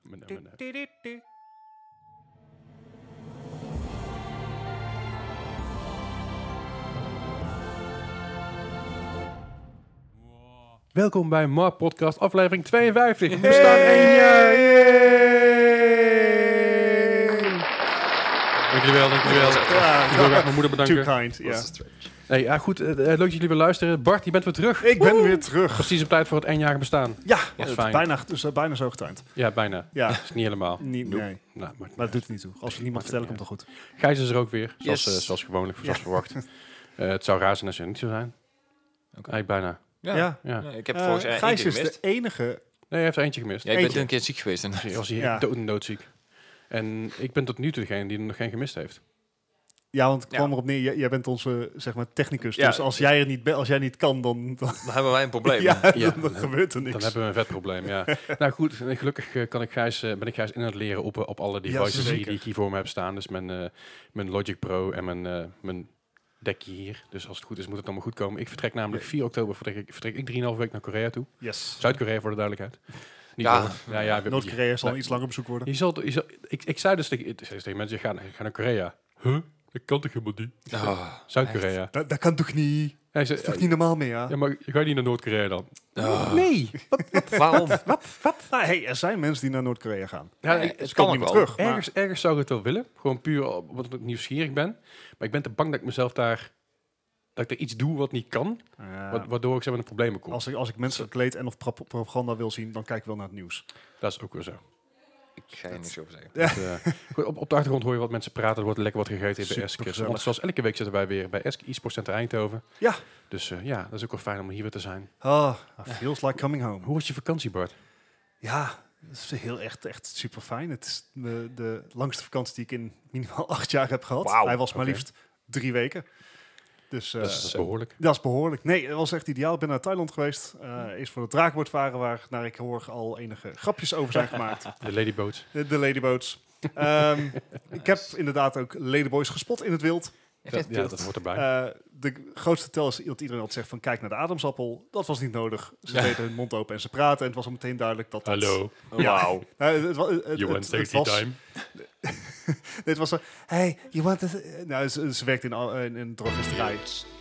Maar nou, maar nou. Welkom bij Mar Podcast, aflevering 52. We staan één jaar. Yay! Dankjewel, dankjewel. Ik wil graag mijn moeder bedanken. Too kind, ja. Hey, ja, goed, eh, eh, leuk dat jullie weer luisteren. Bart, je bent weer terug. Ik ben weer terug. Precies op tijd voor het eenjarige bestaan. Ja, is het fijn. bijna, dus, eh, bijna zo getimed. Ja, bijna. Ja, Mm. Is niet helemaal. niet, Nope. nee. Nou, maar Maar dat doet het niet toe. Als je het niet mag vertellen, komt het goed. Gijs is er ook weer, zoals, Yes. eh, zoals gewoonlijk, zoals verwacht. Eh, het zou raar zijn als je er niet zou zijn. Oké. Eigenlijk bijna. Ja. Ja. Ja. Nee, ik heb Eh, volgens mij één Gijs keer is gemist. de enige. Nee, hij heeft er eentje gemist. Ja, ik ben eentje. toen een keer ziek geweest. En Hij was hier Ja. dood, doodziek. En ik ben tot nu toe degene die er nog geen gemist heeft. Ja, want het Ja. kwam erop neer. Jij, jij bent onze zeg maar, technicus. Ja. Dus als jij, er niet be- als jij niet kan, dan, dan, dan hebben wij een probleem. ja, Ja. dan, dan gebeurt er Dan niks. hebben we een vet probleem, ja. nou goed, en gelukkig eh, kan ik Gijs, eh, ben ik Gijs in het leren op, eh, op alle devices zeker. die, die ik hier voor me heb staan. Dus mijn, eh, mijn Logic Pro en mijn, eh, mijn dekje hier. Dus als het goed is, moet het allemaal goed komen. Ik vertrek namelijk 4 oktober, vertrek ik, vertrek ik 3,5 week naar Korea toe. Yes. Zuid-Korea voor de duidelijkheid. Niet Ja. Noord. ja, ja, we- Noord-Korea zal Nou, iets langer op zoek worden. Je zal, je zal, ik, ik zei dus tegen, ik zei dus tegen mensen, ga, naar- ga naar Korea. Huh? Dat kan toch helemaal niet? Oh, Zuid-Korea. Dat, dat kan toch niet? Hij Dat is toch zei, eh, niet normaal meer, ja? ja, maar ga je niet naar Noord-Korea dan? Ah. Nee! Waarom? Nou, hey, er zijn mensen die naar Noord-Korea gaan. Ja, Nee, ik- het Ze kan komen ook niet meer wel. terug. maar- ergens, ergens zou ik het wel willen. Gewoon puur omdat ik nieuwsgierig ben. Maar ik ben te bang dat ik mezelf daar... Dat ik er iets doe wat niet kan. Ja. wa- Waardoor ik zo met de problemen kom. Als ik, als ik mensen kleed en of pro- propaganda wil zien, dan kijk ik wel naar het nieuws. Dat is ook weer zo. Ik ga je niks over zeggen. Dus, eh, goed, op, op de achtergrond hoor je wat mensen praten. Er wordt lekker wat gegeten in de Supergezellig. Esk. Want zoals elke week zitten wij weer bij Esk e-sport center Eindhoven. Ja. Dus eh, ja, dat is ook wel fijn om hier weer te zijn. Ah, feels like coming home. Hoe was je vakantie, Bart? Ja, dat is heel echt, echt super fijn. Het is de, de langste vakantie die ik in minimaal acht jaar heb gehad. Wauw, Hij was maar oké. liefst drie weken. Dus eh, dat, is, dat is behoorlijk. dat is behoorlijk. Nee, dat was echt ideaal. Ik ben naar Thailand geweest. Eh eerst voor het draakboot varen, waar naar ik hoor al enige grapjes over zijn gemaakt. De ladyboats. De, de ladyboats. Ehm, ik heb inderdaad ook ladyboys gespot in het wild. Dat, ja, dat hoort erbij. Eh, de grootste tel is dat iedereen had zegt van kijk naar de ademsappel. Dat was niet nodig. Ze Ja. deden hun mond open en ze praten. En het was al meteen duidelijk dat dat... Hallo, Wauw. Eh, het, wa- het- you want het- het safety was- time? Dit was zo... Hey, you want this... eh, Nou, ze, ze werkt in, al- in, in drogisterij.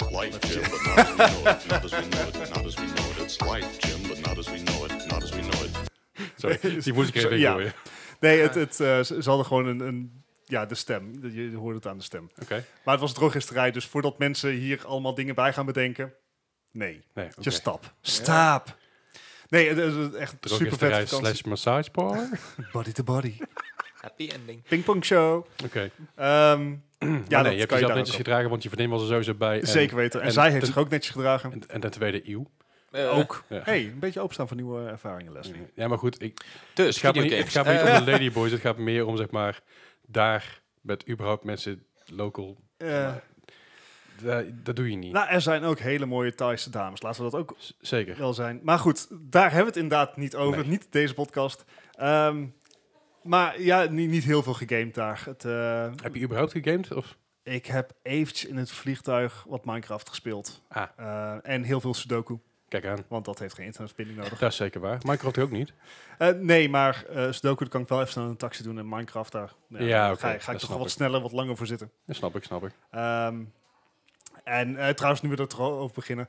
Life, Jim, but not as we know it. Not as we know it. Not as we know it. It's life, Jim, but not as we know it. Not as we know it. Sorry, die moest ik Zo, even ja. gooien. Nee, het, het, eh, ze, ze hadden gewoon een... een ja, de stem. Je, je hoorde het aan de stem. Oké. Maar het was drogisterij, dus voordat mensen hier allemaal dingen bij gaan bedenken... Nee, Nee, oké. je stap. Stap! Nee, het, het, het- echt super Drogisterij vet slash massage parlor? Body to body. Happy ending. Pingpong show. Oké. Ehm, ja, Ja, dat nee, je hebt kan je jezelf daar netjes ook op. gedragen, want je vriendin was er sowieso bij. En- Zeker weten. En, en zij heeft ten- zich ook netjes gedragen. En, en ten tweede, eeuw. Eh, ook. ja. Hey, een beetje openstaan voor nieuwe ervaringen, Leslie. Ja, maar goed, ik, Dus, het gaat me niet, het videogames. gaat me niet Eh, om de ladyboys. Het gaat meer om, zeg maar, daar met überhaupt mensen local. Eh, da- dat doe je niet. nou, er zijn ook hele mooie Thaise dames. Laten we dat ook Z- Zeker. wel zijn. Maar goed, daar hebben we het inderdaad niet over. Nee. Niet deze podcast. Ehm, maar ja, niet, niet heel veel gegamed daar. Het, eh, Heb je überhaupt gegamed? Of? ik heb eventjes in het vliegtuig wat Minecraft gespeeld. Ah. Eh, en heel veel Sudoku, Kijk aan. want dat heeft geen internetverbinding nodig. Dat is zeker waar. Minecraft ook niet. Eh, nee, maar eh Sudoku dat kan ik wel even snel in een taxi doen. En Minecraft daar nou Ja, daar oké, ga, ik- dat ga ik toch snap wel wat ik. sneller, wat langer voor zitten. Dat snap ik, snap ik. Ehm, en eh, trouwens, nu we er tro- over beginnen.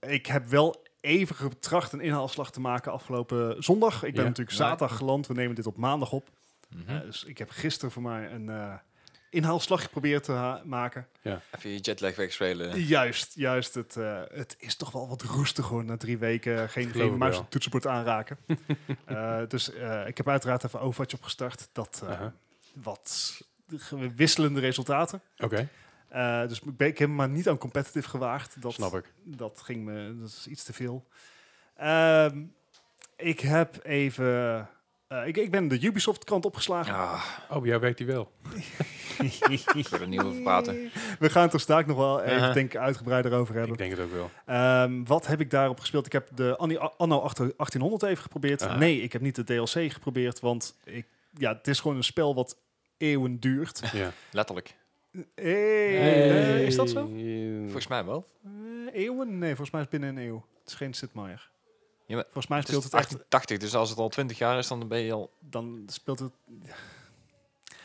Ik heb wel even getracht een inhaalslag te maken afgelopen zondag. Ik ben Ja. natuurlijk Ja. zaterdag geland. We nemen dit op maandag op. mhm. Eh, dus ik heb gisteren voor mij een eh, inhaalslag geprobeerd te ha- maken. Even je jetlag wegspelen. Juist, juist. Het, eh, het is toch wel wat roestig hoor, na drie weken. Geen, Geloof ik geen muis wel. en toetsenbord aanraken. Eh, dus eh, ik heb uiteraard even Overwatch opgestart. Dat eh, Aha. wat wisselende resultaten. Oké, Eh, dus ik, ben, ik heb me maar niet aan competitive gewaagd. Dat, snap ik. dat ging me, dat is iets te veel. Ehm, ik heb even, eh, ik, ik ben de Ubisoft kant opgeslagen. Ah, Oh, bij jou werkt die wel. ik wil er niet over praten. We gaan het er straks nog wel even, Uh-huh. denk ik, uitgebreider over Ik hebben. denk het ook wel. Ehm, wat heb ik daarop gespeeld? Ik heb de Anni- Anno 1800 even geprobeerd. Ah. Nee, ik heb niet de DLC geprobeerd, want ik, ja, het is gewoon een spel wat eeuwen duurt. Ja. Letterlijk. Mm. Hey, eh, is dat zo? Eh, Volgens mij wel. Eh, eeuwen? Nee, volgens mij is het binnen een eeuw. Het is geen Sid Meier. Ja, maar Volgens mij Het is speelt het echt... 80, dus als het al 20 jaar is, dan ben je al... Ah, Dan speelt het...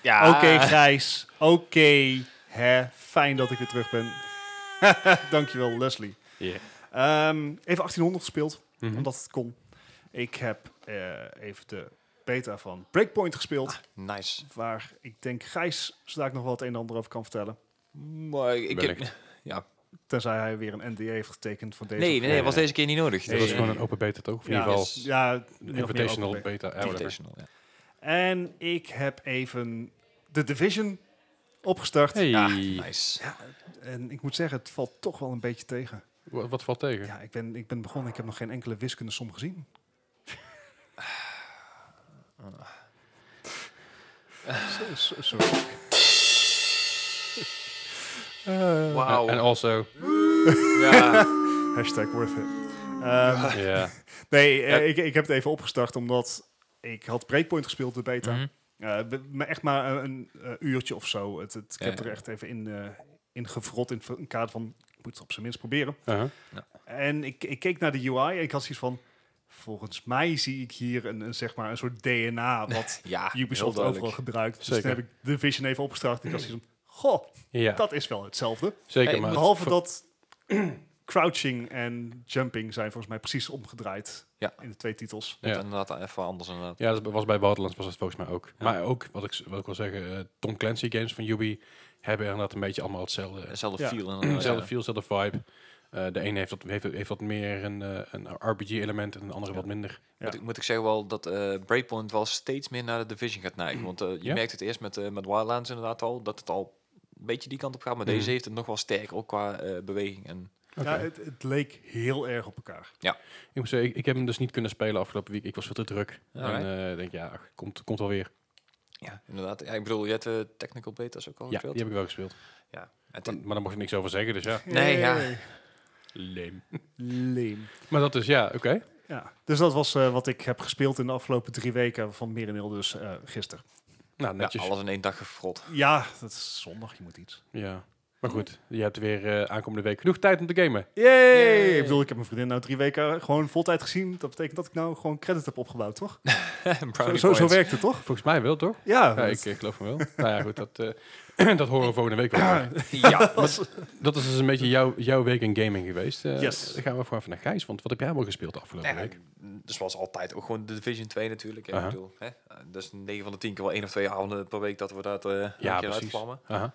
Ja, Oké, Grijs. Oké. Hè, fijn dat ik weer terug ben. Dankjewel, Leslie. Yeah. Ehm, even 1800 gespeeld, Mhm. omdat het kon. Ik heb eh, even de beta van Breakpoint gespeeld. Ah. nice. Waar ik denk Gijs zodat ik nog wel het een en ander over kan vertellen. Maar ik heb... Wellicht. Tenzij hij weer een NDA heeft getekend van deze. Nee, nee, nee, Nee, was nee. deze keer niet nodig. Dat Dus, was eh, gewoon een open beta toch? Of in Ja, ieder geval yes. Ja, min of een meer invitational open. beta. eh, whatever. invitational, ja. En ik heb even The Division opgestart. Hey, Ah, nice. En ik moet zeggen, het valt toch wel een beetje tegen. wat, wat valt tegen? Ja, ik ben, ik ben begonnen. Ik heb nog geen enkele wiskundesom gezien. So- so- Sorry. Eh, Wauw. En also, Ja. hashtag worth it. Ehm, ja. Nee, eh, Ja. ik, ik heb het even opgestart omdat ik had Breakpoint gespeeld, de beta. Mm. Mhm. Eh, we- maar echt maar een, een, eh, uurtje of zo. Het, het, ik Ja, heb ja. er echt even in, eh, in gevrot in het kader van, ik moet het op zijn minst proberen. Uh-huh. En ik, ik keek naar de UI en ik had zoiets van, volgens mij zie ik hier een, een, zeg maar een soort DNA wat Ja, heel Ubisoft duidelijk. overal gebruikt. Dus Zeker. toen heb ik de Vision even opgestart en ik had zoiets van, goh, Ja, dat is wel hetzelfde. zeker. Hey, maar het- Behalve voor- dat crouching en jumping zijn volgens mij precies omgedraaid Ja. in de twee titels. Dat Ja. Inderdaad, even anders inderdaad. Ja, dat was bij Borderlands was het volgens mij ook. Maar ook, wat ik, wat ik wil zeggen, eh, Tom Clancy games van Ubi hebben inderdaad een beetje allemaal hetzelfde. Hetzelfde Ja. feel. inderdaad, Hetzelfde ja. feel, dezelfde vibe. Eh, de een heeft wat, heeft, heeft wat meer een, eh, een RPG-element en de andere wat minder. Ja. Moet, ik, moet ik zeggen wel dat eh, Breakpoint wel steeds meer naar de Division gaat neigen. Want eh, je Ja. merkt het eerst met, eh, met Wildlands inderdaad al, dat het al een beetje die kant op gaat. Maar Mhm. deze heeft het nog wel sterker, ook qua eh, beweging. En, Ja, het, het leek heel erg op elkaar. Ik moet zeggen, ik, ik heb hem dus niet kunnen spelen afgelopen week. Ik was veel te druk. Alright. En eh, ik denk, ja, ach, komt, komt wel weer. ja, inderdaad. Ja, ik bedoel, je hebt eh, technical betas ook al Ja, die gespeeld. heb ik wel gespeeld. Ja. Het- Maar, maar daar mocht ik niks over zeggen, dus ja. Nee, ja. Hey. Leem. Leem. Maar dat is, ja, oké. Ja, dus dat was eh, wat ik heb gespeeld in de afgelopen drie weken, van merendeel dus eh gisteren. Nou, ja, netjes. Ja, alles in één dag gefrot. Ja, dat is zondag, je moet iets. Maar goed, je hebt weer eh, aankomende week genoeg tijd om te gamen. Yay! Ik bedoel, ik heb mijn vriendin nou drie weken gewoon voltijd gezien. Dat betekent dat ik nou gewoon credit heb opgebouwd, toch? Zo, Brownie zo, zo points. werkt het, toch? Volgens mij wel, toch? Ja, Nou, Ja, dat- ik, ik geloof me wel. nou ja, goed, dat, eh, dat horen we volgende week wel. Ah, Ja, Dat is dus een beetje jouw, jouw week in gaming geweest. Eh, Yes. Dan gaan we gewoon even naar Gijs, want wat heb jij allemaal gespeeld de afgelopen Nou ja, week? dus zoals altijd ook gewoon de Division 2 natuurlijk. hè. Aha. Ik bedoel, hè? eh, Dat is 9 van de 10 keer wel één of twee avonden per week dat we dat eh Ja, ja, precies. uitvlammen. Aha.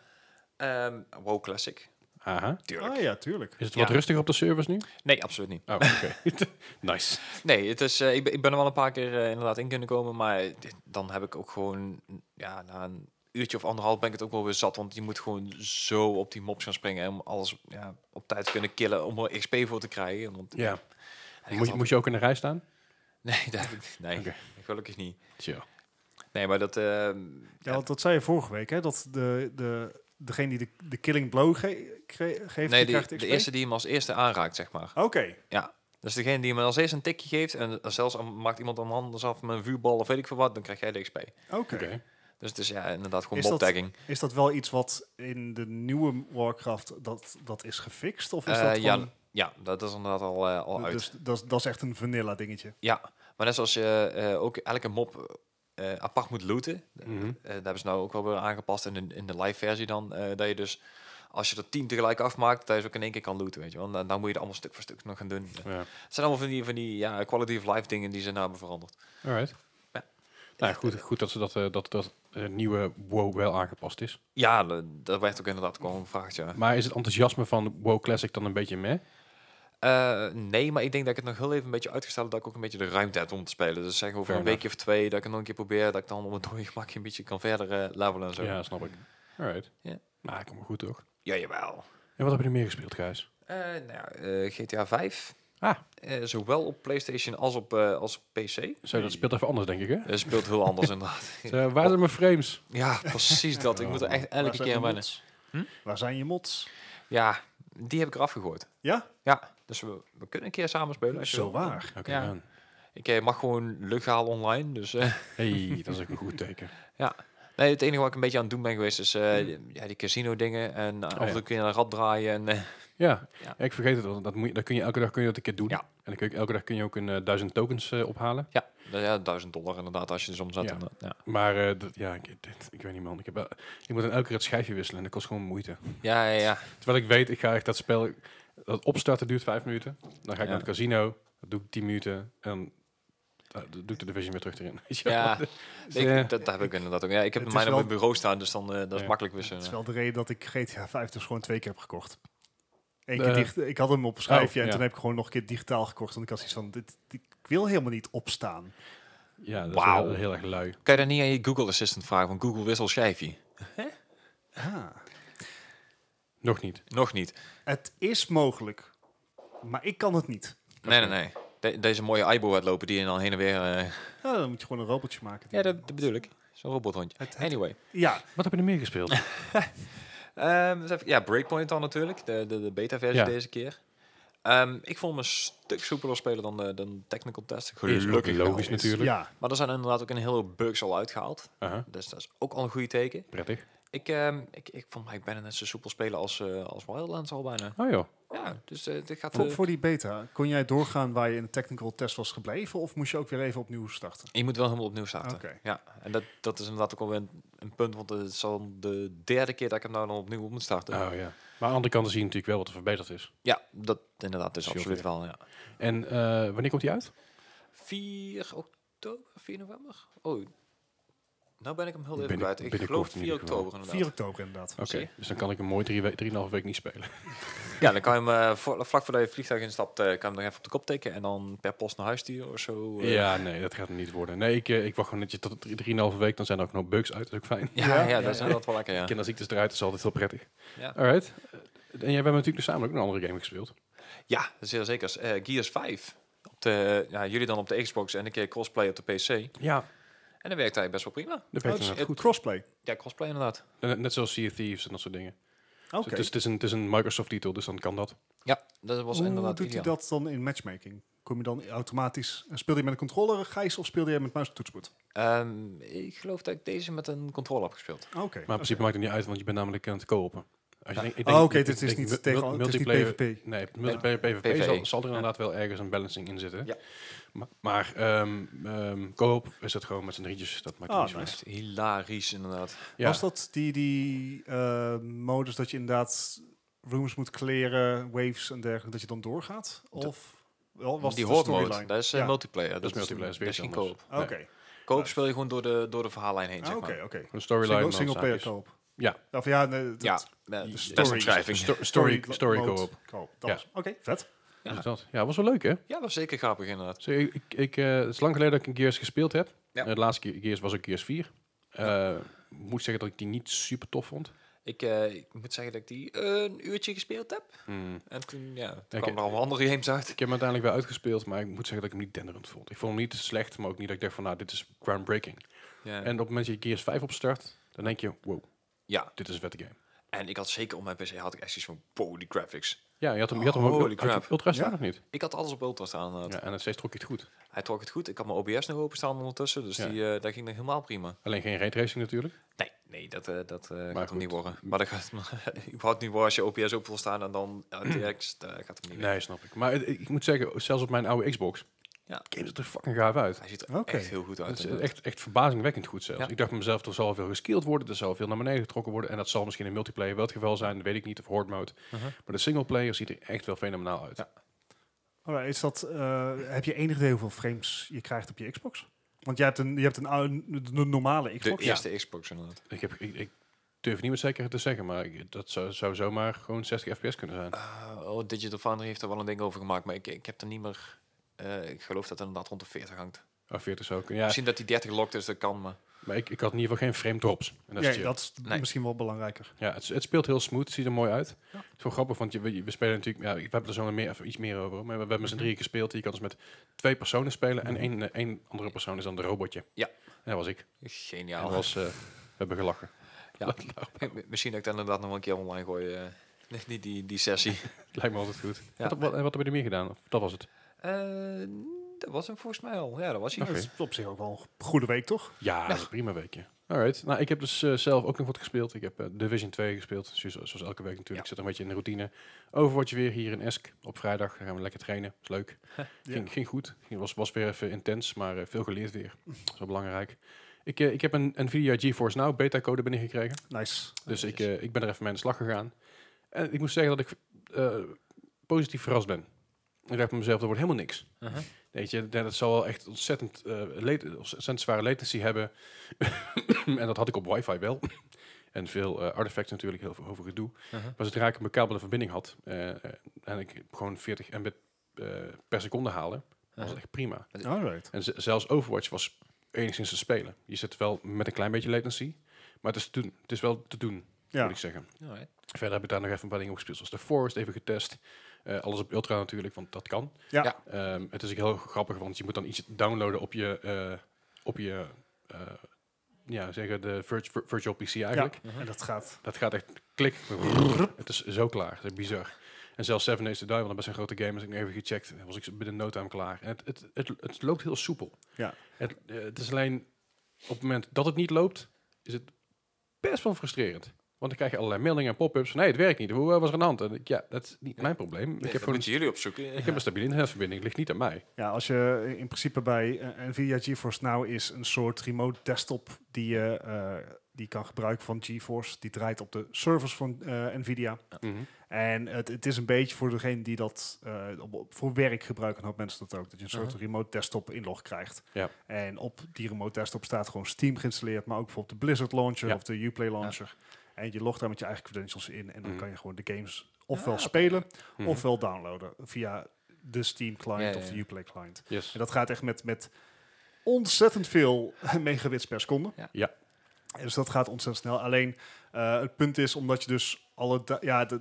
Ehm WoW Classic, Aha. tuurlijk. Ah ja, tuurlijk. Is het Ja. wat rustiger op de servers nu? Nee, absoluut niet. Oh, oké. nice. Nee, het is, eh, ik, ben, ik ben er wel een paar keer eh, inderdaad in kunnen komen. Maar dit- dan heb ik ook gewoon, ja, na een uurtje of anderhalf ben ik het ook wel weer zat. Want je moet gewoon zo op die mobs gaan springen. En om alles ja, op tijd te kunnen killen. Om er XP voor te krijgen. Want, Ja. Hij Moest, had- je- moest je ook in de rij staan? Nee, dat heb ik, nee Oké. gelukkig niet. Tja. Nee, maar dat... eh, Ja, want dat zei je vorige week, hè? Dat de, de, degene die de, de killing blow ge- kre- geeft, nee, die die, krijgt de XP? eerste die hem als eerste aanraakt, zeg maar. Oké. Ja. Dus degene die me als eerste een tikje geeft. En zelfs al maakt iemand dan anders af met een vuurbal of weet ik veel wat. Dan krijg jij de XP. Oké. Oké. Dus het is ja, inderdaad gewoon Is dat- mobtagging. Is dat wel iets wat in de nieuwe Warcraft dat, dat is gefixt? Of is Eh, dat ja, gewoon- ja, dat is inderdaad al, eh, al uit. Dus dat, is- dat is echt een vanilla dingetje. Ja, maar net zoals je eh, ook elke mop eh, apart moet looten. Mhm. eh, dat hebben ze nou ook wel weer aangepast in de, in de live versie dan. eh, dat je dus, als je er tien tegelijk afmaakt, dat je ze ook in één keer kan looten, weet je wel. En dan, dan moet je het allemaal stuk voor stuk nog gaan doen. Ja. Het zijn allemaal van die, van die ja, quality of life dingen die ze nou hebben veranderd. Alright. Ja. Nou, goed, goed dat ze dat, eh, dat, dat eh, nieuwe WoW wel aangepast is. Ja, de- dat werd ook inderdaad gewoon gevraagd, ja. Maar is het enthousiasme van WoW Classic dan een beetje meh? Eh, nee, maar ik denk dat ik het nog heel even een beetje uitgesteld heb dat ik ook een beetje de ruimte heb om te spelen. Dus zeg over Fair een weekje of twee dat ik het nog een keer probeer, dat ik dan op het dode gemakje een beetje kan verder eh, levelen en zo. Ja, snap ik. Alright. Ja. Nou, ik kom me goed toch? ja jawel. En wat heb je er meer gespeeld, Gijs? Eh, nou ja, eh, GTA 5. Ah. Eh, zowel op PlayStation als op, eh, als op PC. Zo, dat speelt even anders, denk ik, hè? Eh, speelt heel anders inderdaad. Zo, waar zijn mijn frames? ja, precies dat. Ik moet er echt Waar elke zijn keer Hm? je aan wennen. mods? Waar zijn je mods? Ja, die heb ik eraf gegooid. Ja? Ja, dus we, we kunnen een keer samen spelen. als je Zo wil. waar. Oké, Ja. dan. Ik eh, mag gewoon legaal online, dus eh, Hey, dat is ook een goed teken. ja. Nee, het enige wat ik een beetje aan het doen ben geweest is eh, ja, die casino dingen. En eh, af en ja. toe kun je een rad draaien. En, eh, Ja. Ja. ik vergeet het, want dat, moet je, dat kun je elke dag kun je dat een keer doen. Ja. En dan kun je, elke dag kun je ook een eh, duizend tokens eh, ophalen. ja, nou ja, 1000 dollar inderdaad als je dus omzet. Ja. En, eh, ja. Maar eh, dat, ja, ik, dit- ik weet niet man. Ik, heb, wel- ik moet dan elke keer het schijfje wisselen en dat kost gewoon moeite. ja, ja, ja. Terwijl ik weet, ik ga echt dat spel... Dat opstarten duurt vijf minuten. Dan ga ik Ja. naar het casino. Dat doe ik tien minuten. En eh, dan doe ik de division weer terug erin. Weet je wel? Ja, Dus, ik, eh, dat, dat heb ik inderdaad ook. Ja, ik heb Het mijn is op wel- mijn bureau staan, dus dan eh, dat Ja. is makkelijk wissen. Dat is eh. wel de reden dat ik GTA 5 dus gewoon twee keer heb gekocht. Eén keer Eh. dicht, ik had hem op een schijfje Oh, en ja. toen heb ik gewoon nog een keer digitaal gekocht. Want ik had zoiets van, dit, dit- ik wil helemaal niet opstaan. ja, dat is Wauw. wel heel erg lui. Kan je dan niet aan je Google Assistant vragen van Google wissel schijfje? Nog niet. Nog niet. Het is mogelijk, maar ik kan het niet. Nee, nee, nee. De- deze mooie Aibo gaat lopen die je dan heen en weer... eh, Ja, dan moet je gewoon een robotje maken. Ja, dat, dat bedoel ik. Zo'n robothondje. Anyway. Ja, Wat heb je er meer gespeeld? Ehm, eens even- ja, Breakpoint dan natuurlijk. De, de, de beta-versie Ja. deze keer. Ehm, ik vond hem een stuk soepeler spelen dan de, dan Technical Test. Is ook wel. logisch natuurlijk. ja. Maar er zijn inderdaad ook een hele hoop bugs al uitgehaald. Aha, Dus dat is ook al een goede teken. prettig. Ik, ehm, ik, ik vond mij bijna net zo soepel spelen als, eh, als Wildlands al bijna. Oh joh. Ja, dus eh, dit gaat... Voor, eh, voor die beta, kon jij doorgaan waar je in de technical test was gebleven? Of moest je ook weer even opnieuw starten? Je moet wel helemaal opnieuw starten. Oké. Ja, en dat, dat is inderdaad ook alweer een, een punt, want het is al de derde keer dat ik hem nou dan opnieuw op moet starten. Oh, ja. Maar aan de andere kant zie je natuurlijk wel wat er verbeterd is. Ja, dat inderdaad, dus Zoveel. absoluut wel. Ja. En eh, wanneer komt die uit? 4 oktober, 4 november? Oh, nou ben ik hem heel even Binnen- kwijt. Ik binnenkort geloof in 4 ieder geval. oktober inderdaad. 4 oktober inderdaad. Oké, Zie je? dus dan kan ik hem mooi drie we- drieënhalve week niet spelen. Ja, dan kan je hem eh, voor- vlak voordat je het vliegtuig instapt, eh, kan je hem nog even op de kop tikken en dan per post naar huis sturen of zo. eh. Ja, nee, dat gaat hem niet worden. Nee, ik, eh, ik wacht gewoon netjes tot drie- drieënhalve week. Dan zijn er ook nog bugs uit, dat is ook fijn. Ja, Ja, ja, ja, dat is ja. inderdaad wel lekker, ja. Kinderziektes eruit, dat is altijd heel prettig. Ja. Alright. Eh, En jij hebt natuurlijk dus samen ook een andere game gespeeld. Ja, zeer zeker. Eh, Gears 5. Op de, ja, jullie dan op de Xbox en een keer crossplay op de PC. Ja. En dan werkt hij best wel prima. Dat Oh, werkt dus inderdaad goed. Crossplay. Ja, crossplay inderdaad. Net, net zoals Sea of Thieves en dat soort dingen. Oké. Dus het is, het is een, het is een Microsoft-titel, dus dan kan dat. Ja, dat was Hoe inderdaad doet hij ideaal. dat dan in matchmaking? Kom je dan automatisch... eh, Speelde je met een controller, Gijs, of speelde je met muis en toetsenbord? Ehm, ik geloof dat ik deze met een controle heb gespeeld. Oké. Maar in principe maakt het niet uit, want je bent namelijk aan het kopen. Als je denkt- ik Oh, denk- oké, ik dit is denk niet mul- tegen- mul- het is niet multiplayer- PvP. Nee, multiplayer PvP PvE. zal, zal er inderdaad wel ergens een balancing in zitten. Ja. Maar, maar ehm, ehm, co-op is het gewoon met z'n drietjes. Dat maakt Ah, niet zo nice. uit. Echt hilarisch inderdaad. Ja. Was dat die, die eh, modus dat je inderdaad rooms moet clearen, waves en dergelijke, dat je dan doorgaat? Of wel, was die het een horde storyline? dat is eh, Ja. multiplayer. Dat, is multiplayer, is weer dat is geen iets koop. anders. Oké, Koop speel je gewoon door de, door de verhaallijn heen, dus- Ah, zeg oké, maar. oké. Een storyline. Single, dan single player zaakjes. koop. Ja. Of ja, nee, dat- Ja, eh, de best story- omschrijving. dus Sto- Story, story mode co-op. koop, dat Ja. was- Oké, vet. Ja. dat. ja, was wel leuk hè? Ja, dat was zeker grappig inderdaad. Dus ik, ik, ik, eh, het is lang geleden dat ik een Gears gespeeld heb. Ja. Eh, de laatste keer Gears was ook Gears 4. Eh, Moet zeggen dat ik die niet super tof vond. Ik, eh, ik moet zeggen dat ik die eh, een uurtje gespeeld heb. En toen, ja, toen Hmm. Oké. kwam er al andere games uit. Ik heb hem uiteindelijk wel uitgespeeld, maar ik moet zeggen dat ik hem niet denderend vond. Ik vond hem niet slecht, maar ook niet dat ik dacht van, nou, dit is groundbreaking. Ja. En op het moment dat je Gears 5 opstart, dan denk je, wow, ja, dit is een vette game. en ik had zeker op mijn PC had ik echt zoiets van, wow, die graphics. Ja, je had hem, je had hem ook Holy had je crap. Ultra staan Ja. of niet? Ik had alles op Ultra staan inderdaad. Ja, en steeds trok je het goed. Hij trok het goed. Ik had mijn OBS nog openstaan ondertussen, dus Ja. die, eh, dat ging nog helemaal prima. Alleen geen raytracing natuurlijk. Nee, nee, dat, eh, dat eh, gaat hem goed. niet worden. Maar dat gaat überhaupt niet worden als je OBS open wil staan en dan RTX, dat gaat hem niet Mm. Nee, snap ik. Maar het- ik moet zeggen, zelfs op mijn oude Xbox, Ja. game ziet er fucking gaaf uit. Hij ziet er Oké. echt heel goed Het uit. eh, is inderdaad. echt, echt verbazingwekkend goed zelfs. Ja. Ik dacht bij mezelf, er zal veel geskild worden, er zal veel naar beneden getrokken worden. En dat zal misschien in multiplayer wel het geval zijn, dat weet ik niet, of horde mode. Uh-huh. Maar de singleplayer ziet er echt wel fenomenaal uit. Alright, is dat, eh, heb je enig idee hoeveel frames je krijgt op je Xbox? Want jij hebt een, je hebt een, oude- een normale De Xbox. eerste Xbox inderdaad. Ik, heb, ik, ik durf niet met zekerheid te zeggen, maar ik- dat zou, zou zomaar gewoon 60 fps kunnen zijn. Eh, oh, Digital Foundry heeft er wel een ding over gemaakt, maar ik, ik heb er niet meer... eh, ik geloof dat het inderdaad rond de 40 hangt. Of 40 zou kunnen. Ja, Misschien dat die 30 lokt is, dat kan, maar... maar ik, ik had in ieder geval geen frame drops. En dat is Ja, chill. dat is Nee. misschien wel belangrijker. Ja, het, het speelt heel smooth, ziet er mooi uit. Het is wel grappig, want je, we, we spelen natuurlijk... Ja, we hebben er zo meer, even iets meer over, hoor, maar we, we hebben met Mhm. z'n drieën gespeeld. Je kan dus met twee personen spelen en één, eh, één andere persoon is dan de robotje. Ja. En dat was ik. En Geniaal. dat was... Nou. eh, we hebben gelachen. ja. Eh, Misschien dat ik dat inderdaad nog wel een keer online gooi. eh, die, die, die, die sessie. Lijkt me altijd goed. Ja. Wat, wat, wat hebben we er meer gedaan? Of dat was het? Eh, dat was hem volgens mij al. Ja, dat was hij. Oké. Dat is op zich ook wel een goede week, toch? Ja, dat is een prima weekje. Alright. Nou, ik heb dus eh, zelf ook nog wat gespeeld. Ik heb eh, Division 2 gespeeld, zoals, zoals elke week natuurlijk. Ja. Ik zit een beetje in de routine. Overwatch weer hier in Esk op vrijdag. Dan gaan we lekker trainen. Is leuk. Ging, ging goed. Het was, was weer even intens, maar eh, veel geleerd weer. Dat is wel belangrijk. Ik, eh, ik heb een NVIDIA GeForce Now beta-code binnengekregen. Nice. Dus ik, Netjes. eh, ik ben er even mee aan de slag gegaan. En ik moet zeggen dat ik eh, positief verrast ben. Ik dacht bij mezelf, dat wordt helemaal niks. Mhm. Weet je, dat dat zal wel echt ontzettend, eh, late- ontzettend zware latency hebben. en dat had ik op wifi wel. en veel eh, artifacts natuurlijk, heel veel over gedoe. Mhm. Maar zodra ik mijn kabel een verbinding had eh, eh, en ik gewoon 40 mbit eh, per seconde halen, was het echt prima. Alright. En ze- zelfs Overwatch was enigszins te spelen. Je zit wel met een klein beetje latency, maar het is te doen. Het is wel te doen, Ja. moet ik zeggen. Alright. Verder heb ik daar nog even een paar dingen op gespeeld, zoals The Forest, even getest. Eh, alles op ultra natuurlijk, want dat kan. Ja. Ja. Ehm, het is ook heel grappig, want je moet dan iets downloaden op je, eh, op je eh, ja, zeggen de virt- vir- virtual PC eigenlijk. Ja. En dat gaat. Dat gaat echt klik. Het is zo klaar. Het is bizar. En zelfs Seven Days to Die, want dat is een grote game, als ik nu even gecheckt, en was ik binnen no time klaar. En het, het, het, het loopt heel soepel. Ja. Het, eh, het is alleen, op het moment dat het niet loopt, is het best wel frustrerend. Want dan krijg je allerlei meldingen en pop-ups van, nee, het werkt niet. Hoe eh, was er aan de hand? En ik, ja, dat is niet mijn probleem. Ik heb gewoon moeten jullie opzoeken. ik heb een stabiele internetverbinding, het ligt niet aan mij. Ja, als je in principe bij eh, NVIDIA GeForce Now is een soort remote desktop die je eh, die kan gebruiken van GeForce. Die draait op de servers van eh, NVIDIA. Mhm. En het, het is een beetje voor degene die dat eh, op- op- voor werk gebruiken, hoop mensen dat ook. Dat je een soort Aha. remote desktop inlog krijgt. Ja. En op die remote desktop staat gewoon Steam geïnstalleerd, maar ook bijvoorbeeld de Blizzard launcher Ja. of de Uplay launcher. En je logt daar met je eigen credentials in en dan Mhm. kan je gewoon de games ofwel Mm. Ah, oké. spelen Mhm. ofwel downloaden via de Steam client Ja, ja, of de ja. Uplay client. Yes. En dat gaat echt met, met ontzettend veel megabits per seconde. Ja. Ja. En Dus dat gaat ontzettend snel. Alleen eh, het punt is, omdat je dus alle... da- Ja, de,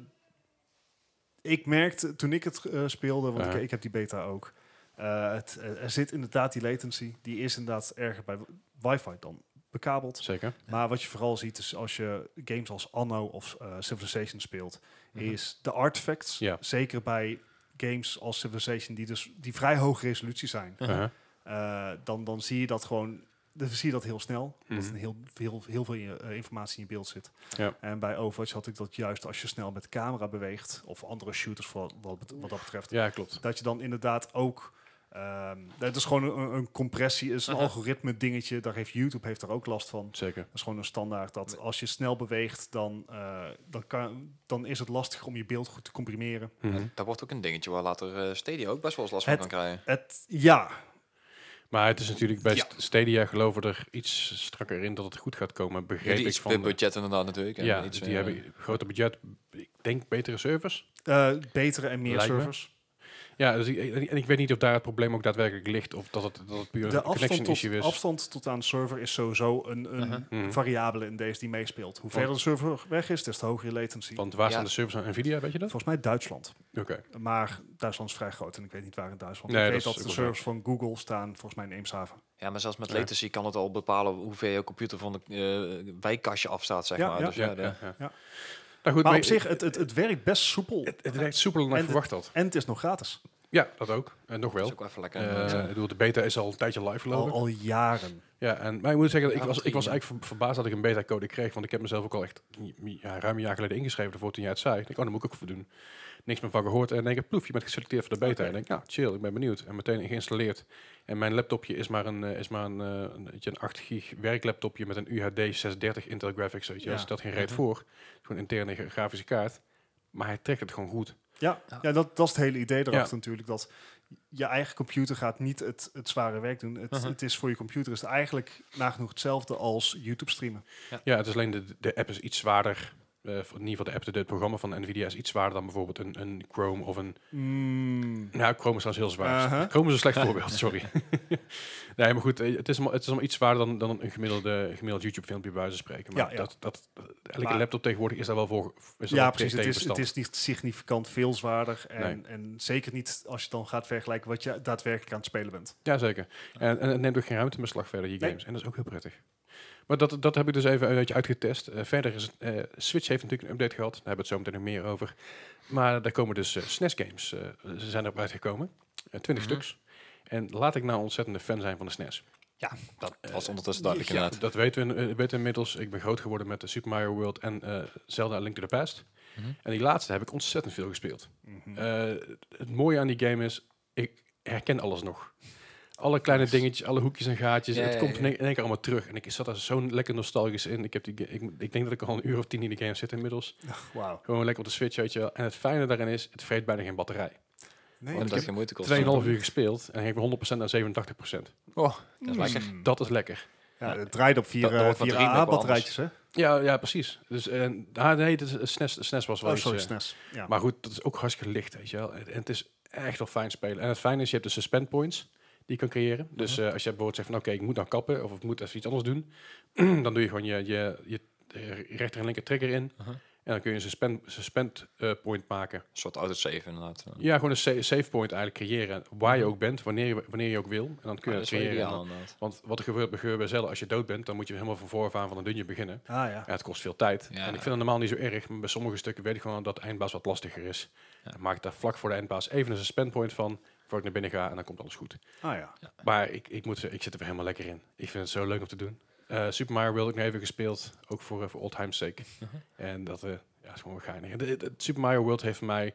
ik merkte toen ik het eh, speelde, want Ja. ik, ik heb die beta ook. eh, het, eh, er zit inderdaad die latency. Die is inderdaad erger bij wi- wifi dan bekabeld. Zeker. Maar wat je vooral ziet is als je games als Anno of eh, Civilization speelt, Mhm. is de artifacts, Ja. zeker bij games als Civilization, die dus die vrij hoge resolutie zijn, Uh-huh. eh, dan, dan zie je dat gewoon, dan zie je dat heel snel. Dat Mhm. er heel, heel, heel veel in je, eh, informatie in je beeld zit. Ja. En bij Overwatch had ik dat juist als je snel met de camera beweegt, of andere shooters voor wat, bet- wat dat betreft, Ja, klopt. dat je dan inderdaad ook. ehm het is gewoon een, een compressie, het is een Mhm. Aha. algoritme dingetje. Daar heeft YouTube heeft daar ook last van. Zeker. Dat is gewoon een standaard dat als je snel beweegt, dan, eh, dan, kan, dan is het lastig om je beeld goed te comprimeren. Mhm. Daar wordt ook een dingetje waar later eh, Stadia ook best wel eens last van Het- kan krijgen. Het, ja, Maar het is natuurlijk bij Ja. Stadia geloven er iets strakker in dat het goed gaat komen, begreep Die ik iets van... van budget inderdaad natuurlijk. en ja, dus iets, die eh, hebben groter budget, ik denk betere servers. eh, betere en meer Lijkt me. servers. Ja, dus ik, en en ik weet niet of daar het probleem ook daadwerkelijk ligt of dat het, dat het puur De een connection afstand issue tot, is. afstand tot aan de server is sowieso een, een Mhm. Mhm. variabele in deze die meespeelt. Hoe verder de server weg is, des te hoger je latency. Want waar Ja. staan de servers aan Nvidia, weet je dat? Volgens mij Duitsland. Oké. Maar Duitsland is vrij groot en ik weet niet waar in Duitsland. Nee, ik weet dat dat, is de ook wel servers van Google staan volgens mij in Eemshaven. Ja, maar zelfs met Ja. latency kan het al bepalen hoe ver je computer van de eh, wijkkastje afstaat, zeg Ja, maar. ja. Dus, Ja, ja, de- ja, ja. Ja. Nou goed, Maar op zich, het, het, het werkt best soepel. het, het werkt soepeler dan ik En de- verwacht had. En het is nog gratis. Ja, dat ook. En nog dat is wel. ook even lekker. Eh, ik bedoel, de beta is al een tijdje live gelopen. Al, al jaren. Ja, en, maar ik moet zeggen, dat ik, Ja, was, ik was misschien, eigenlijk ver- verbaasd dat ik een beta-code kreeg. Want ik heb mezelf ook al echt ja, ruim een jaar geleden ingeschreven. Daarvoor toen jij het zei. Ik denk, oh, daar moet ik ook voor doen. Niks meer van gehoord. En in één keer, ploef, je bent geselecteerd voor de beta. Oké. En ik denk, nou, chill, ik ben benieuwd. En meteen geïnstalleerd. En mijn laptopje is maar een, eh, is maar een, eh, een, weet je, een 8 gig werklaptopje met een UHD 630 Intel Graphics. Weet je, Ja. Mhm. dat stelt geen reet voor. Gewoon interne ge- grafische kaart. Maar hij trekt het gewoon goed. Ja, Ja. ja dat, dat is het hele idee erachter Ja. natuurlijk. Dat je eigen computer gaat niet het, het zware werk doen. Het, Uh-huh. Mhm. het is voor je computer is het eigenlijk nagenoeg hetzelfde als YouTube streamen. Ja, het is alleen de, de app is iets zwaarder. eh, in ieder geval de app, de, het programma van NVIDIA is iets zwaarder dan bijvoorbeeld een, een Chrome of een Hmm. Nou, Chrome is trouwens heel zwaar. Aha. Chrome is een slecht voorbeeld, sorry. nee, maar goed, eh, het is allemaal, het is allemaal iets zwaarder dan, dan een gemiddelde, gemiddeld YouTube-filmpje bij wijze van spreken. Maar Ja, ja. Dat, dat, elke Maar- laptop tegenwoordig is daar wel voor. Is daar ja, wel precies. tegen Het is, het bestand. is niet significant veel zwaarder. En, en zeker niet als je dan gaat vergelijken wat je daadwerkelijk aan het spelen bent. Ja, zeker. En, en het neemt ook geen ruimte in beslag verder, je Nee. games. En dat is ook heel prettig. Maar dat, dat heb ik dus even een beetje uitgetest. Eh, verder is het, eh, Switch heeft natuurlijk een update gehad. Daar hebben we het zo meteen nog meer over. Maar daar komen dus eh, SNES games. eh, ze zijn erop uitgekomen. twintig Mhm. stuks. En laat ik nou een ontzettende fan zijn van de SNES. Ja, dat was ondertussen Ja, duidelijk inderdaad. dat weten we, in- eh, weten we inmiddels. Ik ben groot geworden met de Super Mario World en eh, Zelda A Link to the Past. Mhm. En die laatste heb ik ontzettend veel gespeeld. Mhm. Eh, het mooie aan die game is, ik herken alles nog. Alle kleine dingetjes, alle hoekjes en gaatjes. Ja, het ja, komt in ja. één- in één keer allemaal terug. En ik zat daar zo lekker nostalgisch in. Ik, heb die, ga- ik, ik denk dat ik al een uur of tien in de game zit inmiddels. Wauw. Gewoon lekker op de Switch, weet je wel. En het fijne daarin is, het vreet bijna geen batterij. Nee, Omdat ik heb geen moeite kost. 2,5 uur gespeeld en ik ben 100% naar 87%. Oh, dat is lekker. Mm. Dat is lekker. Ja, het draait op vier, Dat- dat eh, wordt wat vier remake wel AA-batterijtjes, hè? Ja, ja precies. Dus, en, ah, nee, het is- het SNES, het SNES was wel Oh, iets, sorry, eh, SNES. Ja. Maar goed, dat is ook hartstikke licht, weet je wel. En en het is echt wel fijn spelen. En het fijne is, je hebt de suspend points die je kan creëren. Dus Mhm. eh, als je bijvoorbeeld zegt van, oké, ik moet dan kappen of ik moet even iets anders doen, dan doe je gewoon je, je, je eh, rechter en linker trigger in. Mhm. En dan kun je een suspend, suspend eh, point maken. Een soort autosave inderdaad. Ja, gewoon een sa- save point eigenlijk creëren. Waar je ook bent, wanneer je, wanneer je ook wil. En dan kun Ja, je Mhm. dat Ah, dat is wel creëren. En ideaal dan- inderdaad. want wat er gebeurt, gebeurt bij Zelda, als je dood bent, dan moet je helemaal van vooraf aan van een dungeon beginnen. ah ja. Ja, het kost veel tijd. Ja. En ik vind het normaal niet zo erg, maar bij sommige stukken weet ik gewoon dat de eindbaas wat lastiger is. Ja. Dan maak ik daar vlak voor de eindbaas even een suspend point van, voor ik naar binnen ga en dan komt alles goed. Ah ja. Maar ik, ik, moet, zeggen, ik zit er weer helemaal lekker in. Ik vind het zo leuk om te doen. Eh, Super Mario World heb ik nog even gespeeld, ook voor, eh, voor old time's sake. Mhm. En dat eh, ja, is gewoon geinig. De- de- Super Mario World heeft voor mij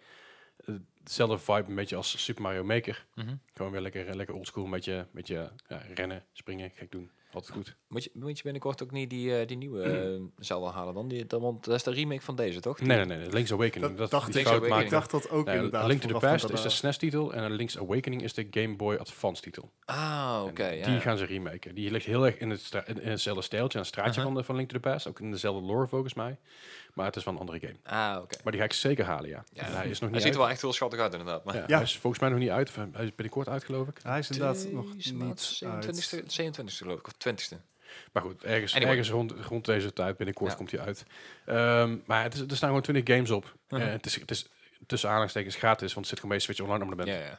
eh, dezelfde vibe een beetje als Super Mario Maker. Mhm. Gewoon weer lekker, eh, lekker oldschool met je, met je ja, rennen, springen, gek doen. Altijd goed. Moet je, moet je binnenkort ook niet die, eh, die nieuwe eh, Zelda halen dan? Die, dan? Want dat is de remake van deze, toch? Nee, nee, nee. nee, Link's Awakening. Dat Dat, dacht die ik. fout Link's maakte Ik dacht dat ook Nee, inderdaad. A Link to the vooraf Past dat, is dus- de eh, SNES-titel en A Link's Awakening is de Game Boy Advance-titel. Ah, oké. En ja. die gaan ze remaken. Die ligt heel erg in, het stra- in, in hetzelfde stijltje, aan het straatje Uh-huh. van, de, van Link to the Past. Ook in dezelfde lore, volgens mij. Maar het is van een andere game. Ah, oké. Maar die ga ik zeker halen, ja. Ja. En hij is nog Hij niet ziet er uit. wel echt heel schattig uit inderdaad. Maar Ja, Ja. Hij is volgens mij nog niet uit. Of hij is binnenkort uit, geloof ik. Hij is inderdaad nog Deze maand, niet uit. 27e, 27e geloof ik, of 20e. Maar goed, ergens, Anyway. ergens rond, rond deze tijd, binnenkort Ja. komt hij uit. Ehm, maar het is, er staan gewoon 20 games op. Eh, Uh-huh. het, is, het is tussen aanhalingstekens gratis, want het zit gewoon bij je Switch Online abonnement. Ja, ja.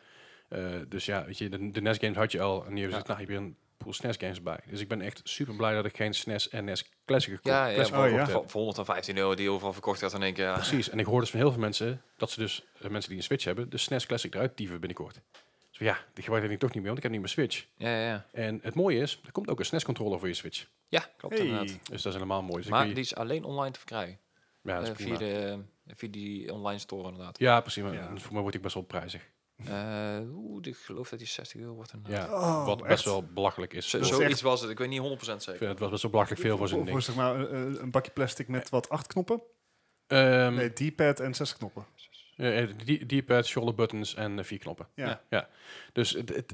Eh, dus ja, weet je, de, de NES games had je al. En nu hebben Ja. ze gezegd, nou, je hebt een pool SNES games bij. Dus ik ben echt super blij dat ik geen E SNES en NES Classic gekocht Ja, ja, Classic voor, Oh, ja. gekocht heb. voor, voor 115 euro die overal verkocht had in één keer. ja. Precies. En ik hoorde dus van heel veel mensen dat ze dus, eh, mensen die een Switch hebben, de SNES Classic eruit dieven binnenkort. Dus ja, die gebruik ik toch niet meer, want ik heb nu mijn Switch. Ja, ja, ja. En het mooie is, er komt ook een SNES-controller voor je Switch. Ja, klopt Hey. inderdaad. Dus dat is helemaal mooi. Dus Maar ik, die die, is alleen online te verkrijgen. ja, dat Eh, is via, prima. de, via die online store inderdaad. Ja, precies. Maar Ja. Voor mij wordt ik best wel prijzig. Eh, Oeh, ik geloof dat die 60 euro wordt inderdaad. Ja, Oh, wat best echt? wel belachelijk is. Zo, Dus is zoiets echt- was het, ik weet niet 100% ik zeker. vind het was best wel belachelijk veel voor zo'n Voor ding. zeg maar eh, eh, een bakje plastic met wat acht knoppen. Ehm, Nee, D-pad en zes knoppen. Eh, eh, die D-pad, shoulder buttons en eh, vier knoppen. Ja. ja. Dus het, het,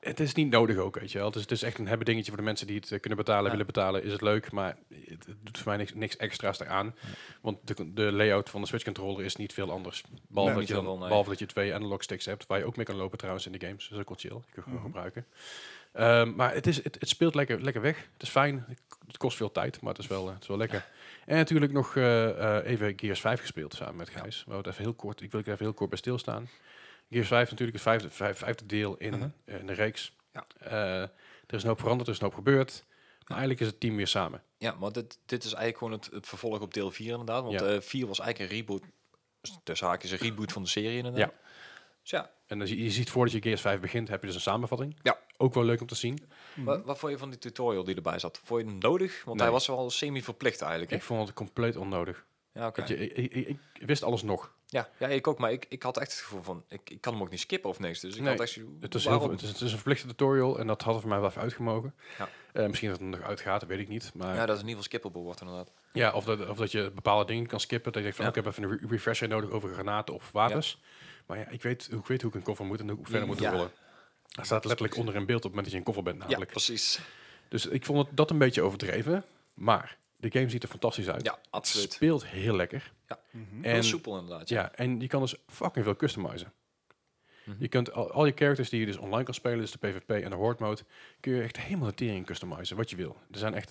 het is niet nodig ook, weet je wel. Dus het is echt een hebben dingetje voor de mensen die het eh, kunnen betalen, Ja. willen betalen. Is het leuk, maar het, het doet voor mij niks, niks extra's eraan. Want de, de layout van de Switch controller is niet veel anders. Behalve, Nee, dat, je niet dan, veel wel, nee. behalve dat je twee analog sticks hebt, waar je ook mee kan lopen trouwens in de games. Dus dat is ook wel chill. Die kun je Mhm. gewoon gebruiken. Ehm, maar het, is, het, het speelt lekker, lekker weg. Het is fijn. Het k- Het kost veel tijd, maar het is wel, eh, het is wel lekker. En natuurlijk nog eh, eh, even Gears 5 gespeeld samen met Gijs. We hadden even heel kort, ik wil er even heel kort bij stilstaan. Gears 5 is natuurlijk het vijfde, vijf- vijfde deel in, Mhm. eh, in de reeks. Ja. Eh, er is een hoop veranderd, er is een hoop gebeurd. Maar eigenlijk is het team weer samen. Ja, maar dit, dit is eigenlijk gewoon het, het vervolg op deel 4 inderdaad. Want Ja. eh 4 was eigenlijk een reboot, dus haakjes een reboot van de serie inderdaad. Ja. Dus ja, En dan zie- je ziet voordat je Gears 5 begint, heb je dus een samenvatting. Ja. Ook wel leuk om te zien. Wat, wat vond je van die tutorial die erbij zat? Vond je hem nodig? Want Mhm. Nee. hij was wel semi-verplicht eigenlijk. hè? Ik vond het compleet onnodig. Ja, oké. Want je, ik, ik- ik wist alles nog. ja, ja, ik ook. Maar ik, ik had echt het gevoel van, ik, ik kan hem ook niet skippen of niks. Dus ik Nee, had echt zo- Het is, heel, waarom? veel- het, is, het is een verplichte tutorial en dat had er voor mij wel even uitgemogen. Ja. Eh, misschien dat het er nog uitgaat, dat weet ik niet. Maar Ja, ja, dat is in ieder geval skippable wordt inderdaad. of, dat, of dat je bepaalde dingen kan skippen. Dat je denkt van, Ja. oké, ik heb even een re- refresher nodig over granaten of wapens. Maar ja, ik weet, hoe- ik weet hoe ik een koffer moet en hoe ik verder moet Ja. rollen. Er staat letterlijk onder in beeld op het moment dat je een koffer bent Ja, namelijk. precies. dus ik vond het, dat een beetje overdreven. Maar de game ziet er fantastisch uit. Ja, Het absoluut. speelt heel lekker. Ja. Mhm. En, Heel soepel inderdaad. Ja. ja, en je kan dus fucking veel customizen. Mhm. Je kunt al, al je characters die je dus online kan spelen, dus de PvP en de horde mode, kun je echt helemaal de tering customizen, wat je wil. Er zijn echt,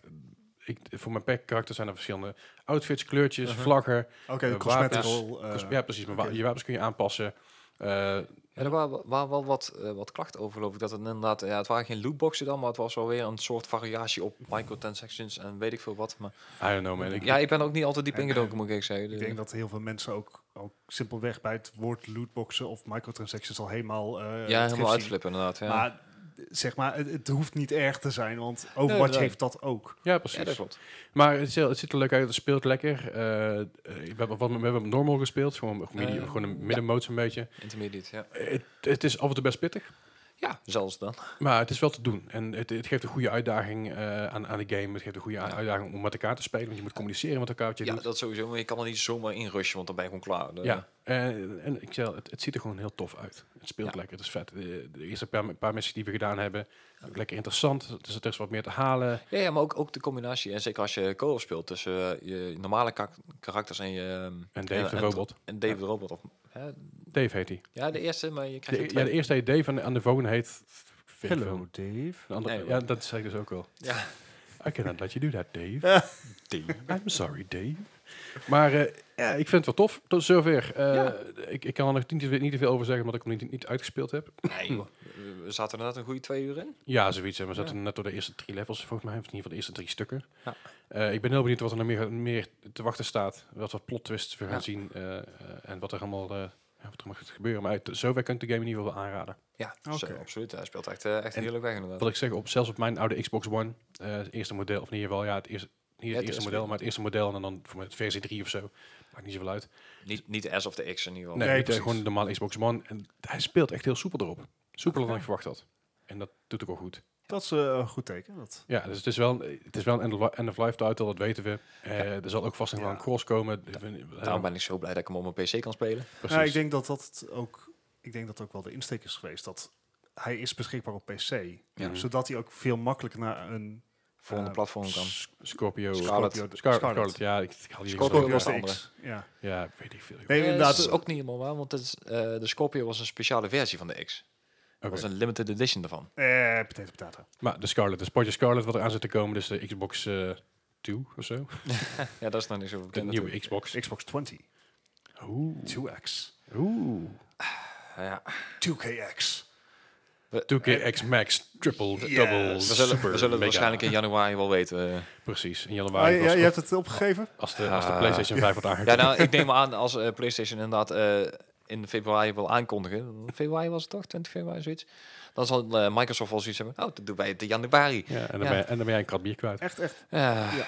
ik, voor mijn pack karakter zijn er verschillende outfits, kleurtjes, Mhm. vlaggen. Oké, de Eh, cosmetic wapens. roll, eh, cos- ja, precies. Maar wa- oké. je wapens kun je aanpassen. Eh, Ja, er waren wa- waren wel wat, eh, wat klachten over, geloof ik. Dat het inderdaad, ja, het waren geen lootboxen dan, maar het was wel weer een soort variatie op microtransactions en weet ik veel wat. Maar I don't know man. Ik, ja, ik ben er ook niet altijd diep En- ingedoken, moet ik eerlijk zeggen. Dus Ik denk dat heel veel mensen ook, ook simpelweg bij het woord lootboxen of microtransactions al helemaal... eh, het ja, gif zien. helemaal uitflippen inderdaad. Ja. Maar zeg maar, het, het hoeft niet erg te zijn, want Overwatch Nee, heeft dat ook. Ja, Ja, precies. dat klopt. Maar het, is heel- het ziet er leuk uit, het speelt lekker. Eh, eh, we, hebben, wat, we hebben hem normal gespeeld, gewoon, medium, Eh, gewoon ja. een middenmoot zo'n beetje. Intermediate, ja. Het, het is af en toe best pittig, Ja, zelfs dan. maar het is wel te doen. En het, het geeft een goede uitdaging eh, aan, aan de game. Het geeft een goede a- Ja. uitdaging om met elkaar te spelen, want je moet communiceren met elkaar. Wat je Ja, doet. dat eh, sowieso. Maar je kan er niet zomaar in rushen, want dan ben je gewoon klaar. Dan- Ja, en, en ik zei, al, het, het ziet er gewoon heel tof uit. Het speelt Ja. lekker, het is vet. Eh, De, de eerste paar, paar missies die we gedaan hebben, ook lekker interessant. Dus er is wat meer te halen. Ja, ja, maar ook, ook de combinatie. En zeker als je co-op speelt tussen eh, je normale kak- karakters en je... ehm, En Dave de robot. En David de Robot. Of, hè? Dave heet hij. Ja, de eerste, maar je krijgt De, e- er ja, twee. de eerste heet Dave en aan de volgende heet... Phil. Dave. De andere, Nee, ja, dat zei ik dus ook wel. Ja. I cannot let you do that, Dave. I'm sorry, Dave. Maar eh, ja, ik vind het wel tof, tot zover. Eh, ik, ik kan er nog niet, niet te veel over zeggen, omdat ik hem niet, niet uitgespeeld heb. Nee, joh. We- We zaten inderdaad een goede twee uur in. Ja, zoiets. hè. We Ja. zaten net door de eerste drie levels, volgens mij. Of in ieder geval de eerste drie stukken. Ja. Eh, ik ben heel benieuwd wat er nog meer, meer te wachten staat. Wat voor plot twists we gaan Ja. zien. eh, eh, en wat er allemaal, eh, ja, wat er allemaal gaat gebeuren. Maar uit zover kan ik de game in ieder geval wel aanraden. Ja, dus, Oké. eh, absoluut. Hij speelt echt, eh, echt En heerlijk weg inderdaad. Wat ik zeg, op, zelfs op mijn oude Xbox One. eh, het eerste model, of in ieder geval, ja, het eerste, niet Ja, het het eerste is- model, maar het eerste model. En dan voor mij het versie 3 of zo. Maakt niet zoveel uit. Oh. Niet, niet de S of de X in ieder geval. Nee, niet, Nee, eh, precies. gewoon de normale Xbox One. En hij speelt echt heel soepel erop. Soepeler dan ik verwacht had. En dat doet ook wel goed. Dat is eh, een goed teken. Dat. Ja, dus het is wel, het is wel een end-of-life title, dat weten we. Eh, Er zal ook vast nog wel Ja. een cross komen. We- we- Daarom ben ik zo blij dat ik hem op mijn PC kan spelen. precies. Nou, ik denk dat dat het ook, ik denk dat ook wel de insteek is geweest. Dat hij is beschikbaar op PC, Mhm. zodat hij ook veel makkelijker naar een Volgende eh, platform kan. Scorpio. Scar- Scarlet. Scorpio- Scarlet. Scarlet. Ja, ik, ik haal hier Scorpio zo- was de Scorpio andere. X, Ja. Ja, weet ik veel. joh. Nee, Eh, inderdaad. dat is ook niet helemaal waar, want het is, eh, de Scorpio was een speciale versie van de X. Oké. Dat was een limited edition daarvan. eh, potato, potato. Maar de Scarlet, de Spotje Scarlet wat eraan zit te komen, dus de Xbox eh 2 of zo. Ja, dat is nog niet zo De bekend. nieuwe natuurlijk. Xbox. Xbox 20, Oeh. 2X, Oeh. Ah, Ja, 2KX. 2KX Max Triple Yes. Double We we zullen, Super we zullen het Mega. waarschijnlijk in januari wel weten. eh. Precies, in Ah, januari. ja, als, je hebt het opgegeven? als, de, als de Ah. PlayStation 5 wordt Ja, aangekomen. nou, ik neem aan als eh, PlayStation inderdaad eh, in februari wil aankondigen. Februari was het toch? 20 februari, zoiets. Dan zal eh, Microsoft wel zoiets hebben. Oh, dat doen wij het in januari. Ja, en, dan Ja. Ben, je- en dan ben jij een krat bier kwijt. Echt, echt. Eh, Ja.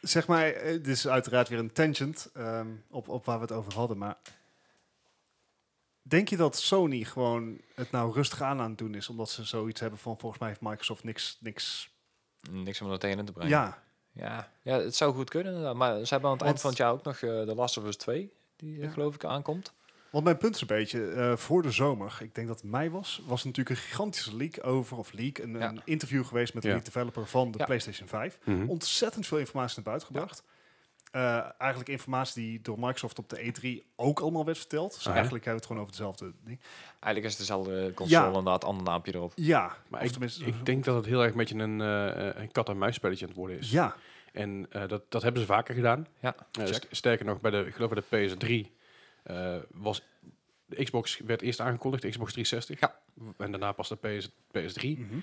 Zeg maar, eh, dit is uiteraard weer een tangent ehm, op, op waar we het over hadden, maar denk je dat Sony gewoon het nou rustig aan aan het doen is, omdat ze zoiets hebben van volgens mij heeft Microsoft niks, niks. niks om er tegen in te brengen. Ja, Ja. ja, het zou goed kunnen. inderdaad. Maar ze hebben aan Want- het eind van het jaar ook nog de The Last of Us 2, die eh, Ja. geloof ik aankomt. want mijn punt is een beetje eh, voor de zomer, ik denk dat het mei was, was natuurlijk een gigantische leak over of leak, een, Ja. een interview geweest met de Ja. lead developer van de Ja. PlayStation 5. Mhm. ontzettend veel informatie naar buiten gebracht. Eh, eigenlijk informatie die door Microsoft op de E3 ook allemaal werd verteld. Dus Ah, ja. eigenlijk hebben we het gewoon over dezelfde ding. Eigenlijk is het dezelfde eh, console, Ja. inderdaad, ander naampje erop. Ja, Maar of ik, tenminste... ik denk dat het heel erg een beetje een, eh, een kat-en-muis spelletje aan het worden is. ja, En eh, dat, dat hebben ze vaker gedaan. Ja, Eh, st- sterker nog, bij de, ik geloof bij de PS3 eh, was de Xbox werd eerst aangekondigd, de Xbox 360. Ja. En daarna pas de PS, PS3. mhm.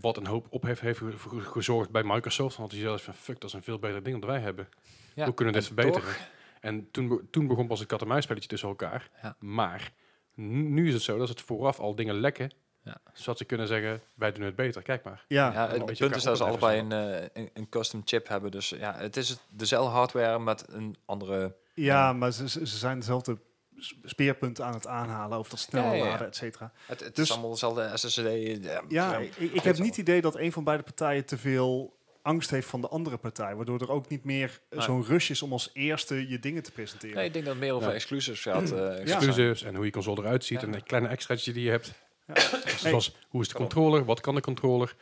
Wat een hoop ophef heeft ge- ge- gezorgd bij Microsoft. Want die zelfs van fuck, dat is een veel beter ding dan wij hebben. Ja, Hoe kunnen we dit en verbeteren? En toen, be- toen begon pas een kat-en-muis spelletje tussen elkaar. Ja. Maar n- nu is het zo dat ze het vooraf al dingen lekken. Ja. Zodat ze kunnen zeggen, wij doen het beter, kijk maar. ja. Ja, het beetje punt is dat ze elkaar allebei opheffen, een, eh, een, een custom chip hebben. Dus ja, het is het, dezelfde hardware met een andere... ja, maar ze, ze ze zijn dezelfde s- speerpunten aan het aanhalen over dat snelle Ja, ja, ja. laden, et cetera. Het, het Dus- is allemaal dezelfde SSD. Ja, Ja, ik, ik heb niet het idee dat een van beide partijen te veel angst heeft van de andere partij, waardoor er ook niet meer eh, Nee. zo'n rush is om als eerste je dingen te presenteren. Nee, ik denk dat het meer over Ja. exclusives gaat. eh, Ja. Exclusives en hoe je console eruit ziet. Ja. En de kleine extraatjes die je hebt. Ja. Zoals, hoe is de controller? Wat kan de controller?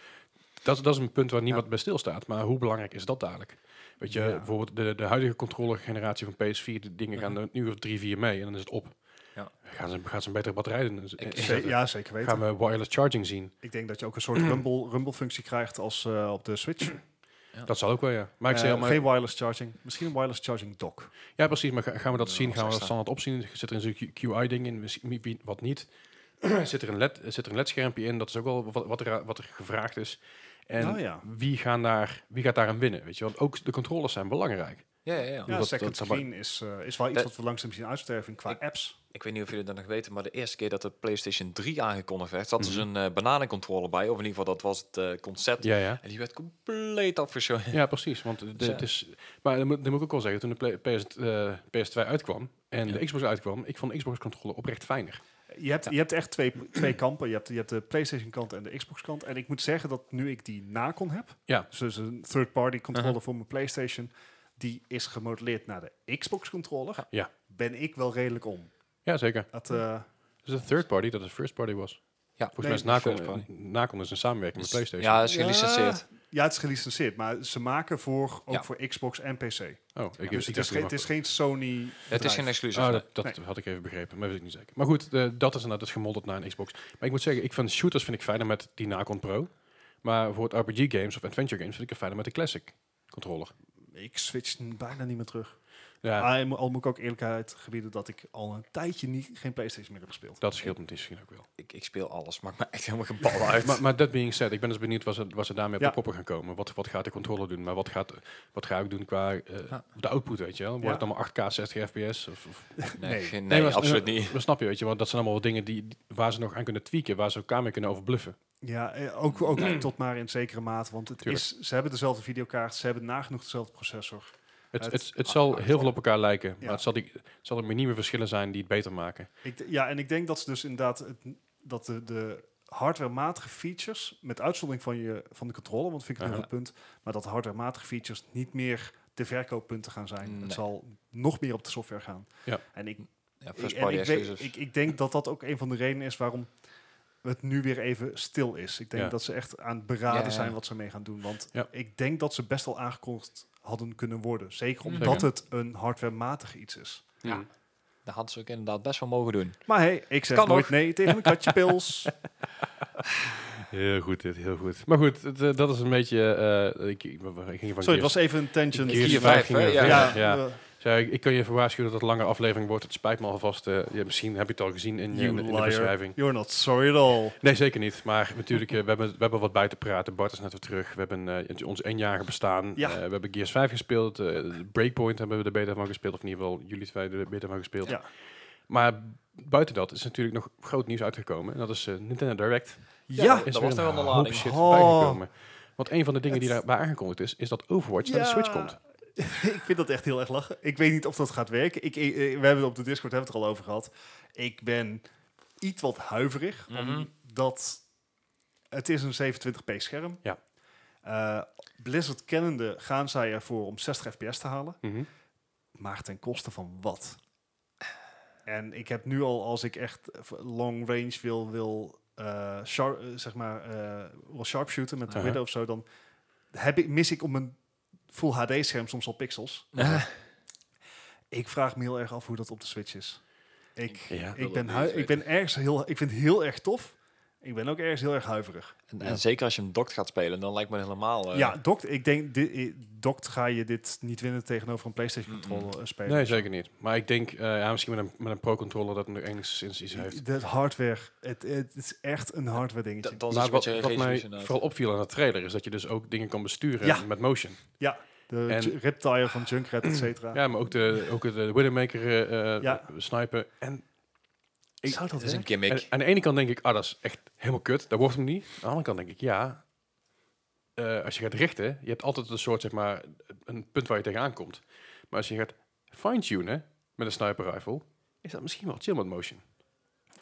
Dat, dat is een punt waar niemand bij stilstaat. Maar hoe belangrijk is dat dadelijk? Weet je, Ja. bijvoorbeeld de, de huidige controllergeneratie van PS4, de dingen gaan Mhm. er nu of drie, vier mee en dan is het op. Ja. Gaan, ze, gaan ze een betere batterij in, Ik- Ze- inzetten? ja, zeker weten. gaan we wireless charging zien? Ik denk dat je ook een soort rumble, rumble functie krijgt als eh, op de Switch. Dat zal ook wel, ja. Maar ik Eh, zeg helemaal, Geen wireless charging. Misschien een wireless charging dock. ja precies, maar ga- gaan we dat Ja, zien? als Gaan we dat extra. standaard opzien? Zit er een Q- QI-ding in? Misschien wie- Wat niet? zit, er een LED, zit er een LED-schermpje in? Dat is ook wel wat, wat, er, wat er gevraagd is. En Nou ja. wie, gaan daar, wie gaat daaraan winnen? Weet je? Want ook de controllers zijn belangrijk. ja. Ja, ja, ja. Ja, dat- second dat- screen is, eh, is wel iets Dat- wat we langzaam zien uitsterven qua Ik- apps. Ik weet niet of jullie dat nog weten, maar de eerste keer dat de PlayStation 3 aangekondigd werd, zat dus een eh, bananencontroller bij. Of in ieder geval, dat was het eh, concept. Ja, ja. En die werd compleet afgeschoten. Ja, precies. Want de- Dus ja. het is, maar dan moet, dan moet ik ook wel zeggen, toen de Play- PS, eh, PS2 uitkwam en Ja. de Xbox uitkwam, ik vond de Xbox-controle oprecht fijner. Je hebt, je hebt echt twee, twee kampen. Je hebt, je hebt de PlayStation kant en de Xbox kant. En ik moet zeggen dat nu ik die Nacon heb, Ja. dus dus een third-party controller Aha. voor mijn PlayStation, die is gemodelleerd naar de Xbox controller, Ja. ben ik wel redelijk om. Ja, zeker. Dat, eh, Dus de third party, dat het first party was. Ja. Volgens Nee, mij is first Nacon, party. Nacon is een samenwerking Dus- met PlayStation. Ja, is gelicenseerd. ja, het is gelicenseerd, maar ze maken voor, ook Ja. voor Xbox en PC. Oh, ik, dus ik het is, dacht geen, het is geen Sony. Het is bedrijf. geen exclusief. Ah, nee. dat dat had ik even begrepen, maar weet ik niet zeker. Maar goed, eh, dat is inderdaad het gemoddeld naar een Xbox. Maar ik moet zeggen, ik vind shooters vind ik fijner met die Nacon Pro. Maar voor het RPG games of adventure games vind ik het fijner met de Classic controller. Ik switch n- bijna niet meer terug. Ja, Ah, en mo- al moet ik ook eerlijkheid gebieden dat ik al een tijdje niet, geen PlayStation meer heb gespeeld. dat scheelt me misschien ook wel. Ik, ik speel alles, maakt me echt helemaal geen bal uit. Maar, maar dat being said, ik ben dus benieuwd wat ze, wat ze daarmee op Ja. de proppen gaan komen. Wat, wat gaat de controller doen? Maar wat, gaat, wat ga ik doen qua eh, Ja. de output, weet je wel? Wordt Ja. het allemaal 8K, 60 fps? Of, of- nee, nee. geen- Nee, nee, maar- absoluut niet. Dat snap je, weet je. Want dat zijn allemaal dingen die, die- waar ze nog aan kunnen tweaken. Waar ze elkaar mee kunnen overbluffen. Ja, eh, ook, ook niet tot maar in zekere mate. Want het Tuurlijk. is, ze hebben dezelfde videokaart, ze hebben nagenoeg dezelfde processor. Het, Het- het, het, zal heel veel op elkaar lijken. Ja. Maar het zal, die, het zal er minieme verschillen zijn die het beter maken. Ik, d- ja, en ik denk dat ze dus inderdaad het, dat de, de hardwarematige features, met uitzondering van, je, van de controle, want vind ik een heel Aha. goed punt, maar dat de hardwarematige features niet meer de verkooppunten gaan zijn. Nee. Het zal nog meer op de software gaan. Ja. En ik Ja, Ik, first en party ik, weet- exclusives. ik, ik denk dat dat ook een van de redenen is waarom het nu weer even stil is. Ik denk Ja. dat ze echt aan het beraden Ja, ja. zijn wat ze mee gaan doen. Want Ja. ik denk dat ze best wel aangekondigd hadden kunnen worden. Zeker Mhm. omdat Zeker. het een hardwarematig iets is. Ja. Mm. Dat hadden ze ook inderdaad best wel mogen doen. Maar hey, ik zeg Kan nooit nog. nee tegen een katje pils. Heel goed dit, heel goed. Maar goed, het, eh, dat is een beetje... eh, ik, ik, ik ging van Sorry, het Gears- was even een tangent. Gears Gear 5 vijf, hè? ging Ja, er- ja, ja. eh, Zo, ik, ik kan je even waarschuwen dat het een lange aflevering wordt. Het spijt me alvast. eh, ja, misschien heb je het al gezien in, je- you in de- in de liar. beschrijving. You're not sorry at all. Nee, zeker niet. Maar natuurlijk, eh, we, hebben, we hebben wat bij te praten. Bart is net weer terug. We hebben eh, ons eenjarige bestaan. Ja. Eh, we hebben Gears 5 gespeeld. eh, Breakpoint hebben we de beta van gespeeld. Of in ieder geval jullie twee de beta van gespeeld. Ja. Maar buiten dat is natuurlijk nog groot nieuws uitgekomen. En dat is eh, Nintendo Direct. Ja, dat Is er was weer nog wel een een hoop lading. shit Oh. bijgekomen. Want een van de dingen die Het- daarbij aangekondigd is, is dat Overwatch naar de Ja. Switch komt. ik vind dat echt heel erg lachen. Ik weet niet of dat gaat werken. Ik, eh, eh, we hebben op de Discord hebben we het er al over gehad. Ik ben iets wat huiverig. Mhm. Omdat het is een 27p scherm. Ja. Eh, Blizzard kennende gaan zij ervoor om 60 fps te halen. Mhm. Maar ten koste van wat? En ik heb nu al, als ik echt eh, long range wil, wil, eh, shar- eh, zeg maar, eh, wil sharpshooten met de Aha. midden of zo, dan heb ik, mis ik op mijn full HD-scherm soms al pixels. Uh-huh. Ik vraag me heel erg af hoe dat op de Switch is. Ik, Ja. wil ik, het ben, niet hui- eens ik ben ergens heel, ik vind het heel erg tof. Ik ben ook ergens heel erg huiverig. En, Ja. en zeker als je hem dokt gaat spelen, dan lijkt me helemaal... eh, ja, Dokt, ik denk, di- i- Dokt ga je dit niet winnen tegenover een PlayStation controller eh, speler. Nee, zeker niet. Maar ik denk, eh, ja, misschien met een, met een pro-controller dat het nog enigszins iets heeft. De hardware, het, het is echt een hardware da- dingetje. dan is het Maar wat, een beetje wat mij resolutie inderdaad. vooral opviel aan dat trailer is dat je dus ook dingen kan besturen Ja. met motion. De en- Ju- Riptire van Junkrat, et cetera. Ja, maar ook de, ook de Widowmaker eh, eh, Ja. sniper. En, ik- Zou dat Het is een werken? en gimmick. aan de ene kant denk ik, ah, dat is echt helemaal kut. Dat wordt hem niet. Aan de andere kant denk ik, ja. eh, als je gaat richten, je hebt altijd een soort, zeg maar, een punt waar je tegenaan komt. Maar als je gaat fine-tunen met een sniper rifle, is dat misschien wel chill met motion.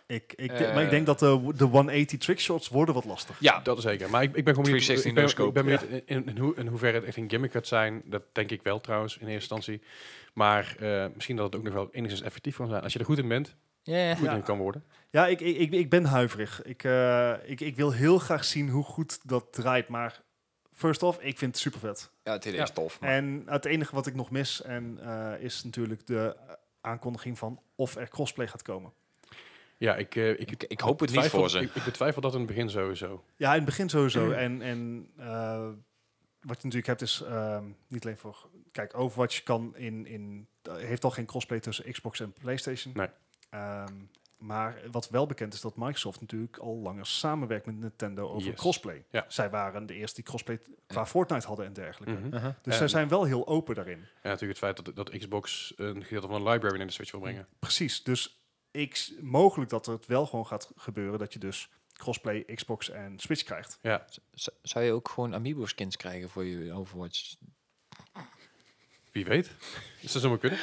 Ik, ik, Eh. maar ik denk dat de, de 180 trickshots worden wat lastig. Ja, Dat is zeker. Maar ik, ik ben gewoon benieuwd, 360 ik ben, no-scope, ik ben benieuwd in, in, hoe, in hoeverre het echt een gimmick gaat zijn. Dat denk ik wel trouwens in eerste instantie. Maar eh, misschien dat het ook nog wel enigszins effectief kan zijn. Als je er goed in bent, ja. goed Ja. in kan worden. Ja, ik, ik, ik, ik ben huiverig. Ik, eh, ik, ik wil heel graag zien hoe goed dat draait. Maar first off, ik vind het super vet. ja het is Ja. tof. maar- En het enige wat ik nog mis en, eh, is natuurlijk de eh, aankondiging van of er crossplay gaat komen. Ja, ik, eh, ik, ik, ik hoop het niet betwijfel- voor ze. Ik, ik betwijfel dat in het begin sowieso. Ja, in het begin sowieso. En, en eh, wat je natuurlijk hebt is ehm, niet alleen voor... Kijk, Overwatch kan in, in, eh, heeft al geen crossplay tussen Xbox en PlayStation. Nee. Ehm, Maar wat wel bekend is dat Microsoft natuurlijk al langer samenwerkt met Nintendo over Yes. crossplay. Ja. Zij waren de eerste die crossplay qua Fortnite hadden en dergelijke. Mhm. Uh-huh. Dus zij En- zijn wel heel open daarin. En natuurlijk het feit dat, dat Xbox een gedeelte van een library naar de Switch wil brengen. Precies, dus ik, s- mogelijk dat het wel gewoon gaat gebeuren dat je dus crossplay Xbox en Switch krijgt. Z- Zou je ook gewoon amiibo skins krijgen voor je Overwatch? Wie weet. Is dat zomaar kunnen?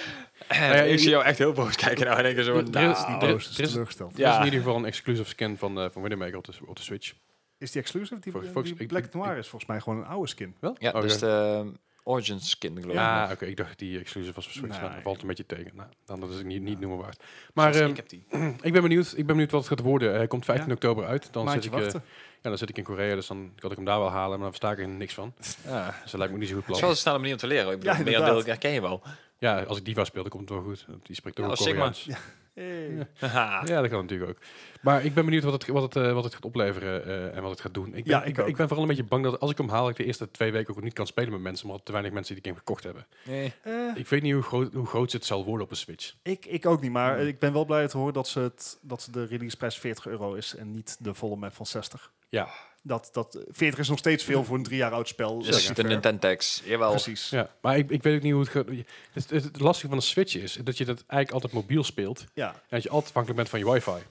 ja, Nou ik je- zie jou echt heel boos kijken nou en denken zo, Er is- nou, is niet- Oh, Er- dus er is- teleurgesteld. Ja. Ja. is in ieder geval een exclusive scan van, eh van Widowmaker op de, op de Switch. Is die exclusive? Die, Volgens- die volgens- ik- Black ik- Noir ik- is volgens mij gewoon een oude skin. Wel? ja, Oh, dat is de Origin skin geloof ik. Ah, nog. oké. Ik dacht die exclusive was voor Switch. Nee. Nou, dat valt een beetje tegen. Nou, dan dat is het niet, niet Ja. noemen waard. Maar Zoals ehm, ik ik, heb die. ben benieuwd, ik ben benieuwd wat het gaat worden. Hij komt 15 Ja. oktober uit. Dan zit, Maandje ik, eh, wachten. ja, dan zit ik in Korea, dus dan kan ik hem daar wel halen. Maar dan versta ik er niks van. Ja. Dus dat lijkt me niet zo goed Het plan. is wel een snelle manier om te leren. Ik bedoel, Ja, meer inderdaad. deel herken je wel. Ja, als ik Diva speel, dan komt het wel goed. Want Die spreekt ook Ja, wel als Sigma. Koreaans. Hey. Haha. Ja, dat kan natuurlijk ook. Maar ik ben benieuwd wat het, wat het, eh, wat het gaat opleveren eh, en wat het gaat doen. Ik ben, Ja, ik, ik ben- ook. ik ben vooral een beetje bang dat als ik hem haal, ik de eerste twee weken ook niet kan spelen met mensen, omdat te weinig mensen die de game gekocht hebben. Nee. Eh, Ik weet niet hoe groot, hoe groot het zal worden op een Switch. ik, ik ook niet, maar ik ben wel blij te horen dat, ze het, dat ze de releaseprijs 40 euro is en niet de volle map van 60. Ja. Dat, dat, 40 is nog steeds veel voor een drie jaar oud spel. Dus Zeker. de Nintendex. Jawel. Precies. Ja, maar ik, ik weet ook niet hoe het gaat. Het, het, het lastige van een Switch is dat je dat eigenlijk altijd mobiel speelt en Ja. dat je altijd afhankelijk bent van je wifi.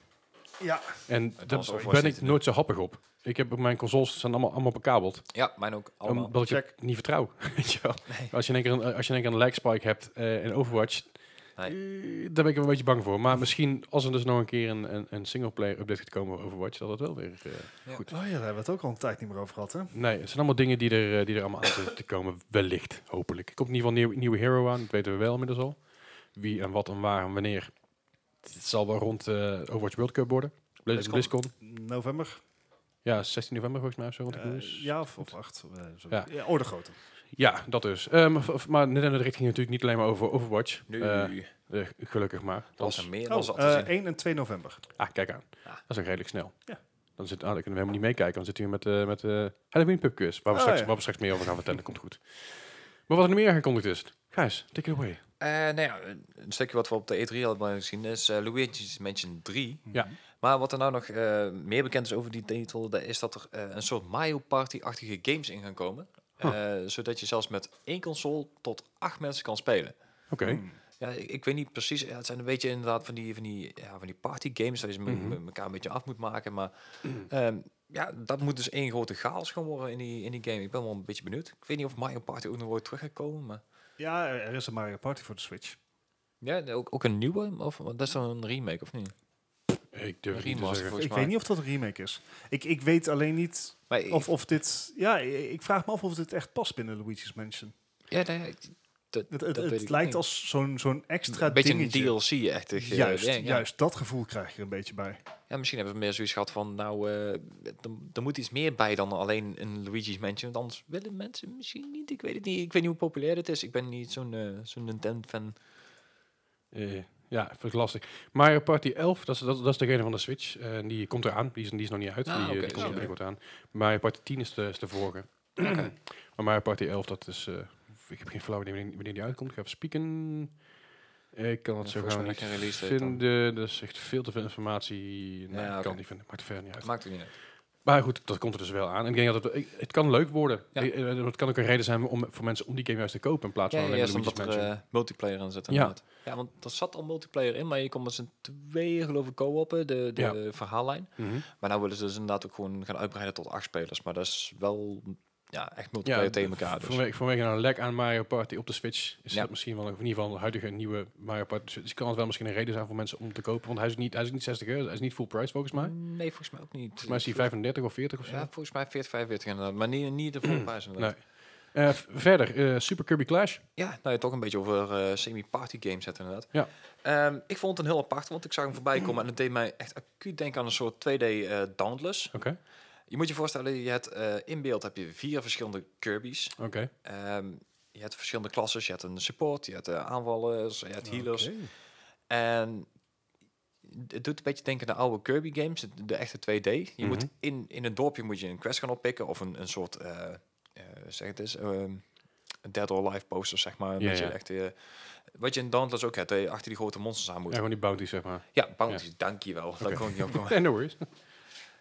ja. En was daar overigens ben niet ik te doen. nooit Oh, zo happig op. Ik heb mijn consoles zijn allemaal, allemaal bekabeld. Ja, mijn ook allemaal. Omdat ik Check. het niet vertrouw. Weet je wel. Als je in één keer een, eh, als je in één keer een lag spike hebt eh, in Overwatch, Nee. eh, daar ben ik een beetje bang voor. Maar misschien als er dus nog een keer een, een, een singleplayer update gaat komen over Overwatch, zal dat wel weer eh, Ja. goed. Oh ja, daar hebben we het ook al een tijd niet meer over gehad, hè? Nee, het zijn allemaal dingen die er, eh, die er allemaal aan zitten te komen. Wellicht, hopelijk. Er komt in ieder geval een nieuw, nieuwe hero aan. Dat weten we wel inmiddels al. Wie en wat en waar en wanneer. Het zal wel rond eh, Overwatch World Cup worden. Blizz- BlizzCon. BlizzCon. November. Ja, 16 november volgens mij. of Zo, rond de Eh, koers. ja, of, of acht. eh, zo. Ja. Ja. oh, de grote. Ja, dat dus. Ehm, v- v- maar Nintendo Direct ging natuurlijk niet alleen maar over Overwatch. Nu. Eh, eh, gelukkig maar. dat Dat is er meer dan Oh, zat te eh, zien. 1 en 2 november. ah, kijk aan. Ja. Dat is ook redelijk snel. Ja. Dan, zit, ah, dan kunnen we helemaal niet meekijken. Dan zitten we met, eh met eh Halloween Pub Quiz. Waar we, Oh, straks, ja. waar we straks meer over gaan vertellen. Komt goed. Maar wat er nog meer aangekondigd is. Gijs, take it away. Eh, nou ja, een een stukje wat we op de E3 hadden gezien is eh, Luigi's Mansion 3. Ja. Maar wat er nou nog eh, meer bekend is over die titel, dat is dat er eh, een soort Mario Party-achtige games in gaan komen. Eh, zodat je zelfs met één console tot acht mensen kan spelen. Oké. Hmm. Ja, ik, ik weet niet precies. Ja, het zijn een beetje inderdaad van die, van die, ja, van die party games. Dat je met Mhm. elkaar een beetje af moet maken. Maar Mhm. ehm, ja, dat moet dus één grote chaos gaan worden in die, in die game. Ik ben wel een beetje benieuwd. Ik weet niet of Mario Party ook nog ooit terug gaat komen. Maar Ja, er er is een Mario Party voor de Switch. ja, ook, ook een nieuwe. Of, want dat is dan een remake of niet? Ik durf het niet te Remaster zeggen. voor- Volgens ik mij. weet niet of dat een remake is. Ik, ik weet alleen niet Maar ik- of, of dit... Ja, i- ik vraag me af of dit echt past binnen Luigi's Mansion. ja, nee, ik- dat, Het, dat het, weet het ik lijkt niet. als zo'n zo'n extra een beetje dingetje. een DLC-echtig. eh, Juist, ding, ja. juist. Dat gevoel krijg ik er een beetje bij. Ja, misschien hebben ze meer zoiets gehad van, nou, eh, er, er moet iets meer bij dan alleen een Luigi's Mansion. Want anders willen mensen misschien niet. Ik weet het niet. Ik weet niet hoe populair het is. Ik ben niet zo'n eh, zo'n Nintendo-fan. Eh, ja, vind ik lastig. Mario Party 11, dat is, dat, dat is degene van de Switch. En die komt eraan. Die is, die is nog niet uit. Ah, die, eh, oké, die komt zo. er binnenkort aan. Mario Party 10 is de, is de vorige. Maar Mario Party 11, dat is... eh, ik heb geen flauw idee wanneer, wanneer die uitkomt. Ik ga even spieken. Ik kan het Ja, zo volgens gaan mij niet geen release date dan. vinden. Dat is echt veel te veel informatie. Nee, Ja, ik oké. kan het niet vinden. Maakt er verder niet uit. Dat maakt het niet uit. Maar goed, dat komt er dus wel aan. En ik denk dat het, ik- het kan leuk worden. Ja. Eh, eh, Het kan ook een reden zijn om, voor mensen om die game juist te kopen. In plaats Ja, van ja, alleen juist Luigi's omdat er Mansion. eh, multiplayer in zit. Ja. inderdaad. ja, want er zat al multiplayer in, maar je kon met z'n tweeën geloof ik co-oppen, de, de Ja. verhaallijn. Mhm. Maar nou willen ze dus inderdaad ook gewoon gaan uitbreiden tot acht spelers. Maar dat is wel ja, echt multiplayer Ja, tegen elkaar. Dus. Vanwege, vanwege een lek aan Mario Party op de Switch is Ja. dat misschien wel, of in ieder geval de huidige nieuwe Mario Party. Switch, Dus kan het wel misschien een reden zijn voor mensen om te kopen, want hij is niet, hij is niet 60 euro, hij is niet full price volgens mij. Volgens Nee, volgens mij ook niet. mij is hij 35 of 40 of zo. Mm, Ja, volgens mij 40, 45 inderdaad. Maar niet, niet de volle prijs inderdaad. nee. Eh, v- verder, eh, Super Kirby Clash. Ja, nou je toch een beetje over eh, semi-party games hebt inderdaad. Ja. Ehm, ik vond het een heel apart, want ik zag hem voorbij komen en het deed mij echt acuut denken aan een soort 2D eh Dauntless. Oké, Je moet je voorstellen, je hebt eh, in beeld heb je vier verschillende Kirby's. oké. Ehm, je hebt verschillende klasses, je hebt een support, je hebt eh, aanvallers, je hebt healers. Oké. En het doet een beetje denken aan de oude Kirby games, de, de echte 2D. Je Mhm. moet in, in een dorpje moet je een quest gaan oppikken of een, een soort, eh, eh, zeg het eens, ehm, een Dead or Alive poster, zeg maar. Ja, dat ja. Je echt, eh, wat je in Dauntless ook hebt, dat je achter die grote monsters aan Ja, moet. Ja, gewoon die bounties, zeg maar. bounties, dankjewel. Dat kon ik niet opkomen. En no worries.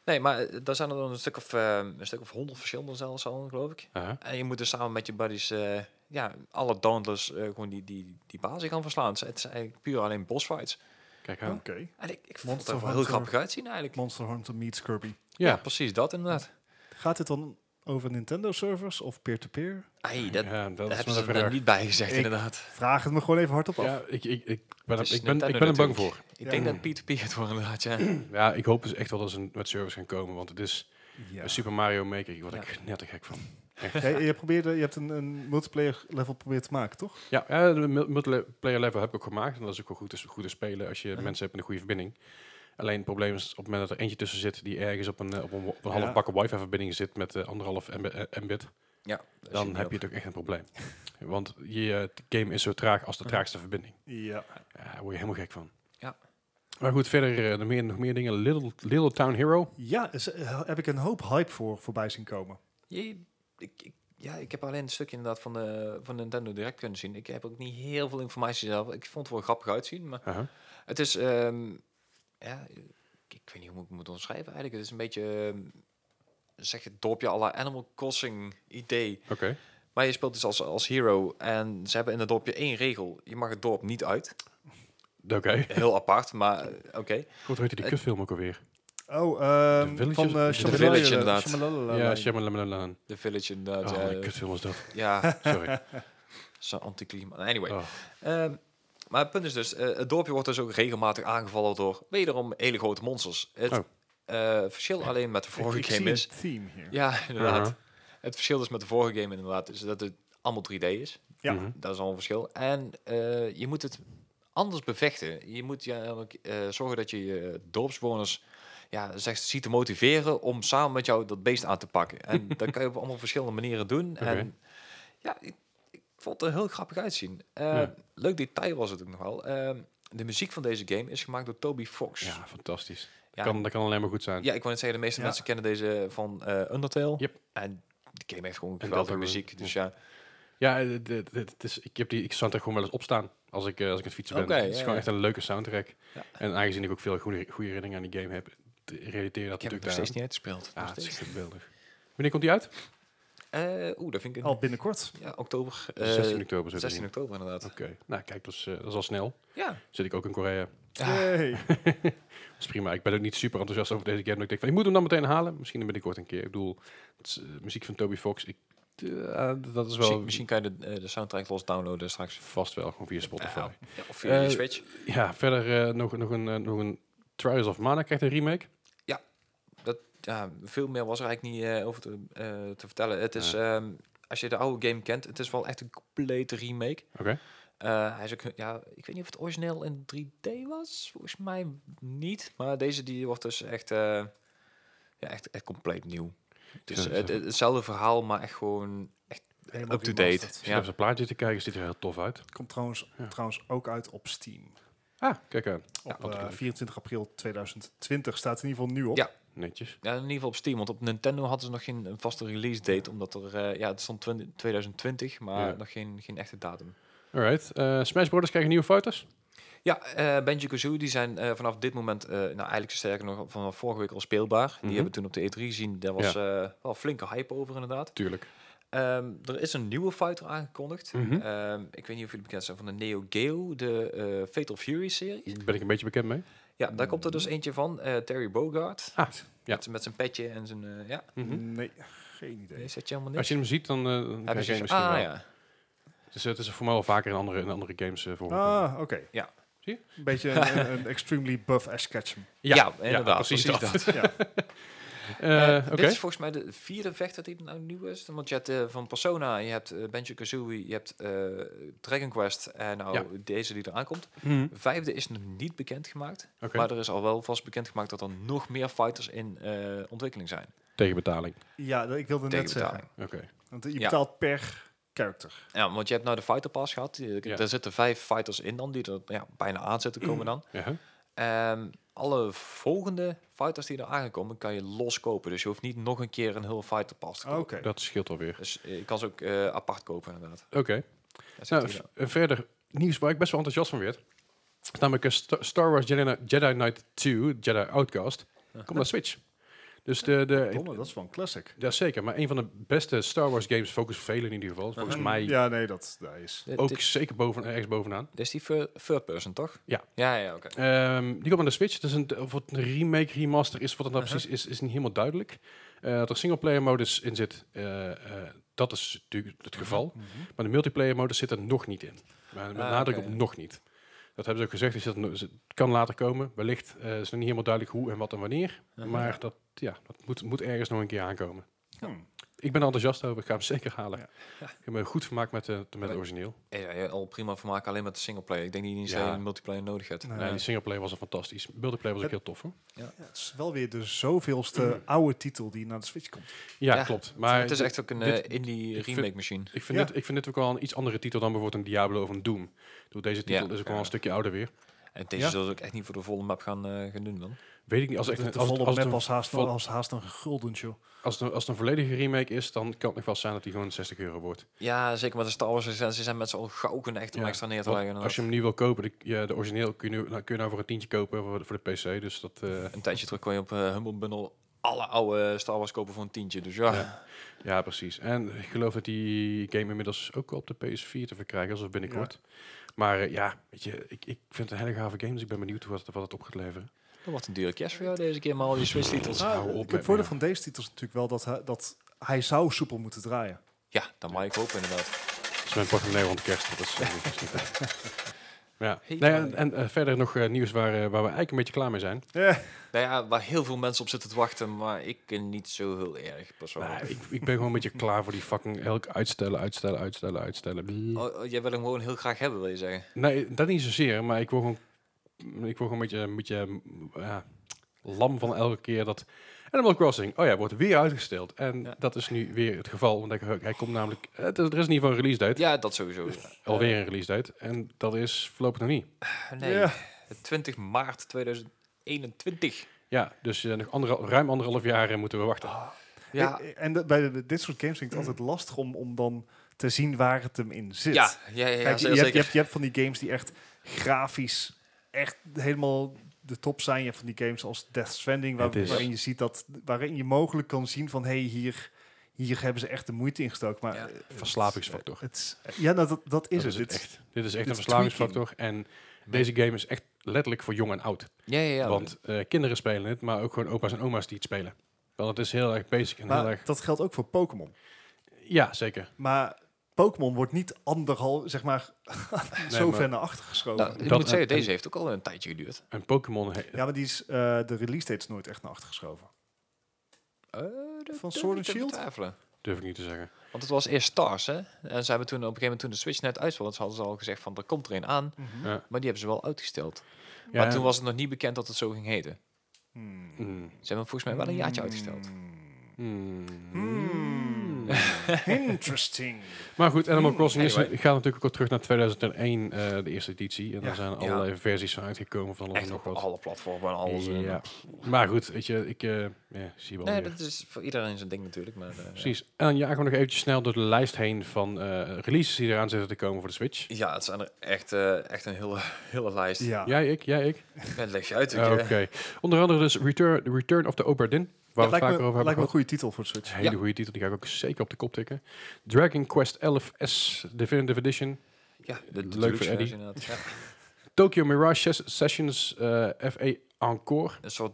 Nee, maar eh, daar zijn er dan een stuk of, eh, een stuk of honderd verschillende zelfs al, geloof ik. Aha. En je moet dus samen met je buddies, eh, ja, alle Dauntless eh, gewoon die, die, die basis gaan verslaan. Het is- Het is eigenlijk puur alleen boss fights. Kijk Oké. Oh, aan. En ik, ik vond het Monster er wel heel Hunter. grappig uitzien eigenlijk. Monster Hunter meets Kirby. Ja. Precies dat inderdaad. Gaat dit dan over Nintendo-servers of peer-to-peer? Hey, dat, Ja, dat daar is wel hebben ze een er vraag. niet bij gezegd Ik- inderdaad. Vraag het me gewoon even hardop af. Ja, ik, ik, ik ben, Het is ik ben, ik Nintendo ben er bang voor. natuurlijk. Ik denk Ja. dat P2P het wordt inderdaad, ja. Ja, ik hoop dus echt wel dat ze met service gaan komen, want het is Ja. een Super Mario Maker. Ik word Ja. ik net te gek van. Jij- je, probeerde, je hebt een, een multiplayer level proberen te maken, toch? Ja, ja, de mul- multiplayer level heb ik ook gemaakt. En dat is ook wel goed, is goed te spelen als je Mhm. mensen hebt met een goede verbinding. Alleen het probleem is op het moment dat er eentje tussen zit die ergens op een, eh, op een, op een Ja. half bakken wifi-verbinding zit met eh, anderhalf mb- eh, mbit, ja dan heb je toch echt een probleem. Want je eh, game is zo traag als de Mhm. traagste verbinding. Ja. Ja, daar word je helemaal gek van. Ja. Maar goed, verder eh, nog, meer, nog meer dingen. Little, Little Town Hero. Ja, is- eh, heb ik een hoop hype voor voorbij zien komen. Je, ik, ik- ja, ik heb alleen een stukje inderdaad van de, van de Nintendo Direct kunnen zien. Ik heb ook niet heel veel informatie zelf. Ik vond het wel grappig uitzien, maar Aha. het is... ehm, ja, ik, ik weet niet hoe ik het moet omschrijven eigenlijk. Het is een beetje... ehm, zeg het dorpje à la Animal Crossing idee. Oké. Maar je speelt dus als, als hero en ze hebben in het dorpje één regel. Je mag het dorp niet uit. Oké. Heel apart, maar eh, oké. Goed, hoe heet die kutfilm ook alweer? Oh, ehm, The Village van is- eh, The Shambhala- Village, inderdaad. Shambhala- Ja, Shyamalan. De Village inderdaad. Oh, ja, die kutfilm was dat. ja, Sorry. zo'n anticlimax. Anyway. Oh. Ehm, maar het punt is dus, eh, het dorpje wordt dus ook regelmatig aangevallen door wederom hele grote monsters. Het Oh. eh, verschil alleen met de Ik- ik vorige zie game een is... theme hier. Ja, inderdaad. Uh-huh. Het verschil is met de vorige game inderdaad is dat het allemaal 3D is. Ja. Mhm. Dat is al een verschil. En eh, je moet het anders bevechten. Je moet ja, namelijk, eh, zorgen dat je je dorpsbewoners ja, zeg, ziet te motiveren om samen met jou dat beest aan te pakken. En dat kan je op allemaal verschillende manieren doen. Oké. En ja, ik, ik vond het er heel grappig uitzien. Eh, Ja. Leuk detail was het ook nog wel. Eh, de muziek van deze game is gemaakt door Toby Fox. Ja, fantastisch. Ja, Kan, dat kan alleen maar goed zijn. ja, ik wou net zeggen, de meeste Ja. mensen kennen deze van eh, Undertale. Yep. En die game heeft gewoon En geweldige Deltarune. muziek. Dus ja, Ja, eh, dit- dit- dit is, ik, heb die, ik zat er gewoon wel eens op staan als ik, eh, als ik aan het fietsen ben. Oké, het is ja, gewoon ja. echt een leuke soundtrack. Ja. En aangezien ik ook veel goede, goede herinneringen aan die game heb, t- relateer dat ik heb het nog natuurlijk steeds daar. niet uitgespeeld. Ah, Nog het is steeds. echt geweldig. Wanneer komt die uit? Eh, Oeh, dat vind ik... een- Al binnenkort. Ja, oktober. eh, 16 oktober. zullen we 16 zien. oktober inderdaad. Oké, nou kijk, dat is, eh, dat is al snel. Ja. Zit ik ook in Korea. Yay. Dat is prima. Ik ben ook niet super enthousiast over deze game. maar Ik denk van, ik moet hem dan meteen halen. Misschien binnenkort een keer. Ik bedoel, het is, eh, muziek van Toby Fox, ik, eh, dat is wel Misschien, misschien kan je de, eh, de soundtrack los downloaden straks. vast wel gewoon via Spotify. Ja, of via je Eh, Switch. Ja, verder eh, nog, nog, een, eh, nog een Trials of Mana krijgt een remake. Dat, ja, veel meer was er eigenlijk niet eh, over te, eh, te vertellen. Het is, ehm, als je de oude game kent, het is wel echt een complete remake. Oké. Eh, hij is ook, ja, ik weet niet of het origineel in 3D was. Volgens mij niet. Maar deze die wordt dus echt, eh, ja, echt, echt compleet nieuw. Het is Ja, het, zo. het- hetzelfde verhaal, maar echt gewoon... Echt, Helemaal Up to remastered. date. Als je Ja. op zijn plaatje te kijken, ziet er heel tof uit. Komt trouwens, Ja. trouwens ook uit op Steam. Ah, kijk aan. Op wat eh, leuk. 24 april 2020 staat in ieder geval nu op. Ja. Netjes. ja, in ieder geval op Steam. Want op Nintendo hadden ze nog geen eh, vaste release date. Omdat er, eh, ja, het stond 20 2020, maar Ja. nog geen, geen echte datum. Alright. eh, Smash Brothers krijgen nieuwe foto's. Ja, eh Benji Kazooie, die zijn eh, vanaf dit moment, eh, nou eigenlijk sterker nog, vanaf vorige week al speelbaar. Die Mhm. hebben we toen op de E3 gezien. Daar was eh, wel flinke hype over inderdaad. Tuurlijk. Ehm, er is een nieuwe fighter aangekondigd. Mhm. Ehm, ik weet niet of jullie bekend zijn van de Neo Geo, de eh, Fatal Fury serie. Daar ben ik een beetje bekend mee. Ja, daar komt er dus eentje van, eh, Terry Bogard. Ah, Mm. ja. Met, z'n- met zijn petje en zijn... eh, ja, Mhm. Nee, geen idee. nee, zet je helemaal Als niks. je hem ziet, dan, eh, dan Heb krijg je je hem zoiets- misschien ah, wel. ja. Het, is, het is voor mij wel vaker in andere, in andere games eh voor. Ah, oké. Ja. Zie je? Een beetje een, een- een extremely buff Ash Ketchum. Ja, inderdaad, precies Ja. Eh, Eh, Oké. Dit is volgens mij de vierde vechter die er nou nieuw is. Want je hebt eh, van Persona, je hebt eh Banjo-Kazooie, je hebt eh, Dragon Quest en nou Ja. deze die eraan komt. Mhm. De vijfde is nog niet bekendgemaakt. Oké. Maar er is al wel vast bekendgemaakt dat er nog meer fighters in eh, ontwikkeling zijn. Tegen betaling. ja, dat- ik wilde net Tegenbetaling. zeggen. Oké. Want je Ja. betaalt per character. Ja, want je hebt nou de Fighter Pass gehad. Die- Ja. Daar zitten vijf fighters in dan, die er ja, bijna aan zitten komen dan. Ja. Ehm, alle volgende fighters die er aankomen, kan je los kopen. Dus je hoeft niet nog een keer een heel fighter pas te Ah, Oké. kopen. Dat scheelt alweer. Dus eh, je kan ze ook eh, apart kopen inderdaad. Oké. Daar zit Nou, hij v- dan. eh, verder nieuws waar ik best wel enthousiast van werd. is namelijk eh, Sta- Star Wars Jedi, Kni- Jedi Knight 2, Jedi Outcast, komt naar Switch. Dus de, de, Domme, dat is wel een classic. ja, zeker, maar een van de beste Star Wars games, focus velen in ieder geval. Volgens mij Mhm. Ja, nee, dat, dat is... Dit- ook dit- zeker boven, ergens bovenaan. Dit is die fir- third person, toch? Ja. Ja, ja, oké. Ehm, die komt aan de Switch. Het is een, of het een remake, remaster is, wat het nou Aha. precies is, is niet helemaal duidelijk. Eh, dat er singleplayer modus in zit, eh, eh, dat is natuurlijk Uh-huh. het geval. Maar de multiplayer modus zit er nog niet in. Maar met Mm-hmm. Ah, nadruk oké. op nog niet. Dat hebben ze ook gezegd, dus dat no- ze- het kan later komen. Wellicht eh, is nog niet helemaal duidelijk hoe en wat en wanneer. Aha. Maar dat, ja, dat moet, moet ergens nog een keer aankomen. Hmm. Ik ben er enthousiast over, ik ga hem zeker halen. Ja. Ik heb me goed vermaakt met, eh, met het Maar- origineel. Ja, ja, ja, al prima voor maken, alleen met de singleplayer. Ik denk niet eens Ja. dat je een multiplayer nodig hebt. Nee. Nee, dus- die singleplayer was al fantastisch. Multiplayer was ook heel tof hoor. Ja, het is wel weer de zoveelste oude titel die naar de Switch komt. Ja, Ja, klopt. Maar het is echt ook een dit- eh, indie ik vind- remake machine. Ik vind, Ja. dit, ik vind dit ook wel een iets andere titel dan bijvoorbeeld een Diablo of een Doom. Doe, deze titel Ja. is ook wel Ja. een stukje ouder weer. En deze Ja. zullen ze ook echt niet voor de volle map gaan, eh, gaan doen dan. Weet ik niet. Als, Als echt, de, een- de als, het- volle als, het map een, als haast, vol- als haast een gulden, joh. als, het een, als het een volledige remake is, dan kan het nog wel zijn dat die gewoon 60 euro wordt. Ja, zeker met de Star Wars licentie zijn mensen al gauw kunnen echt om Ja. extra neer te Want leggen. als je hem nu wil kopen, de, ja, de origineel kun je, nu, nou, kun je nou voor een tientje kopen voor, de- voor de PC. Dus dat, eh, Een tijdje terug kon je op eh, Humble Bundle alle oude Star Wars kopen voor een tientje. Dus ja, ja, precies. En ik geloof dat die game inmiddels ook op de PS4 te verkrijgen is, of binnenkort. Maar eh, ja, weet je, ik, ik vind het een hele gave game, dus ik ben benieuwd wat, wat het op gaat leveren. dat wordt een dure cash voor jou deze keer. Maar al je Switch titels. hou op Ah, eh, ik met het voordeel me. van deze titels natuurlijk wel dat hij, dat hij zou soepel moeten draaien. Ja, dat mag ik hopen inderdaad. Dat is mijn portemonnee rond kerst. Dat is, eh, dat is niet fijn. ja. Hey, Nou ja, man. en en, eh, verder nog eh, nieuws waar, eh, waar we eigenlijk een beetje klaar mee zijn. Ja. Nou ja, waar heel veel mensen op zitten te wachten. Maar ik eh, niet zo heel erg persoonlijk. Nou, ik, ik ben gewoon een beetje klaar voor die fucking elk uitstellen, uitstellen, uitstellen, uitstellen. Blie. Oh, oh, jij wil hem gewoon heel graag hebben, wil je zeggen? Nee, dat niet zozeer, maar ik word gewoon, mm, ik word gewoon een beetje, een beetje mm, ja, lam van elke keer dat Animal Crossing, oh ja, wordt weer uitgesteld. En Ja. dat is nu weer het geval, want hij, hij komt namelijk, het is- er is in ieder geval een release date, Ja, dat sowieso. alweer een release date, en dat is voorlopig nog niet. Eh, nee, Ja. 20 maart 2021. Ja, dus eh, nog anderhal- ruim anderhalf jaar eh, moeten we wachten. Ja, Eh, En, en dat- bij de- bij dit soort games vind ik het altijd lastig om, om dan te zien waar het hem in zit. ja, ja, ja, Kijk, je, zeker. hebt, je, hebt, je hebt van die games die echt grafisch echt helemaal de top zijn. Je hebt van die games als Death Stranding, waar- Het is- waarin je ziet dat, waarin je mogelijk kan zien van hey, hier, hier hebben ze echt de moeite in gestoken. Maar Ja. eh, het- Verslavingsfactor. Het, is- ja, nou, dat, dat is Dat het. Dit- echt. Dit is echt dit een is verslavingsfactor. En deze game is echt letterlijk voor jong en oud. ja, ja, ja. Want eh, kinderen spelen het, maar ook gewoon opa's en oma's die het spelen. Want het is heel erg basic en heel Maar erg... dat geldt ook voor Pokémon. Ja, zeker. Maar Pokémon wordt niet anderhalf, zeg maar, zo maar- ver naar achter geschoven. Nou, ik dat- moet zeggen, en- deze heeft ook al een tijdje geduurd. En Pokémon... he- ja, maar die is, eh, de release date is nooit echt naar achter geschoven. Eh, Van Sword and Shield? Twijfelen. Durf ik niet te zeggen. Want het was eerst Stars, hè? En ze hebben toen op een gegeven moment toen de Switch net uit was, hadden ze al gezegd van er komt er een aan. Ja. Maar die hebben ze wel uitgesteld. Ja, maar toen was het nog niet bekend dat het zo ging heten. Hmm. Mm, Ze hebben hem volgens mij wel een jaartje uitgesteld. mm. Hmm. Interesting. Maar goed, Animal Crossing is, Hmm. Anyway. gaat natuurlijk ook al terug naar 2001, eh, de eerste editie. En daar Ja. zijn allerlei versies van uitgekomen van alles en Echt nog op wat. alle platformen en alles. en- Ja. Maar goed, weet je, ik eh, ja, zie wel Nee, weer. dat is voor iedereen zijn ding natuurlijk. Maar, eh, Precies. En dan jagen we nog eventjes snel door de lijst heen van eh, releases die eraan zitten te komen voor de Switch. Ja, het zijn er echt, eh, echt een hele, hele lijst. Ja. Ja. Jij, ik, jij, ik. Het leeft je uit. weet Oké. je. Onder andere dus Return, The Return of the Obra Dinn, waar Ja, we het lijkt vaker me, over hebben lijkt me een gehad. goede titel voor de Switch. Een hele Ja. goede titel, die ga ik ook zeker op de kop tikken. Dragon Quest 11S Definitive Edition, Ja, Leuk de, de voor deluxe Eddie. versie inderdaad. Ja. Tokyo Mirage Ses- Sessions eh, FA Encore, Een soort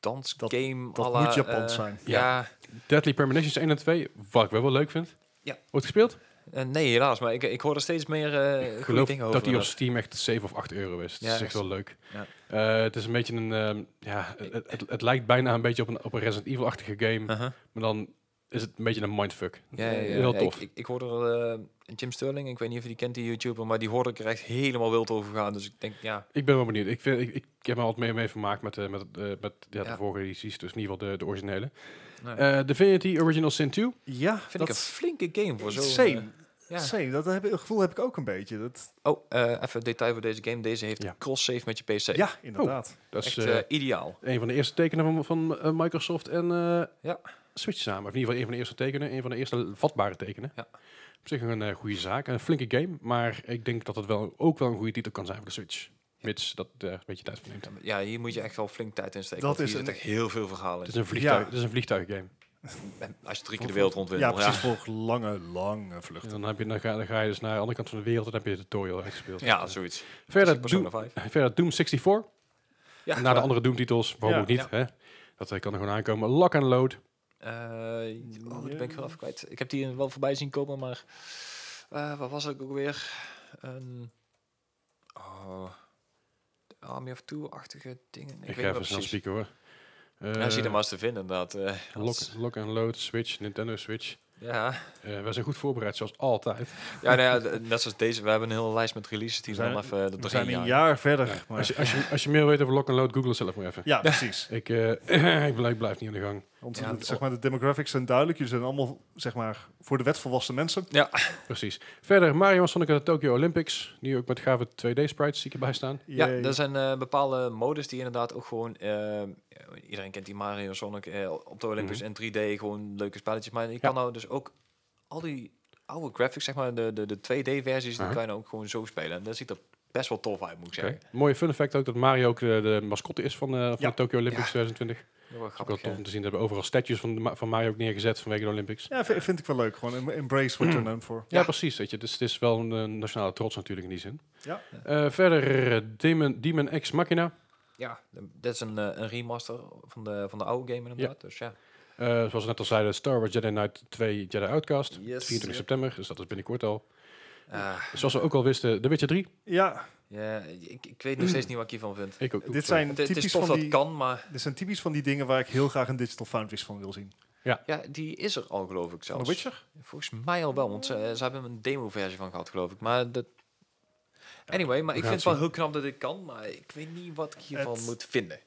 dansgame. Dat à la, moet Japans eh, zijn. Ja, Deadly Premonitions 1 en 2, wat ik wel wel leuk vind. Ja. Ooit gespeeld? Eh, nee, helaas. Maar ik, ik hoor er steeds meer eh goede Ik geloof dingen dat over. die op inderdaad. Steam echt 7 of 8 euro is. Dat Ja, is echt echt. wel leuk. Ja. Eh, het is een beetje een... ehm, ja, het, het, het lijkt bijna een beetje op een, op een Resident Evil-achtige game. Uh-huh. Maar dan is het een beetje een mindfuck. Ja, ja, ja. Heel Ja, tof. Ik, ik, ik hoorde er, eh, Jim Sterling, ik weet niet of je die kent, die YouTuber, maar die hoorde ik er echt helemaal wild over gaan. Dus ik denk, ja, Ik ben wel benieuwd. Ik, vind, ik, ik heb me altijd mee, mee vermaakt met, eh, met, eh, met ja, de Ja. vorige edities. Dus in ieder geval de, de originele. Nee. Eh, Divinity Original Sin 2. Ja, vind ik een flinke game voor zo'n... same. eh, Ja. Same, dat, heb, dat gevoel heb ik ook een beetje. Dat, Oh, eh, even detail voor deze game. Deze heeft Ja. cross-save met je PC. ja, inderdaad. Dat is Echt eh, eh, ideaal. een van de eerste tekenen van, van eh, Microsoft en eh, Ja. Switch samen. Of in ieder geval een van de eerste tekenen, een van de eerste vatbare tekenen. Ja. Op zich een eh, goede zaak, een flinke game, maar ik denk dat het wel, ook wel een goede titel kan zijn voor de Switch. Mits dat er een beetje tijd van neemt. Ja, hier moet je echt wel flink tijd in steken. Dat want hier is een- zit echt heel veel Het verhalen is in. een, vliegtuig, Ja. het is een vliegtuiggame. En Als je drie keer de wereld rond wil. ja, precies. Voor lange, lange vlucht. En dan, heb je, dan, ga, dan ga je dus naar de andere kant van de wereld en heb je de tutorial uitgespeeld. Ja, Dus, eh, zoiets. verder, Precies, Doom, Persona 5. verder Doom 64. Ja, Naar de andere Doom-titels, waarom Ja. ook niet. Hè? Dat eh, kan er gewoon aankomen. Lock and Load. Eh, oh, dat ben ik heel even kwijt. Ik heb die wel voorbij zien komen, maar... eh, wat was het ook weer? Een... Oh... Army of Two-achtige dingen. Ik, Ik, weet ga niet even wat snel precies. spieken hoor. Ja, Eh, Nou, zie er maar eens te vinden, inderdaad. eh, lock, als- lock and Load, Switch, Nintendo Switch. Ja. Eh we zijn goed voorbereid, zoals altijd. Ja, nou ja, d- net zoals deze. We hebben een hele lijst met releases die We we dan zijn- even eh, We doorheen zijn een jagen. jaar verder. Maar, Als je, als, je, als je meer weet over Lock and Load, google het zelf maar even. ja, precies. Ik, eh, ik, blijf, ik blijf niet aan de gang. Want Ja, de- zeg maar, de demographics zijn duidelijk. Jullie zijn allemaal zeg maar, voor de wet volwassen mensen. Precies. Verder, Mario en Sonic aan de Tokyo Olympics. Nu ook met gave 2D-sprites die erbij staan. Ja, Jee. er zijn eh, bepaalde modus die inderdaad ook gewoon... eh, iedereen kent die Mario, Sonic eh, op de Olympics en 3D. Gewoon leuke spelletjes. Maar je kan nou dus ook al die oude graphics, zeg maar, de, de, de 2D-versies, die Aha. kan je nou ook gewoon zo spelen. En dat ziet er best wel tof uit, moet ik Oké. zeggen. Mooie fun fact ook dat Mario ook de, de mascotte is van, eh, van Ja. de Tokyo Olympics Ja. 2020. Heel erg Ook wel grappig. tof eh. om te zien. Dat we overal statues van, de ma- van Mario ook neergezet vanwege de Olympics. Ja, vind, vind ik wel leuk. Gewoon em- embrace what you're known for. Ja, Ja. precies. Weet je. Dus het is wel een eh, nationale trots natuurlijk in die zin. Ja. Eh, verder eh, Demon, Demon X Machina. Ja, dat is een, eh, een remaster van de, van de oude game inderdaad. Dus ja. Eh, zoals we net al zeiden, Star Wars Jedi Knight 2 Jedi Outcast. Yes. 24 september, dus dat is binnenkort al. Ah, Zoals we ook al wisten, The Witcher 3. Ja, ja, ik, ik weet nog steeds niet wat ik hiervan vind. Ik ook. dit sorry. zijn, Het, het is typisch tof dat van het die, kan, maar... dit zijn typisch van die dingen waar ik heel graag een Digital Foundries van wil zien. Ja, die is er al, geloof ik Van zelfs. The Witcher? Volgens mij al wel, want ze, eh, ze hebben een demo-versie van gehad, geloof ik. Maar dat... Anyway, maar ik gaan vind het het wel heel knap dat dit kan, maar ik weet niet wat ik hiervan Het- moet vinden.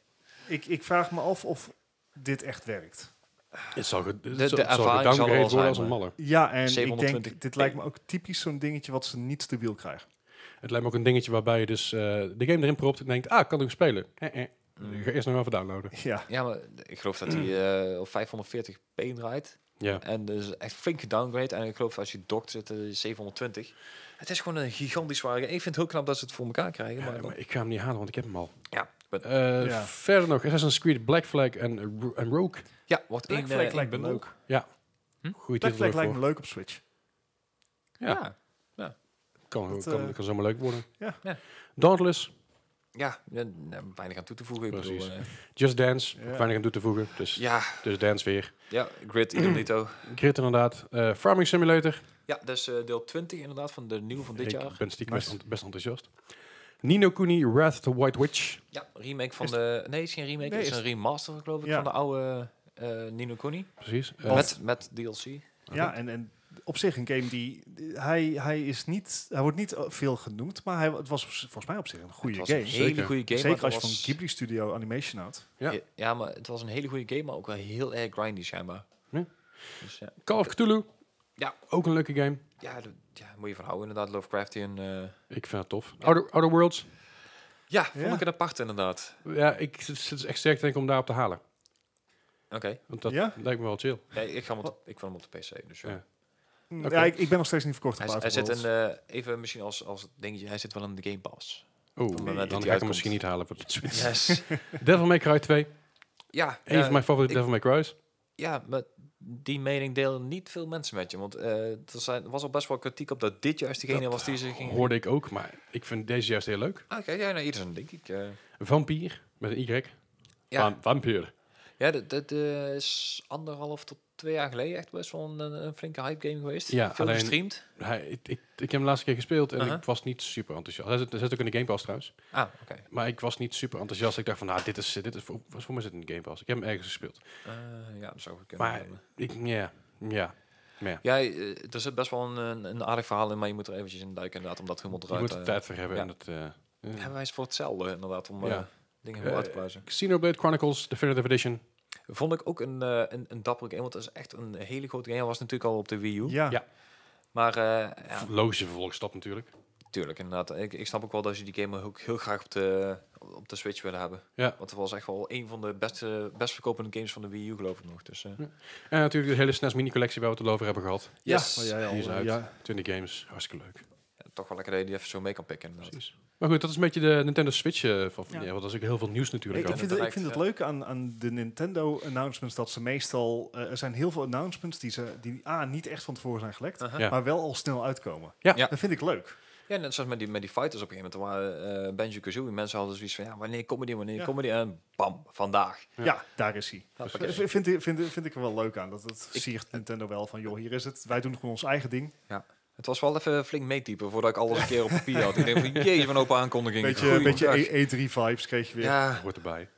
Ik, ik vraag me af of dit echt werkt. Het zal, ge- het de zal- het zal ervaring zal er wel gedowngrade worden zijn, als een maar- malle. Ja, en ik 720p. denk, dit lijkt me ook typisch zo'n dingetje wat ze niet stabiel krijgen. Het lijkt me ook een dingetje waarbij je dus eh, de game erin propt en denkt, ah, ik kan ik spelen. Eh, eh. Mm. Ik ga eerst nog even downloaden. Ja, Ja, maar ik geloof dat hij eh op 540p draait. Ja. En dus echt flink gedowngrade. En ik geloof als je dokt zit eh, 720. Het is gewoon een gigantisch zware game. Ik vind het heel knap dat ze het voor elkaar krijgen. Maar Ja, dan- maar ik ga hem niet halen, want ik heb hem al. ja, maar- Eh, Ja. Verder nog, Assassin's Creed Black Flag en, eh, Ro- en Rogue. ja, wordt Black één, Flag eh, één lijkt me bundel. leuk. Goeie Black titel Flag lijkt me ervoor. leuk op Switch. Ja. ja. Kan, dat, kan, eh, kan zomaar leuk worden. ja. Ja. Dauntless, Ja, ja, nou, weinig aan toe te voegen. Ik bedoel, Precies. eh, Just Dance. Ja. Weinig aan toe te voegen, dus, ja, dus Dance weer. ja, Grid, idem dito. Grit inderdaad. Eh, Farming Simulator. Ja, dat is eh, deel 20 inderdaad van de nieuwe van dit ik jaar. ben stiekem Nice. best, best enthousiast. Nino Kuni, Wrath of the White Witch. Ja, remake van Is- de... Nee, het is geen remake, Nee, het is is- een remaster geloof ik Ja. van de oude eh Nino Kuni. Precies. Eh, Met, met DLC. Ja, en, en op zich een game die... die- Hij, hij, is niet, hij wordt niet eh, veel genoemd, maar hij, het was op z- volgens mij op zich een het goede was game. een hele Zeker. goede game. Zeker maar als het je van was- Ghibli Studio Animation houdt. Ja. Ja. maar het was een hele goede game, maar ook wel heel erg grindy schijnbaar. Ja. Dus ja, Call of Cthulhu. Ja. Ook een leuke game. ja, dat- ja, moet je van houden inderdaad, Lovecraftian. eh Ik vind het tof. Outer, Outer Worlds. ja, vond Ja. ik een apart inderdaad. Ja, ik zit zit echt sterk te denken om daarop te halen. Oké, Want dat Ja? lijkt me wel chill. nee, ik, ga hem op de- ik wil hem op de PC, dus ja. Ja. Mm, Oké. Ja, ik, ik ben nog steeds niet verkocht op Hij, hij zit Outer een, Worlds. eh, even misschien als, als dingetje, hij zit wel in de Game Pass. Oeh, het dan moment ga eh, dat ik die hem uitkomt. misschien niet halen voor de Switch. Yes. Devil May Cry 2. ja, Een eh, van mijn favoriete ik- Devil May Cry's. Ja, maar die mening delen niet veel mensen met je. Want eh, er zijn, was al best wel kritiek op dat dit juist degene was die ze ging... Hoorde ik ook, maar ik vind deze juist heel leuk. Ah, Oké, ja, nou, iedereen denk ik. eh. Vampier, met een Y. ja, Vam- Vampier. ja dat, dat eh, is anderhalf tot twee jaar geleden echt best wel een, een flinke hype game geweest. Ja, Veel alleen- gestreamd. Hij, ik, ik, ik heb hem de laatste keer gespeeld en Aha. ik was niet super enthousiast. Hij zit, hij zit ook in de Game Pass trouwens. Ah, oké. Maar ik was niet super enthousiast. Ik dacht van, nou, dit is, dit is voor, was voor mij zit in de Game Pass. Ik heb hem ergens gespeeld. Eh, ja, dat zou goed kunnen. Maar ik, ja, ja. ja, eh, er zit best wel een, een, een aardig verhaal in, maar je moet er eventjes in duiken inderdaad, om dat helemaal Je eruit moet te... er tijd voor hebben. ja. En dat, eh, eh. hebben wij eens voor hetzelfde inderdaad, om Ja. eh, dingen helemaal uit te Eh, pluizen. Xenoblade Chronicles Definitive Edition. Vond ik ook een, eh een, een dappere game, want dat is echt een hele grote game. Hij was natuurlijk al op de Wii U. Ja, Ja. Maar eh, ja, Logische vervolgstap natuurlijk. tuurlijk, inderdaad. Ik, ik snap ook wel dat ze die game ook heel graag op de, op de Switch willen hebben. Ja. Want het was echt wel een van de beste, best verkopende games van de Wii U, geloof ik nog. Dus, eh, En natuurlijk de hele SNES mini-collectie waar we het al over hebben gehad. yes. waar ja. jij al, Die is eh, uit. Ja, 20 games, hartstikke leuk. Toch wel lekker dat je die even zo mee kan pikken. inderdaad. Precies. Maar goed, dat is een beetje de Nintendo Switch eh, van Ja. ja. want dat is ook heel veel nieuws natuurlijk. ik, ook. ik vind, het, ik direct, vind het leuk ja. aan, aan de Nintendo announcements dat ze meestal. eh, er zijn heel veel announcements die, ze, die A, niet echt van tevoren zijn gelekt, Aha. Ja. maar wel al snel uitkomen. Ja. Uh-huh. Ja. Dat vind ik leuk. Ja, net zoals met die, met die fighters op een gegeven moment. Er waren eh Benji Kazooie. Mensen hadden zoiets van, ja, wanneer komen die, wanneer Ja. komen die? En bam, vandaag. Ja, daar is hij. Ja, Eh, precies. v- Vind, ik- vind, vind ik er wel leuk aan. Dat, dat Ik- siert Nintendo wel van, joh, hier is het. Wij doen gewoon ons eigen ding. Het was wel even flink meetypen voordat ik alles een keer op papier had. Ik denk van, jezus, van open aankondiging. Beetje, Goeie beetje E- dag. E3-vibes kreeg je weer. Ja, hoort erbij.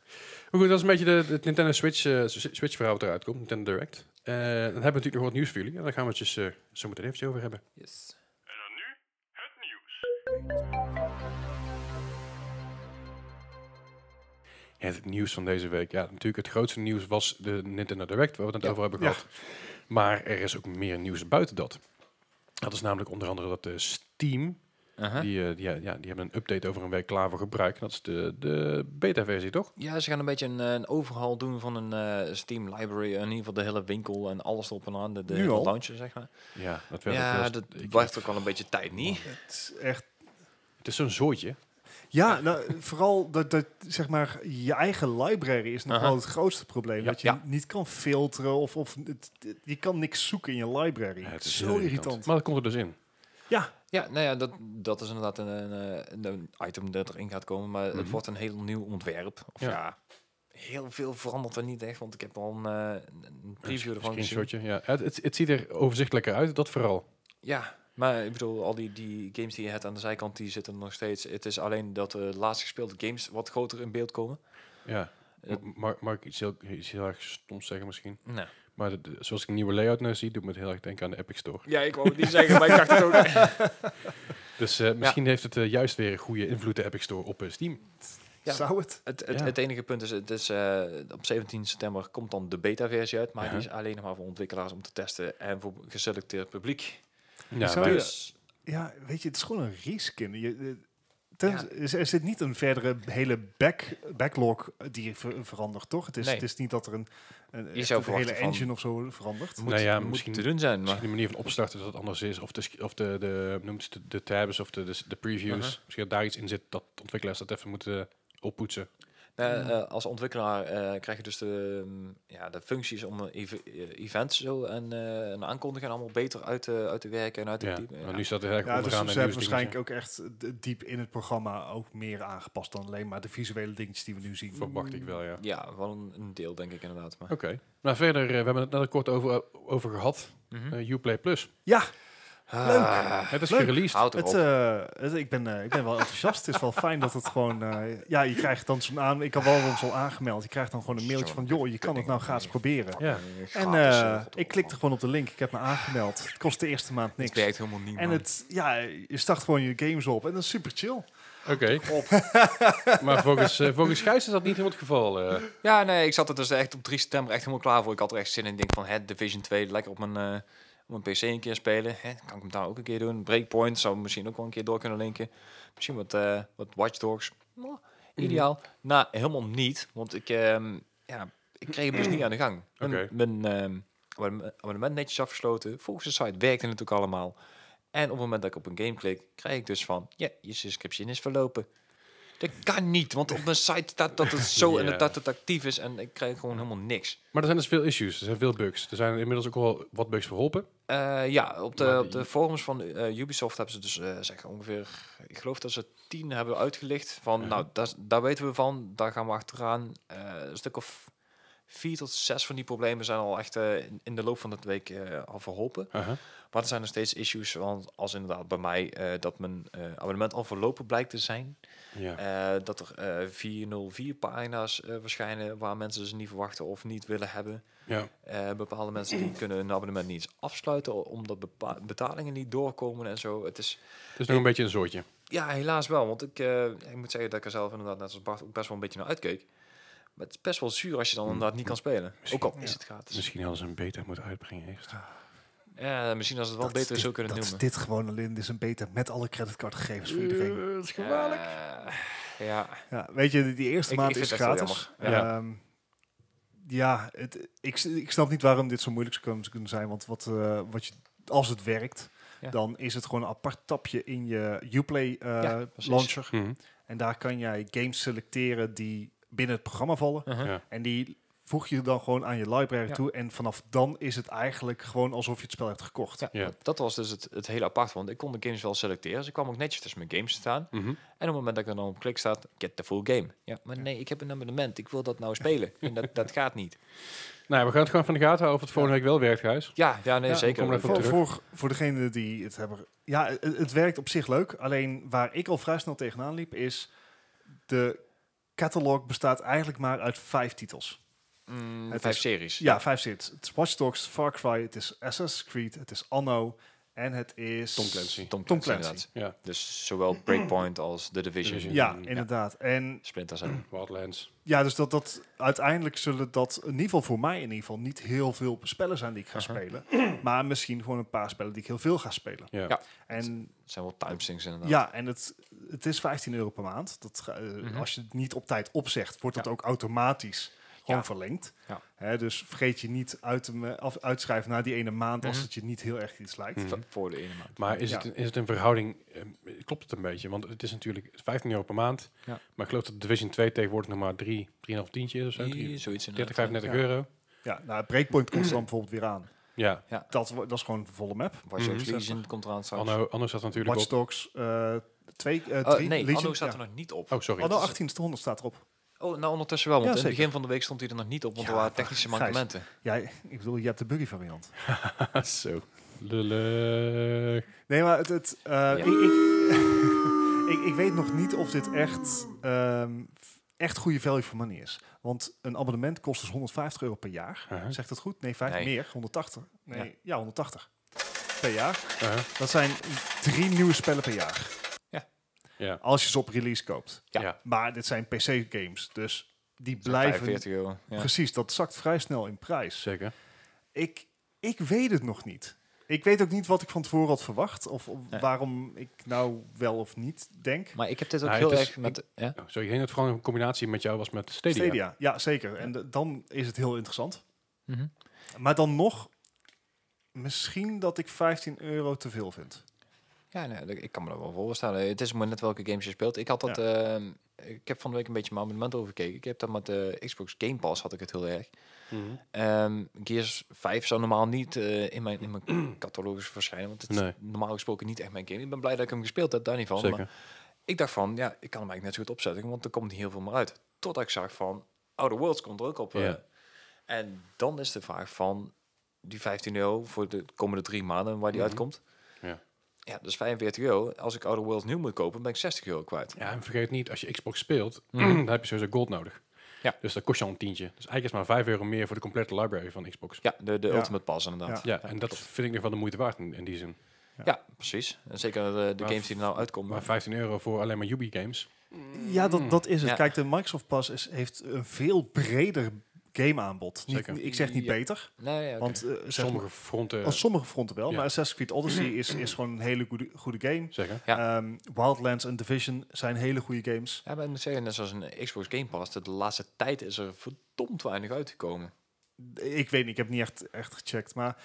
Maar goed, dat is een beetje de, het Nintendo Switch, eh, S- Switch verhaal wat eruit komt, Nintendo Direct. Eh, dan hebben we natuurlijk nog wat nieuws voor jullie. En daar gaan we het dus, eh, zo meteen eventjes over hebben. yes. Het nieuws van deze week. Ja, natuurlijk het grootste nieuws was de Nintendo Direct, waar we het net Ja. over hebben Ja. gehad. Maar er is ook meer nieuws buiten dat. Dat is namelijk onder andere dat de Steam, Aha. die, eh, die, ja, ja, die hebben een update over een week klaar voor gebruik. Dat is de, de beta-versie, toch? Ja, ze gaan een beetje een, eh, een overhaul doen van een eh, Steam library. In ieder geval de hele winkel en alles erop en aan. De, de, Nu de al? launcher, zeg maar. Ja, dat werd ook Ja, best- dat ik- blijft ook wel een beetje tijd, niet? Het is echt... Het is zo'n zooitje. Ja, nou, vooral dat, dat, zeg maar, je eigen library is nog Aha. wel het grootste probleem. Ja. Dat je Ja. niet kan filteren of, of het- het- je kan niks zoeken in je library. Ja, het het is heel zo irritant. Maar dat komt er dus in. Ja, nou ja, dat, dat is inderdaad een, een, eh, een item dat erin gaat komen. Maar het Mhm. wordt een heel nieuw ontwerp. Of ja. Ja. heel veel verandert er niet echt. Want ik heb al een, eh, een preview Een ervan gezien. screenshotje, ja. Het, het, het ziet er overzichtelijker uit, dat vooral. Ja, maar ik bedoel, al die, die games die je hebt aan de zijkant, die zitten er nog steeds. Het is alleen dat de laatst gespeelde games wat groter in beeld komen. Ja. Het- M- Mag, mag ik iets heel, iets heel erg stoms zeggen misschien? Nee. Maar de- de- zoals ik de nieuwe layout nu zie, doet me het heel erg denken aan de Epic Store. Ja, ik wou het niet zeggen, maar ik dacht het ook. Dus eh, misschien heeft het eh, juist weer een goede invloed, de Epic Store, op eh, Steam. Ja. Zou het? Het, het, Ja. het enige punt is, het is eh, op 17 september komt dan de beta-versie uit, maar die Ja. is alleen nog maar voor ontwikkelaars om te testen en voor geselecteerd publiek. Ja, zou wij- je- Dus Ja, weet je, het is gewoon een reskin. Je, eh, ten- Ja. is- Er zit niet een verdere hele back, backlog die je ver- verandert, toch? Het is, Nee. het is niet dat er een, een, echt zou een hele verwachten van- engine of zo verandert. moet, Nou ja, moet misschien- te doen zijn. Maar Misschien de manier van opstarten dat het anders is. Of de, sk- of de, de, noem het, de, de tabs of de, de, de previews. Aha. Misschien dat daar iets in zit dat de ontwikkelaars dat even moeten eh, oppoetsen. Nou, eh, als ontwikkelaar eh, krijg je dus de, mm, ja, de functies om eh, ev- eh, events zo en, eh en aankondigen allemaal beter uit, te- uit te werken en uit te Ja. diepen. Maar nu staat het erg Ja, dus ze onderaan. hebben en nieuws waarschijnlijk ook echt eh, d- diep in het programma ook meer aangepast dan alleen maar de visuele dingetjes die we nu zien. dingetjes. Verwacht ik wel, ja. Ja, wel een, een deel denk ik inderdaad. Maar. Oké. Nou, verder, eh, we hebben het net al kort over, over gehad. Mhm. Eh, Uplay Plus. Ja, Ah, het is leuk. gereleased. Houd erop. het, eh, het- ik, ben, eh, ik ben wel enthousiast. het is wel fijn dat het gewoon... eh, ja, je krijgt dan zo'n aan... Ik had wel eens al aangemeld. Je krijgt dan gewoon een mailtje van... joh, je kan het nou gratis proberen. Ja. En eh, ik klikte gewoon op de link. Ik heb me aangemeld. Het kost de eerste maand niks. Het niks. werkt helemaal niet. En man. het, ja, je start gewoon je games op. En dat is super chill. Oké. Op. maar volgens, eh volgens Gijs is dat niet helemaal het geval. eh. Ja, nee, ik zat er dus echt op 3 september echt helemaal klaar voor. Ik had er echt zin in. Ik denk van, hè, Division 2, lekker op mijn, eh, op mijn PC een keer spelen. Hè, kan ik hem daar ook een keer doen? Breakpoint zou misschien ook wel een keer door kunnen linken. Misschien wat, eh wat Watch Dogs. Nou, ideaal. Nou, helemaal niet. Want ik, ehm, ja, ik kreeg hem dus niet aan de gang. Oké. Mijn, mijn ehm, abonnement- abonnement netjes afgesloten. Volgens de site werkte het ook allemaal. En op het moment dat ik op een game klik, krijg ik dus van... Ja, je subscription is verlopen. Dat kan niet, want op mijn site staat dat het zo Ja. en dat- dat het actief is. En ik krijg gewoon helemaal niks. Maar er zijn dus veel issues. Er zijn veel bugs. Er zijn inmiddels ook al wat bugs verholpen. Eh, ja, op de, Maar op de die- forums van eh, Ubisoft hebben ze dus eh, zeg ongeveer... Ik geloof dat ze tien hebben uitgelicht. Van, Ja. nou, daar, daar weten we van. Daar gaan we achteraan. Eh, een stuk of vier tot zes van die problemen zijn al echt eh, in, in de loop van de week eh, al verholpen. Aha. Maar er zijn nog steeds issues. Want als inderdaad bij mij eh, dat mijn eh, abonnement al verlopen blijkt te zijn... Ja. Eh, dat er eh 404 pagina's eh, verschijnen waar mensen ze niet verwachten of niet willen hebben. ja. Eh, bepaalde mensen die kunnen hun abonnement niet eens afsluiten o- omdat bepa- betalingen niet doorkomen en zo. Het is Het is nog een beetje een zoortje. ja, helaas wel. Want ik, eh, ik moet zeggen dat ik er zelf inderdaad, net als Bart, ook best wel een beetje naar uitkeek. Maar het is Mm. best wel zuur als je dan inderdaad niet kan spelen. Ook al is het gratis. Misschien hadden ze een beta moeten uitbrengen eerst. Ja, misschien als het wel Dat is beter zo dit- kunnen dat noemen. is dit gewoon alleen. Dit is een beta met alle creditcardgegevens voor iedereen. Eh, dat is Eh, ja. Ja, weet je, die- die eerste Ik- maand ik is vind het echt wel gratis. jammer. Ja. Ehm, ja, het, ik, ik snap niet waarom dit zo moeilijk zou kunnen- kunnen zijn. Want wat, eh, wat je, als het werkt, Ja. dan is het gewoon een apart tapje in je Uplay eh, Ja, precies. launcher. Mhm. En daar kan jij games selecteren die binnen het programma vallen. Uh-huh. Ja. En die voeg je dan gewoon aan je library Ja. toe. En vanaf dan is het eigenlijk gewoon alsof je het spel hebt gekocht. Ja, Ja. Dat, dat was dus het, het hele apart. Want ik kon de games wel selecteren. Ze kwam ook netjes tussen mijn games te staan. Mhm. En op het moment dat ik er dan op klik staat, get the full game. Ja, maar nee, ik heb een abonnement. Ik wil dat nou spelen. en dat, dat gaat niet. Nou, ja, we gaan het gewoon van de gaten houden of het volgende week wel werkt, Gijs. Ja, ja nee, Ja, zeker. kom er even op Voor, terug. voor, voor degene die het hebben. Ja, het, het werkt op zich leuk. Alleen waar ik al vrij snel tegenaan liep, is de catalog bestaat eigenlijk maar uit vijf titels. Mm, Het vijf is- series. Ja, vijf zit. Het is Watch Dogs, Far Cry, het is Assassin's Creed, het is Anno en het is... Tom Clancy. Tom, Tom Clancy. Clancy. inderdaad. Ja. Dus zowel Breakpoint als The Division. Division. Ja, inderdaad. En Splinter Cell. Wildlands. ja, dus dat, dat, uiteindelijk zullen dat in ieder geval voor mij in ieder geval niet heel veel spellen zijn die ik ga Aha. spelen. Maar misschien gewoon een paar spellen die ik heel veel ga spelen. Ja. Ja. En Het zijn wel timesings inderdaad. Ja, en het, het is 15 euro per maand. Dat, ga- eh, Mhm. Als je het niet op tijd opzegt, wordt dat ook automatisch gewoon Ja. verlengd. Ja. Hè, dus vergeet je niet uit te me- af, uitschrijven na die ene maand als Mhm. het je niet heel erg iets lijkt. Mhm. V- Voor de ene maand. Maar is, Ja. het, een- is het een verhouding, ehm, klopt het een beetje? Want het is natuurlijk 15 euro per maand. Ja. Maar ik geloof dat Division 2 tegenwoordig nog maar 3, 3,5 tientje is of zo. Hier, Drie- Zoiets 30, inderdaad. 35 Ja. euro. Ja, nou, Breakpoint komt er dan bijvoorbeeld weer aan. Ja, Dat, wo- dat is gewoon een volle map. Watch Dogs Mhm. Legion komt eraan straks. Anno, Anno staat natuurlijk Watch op. Dogs 2, eh Oh, 3, nee, Legion. Anno staat ja. er nog niet op. Oh, sorry. Anno 1800 staat erop. Oh, nou ondertussen wel, want Ja, in het zeker. begin van de week stond hij er nog niet op, want Ja, er waren technische Gijs. mankementen. Ja, ik bedoel, je hebt de buggy variant. Ah, Zo. Lullig. Nee, maar het, het, eh, ik, ik, ik, ik weet nog niet of dit echt, ehm, f- echt goede value for money is. Want een abonnement kost dus 150 euro per jaar. Uh-huh. Zegt dat goed? Nee, vijf Nee. meer. 180. Nee, Ja. ja. 180 per jaar. Uh-huh. Dat zijn drie nieuwe spellen per jaar. Ja. Ja. Als je ze op release koopt. Ja. Ja. Maar dit zijn PC-games, dus die Zo'n blijven... 45 euro. Ja. Precies, dat zakt vrij snel in prijs. Zeker. Ik, ik weet het nog niet. Ik weet ook niet wat ik van tevoren had verwacht. Of, of Nee. waarom ik nou wel of niet denk. Maar ik heb dit ook Nou, heel het is- erg met... Ja? Oh, sorry, ik denk dat het gewoon een combinatie met jou was met Stadia. Stadia. Ja, zeker. En de- dan is het heel interessant. Mhm. Maar dan nog, misschien dat ik 15 euro te veel vind. Ja, nee, ik- ik kan me dat wel voorstellen. Eh, Het is maar net welke games je speelt. Ik had dat... ehm, ik heb van de week een beetje mijn abonnement overgekeken. Ik heb dat met de Xbox Game Pass had ik het heel erg. Mhm. Ehm, Gears 5 zou normaal niet eh, in mijn, in mijn catalogus verschijnen. Want het Nee. is normaal gesproken niet echt mijn game. Ik ben blij dat ik hem gespeeld heb, daar niet van. Maar Zeker. ik dacht van, ja, ik kan hem eigenlijk net zo goed opzetten. Want er komt niet heel veel meer uit. Totdat ik zag van, Outer Worlds komt er ook op. eh. Ja. En dan is de vraag van, die 15 euro voor de komende drie maanden waar die Mhm. uitkomt. Ja. Ja, dat is 45 euro. Als ik Outer Worlds nu moet kopen, ben ik 60 euro kwijt. Ja, en vergeet niet, als je Xbox speelt, dan heb je sowieso gold nodig. Ja. Dus dat kost je al een tientje. Dus eigenlijk is maar 5 euro meer voor de complete library van Xbox. Ja, de, de Ja. Ultimate Pass inderdaad. Ja, en dat vind ik nog wel de moeite waard in, in die zin. Ja, precies. En zeker de, de Maar games die er nou Maar uitkomen. 15 euro voor alleen maar Ubi games. Ja, dat, dat is het. Ja. Kijk, de Microsoft Pass is, heeft een veel breder gameaanbod. Niet, Zeker. ik zeg niet Ja. beter, Nee, ja, oké. eh, want eh, zeg maar, Oh, Sommige fronten. op sommige fronten wel. Ja. Maar Assassin's Creed Odyssey is, is gewoon een hele goede, goede game. Zeggen. Ja. Ehm, Wildlands en Division zijn hele goede games. Ja, maar ik moet zeggen, net zoals een Xbox Game Pass, de laatste tijd is er verdomd weinig uitgekomen. ik weet niet, ik heb niet echt, echt gecheckt, maar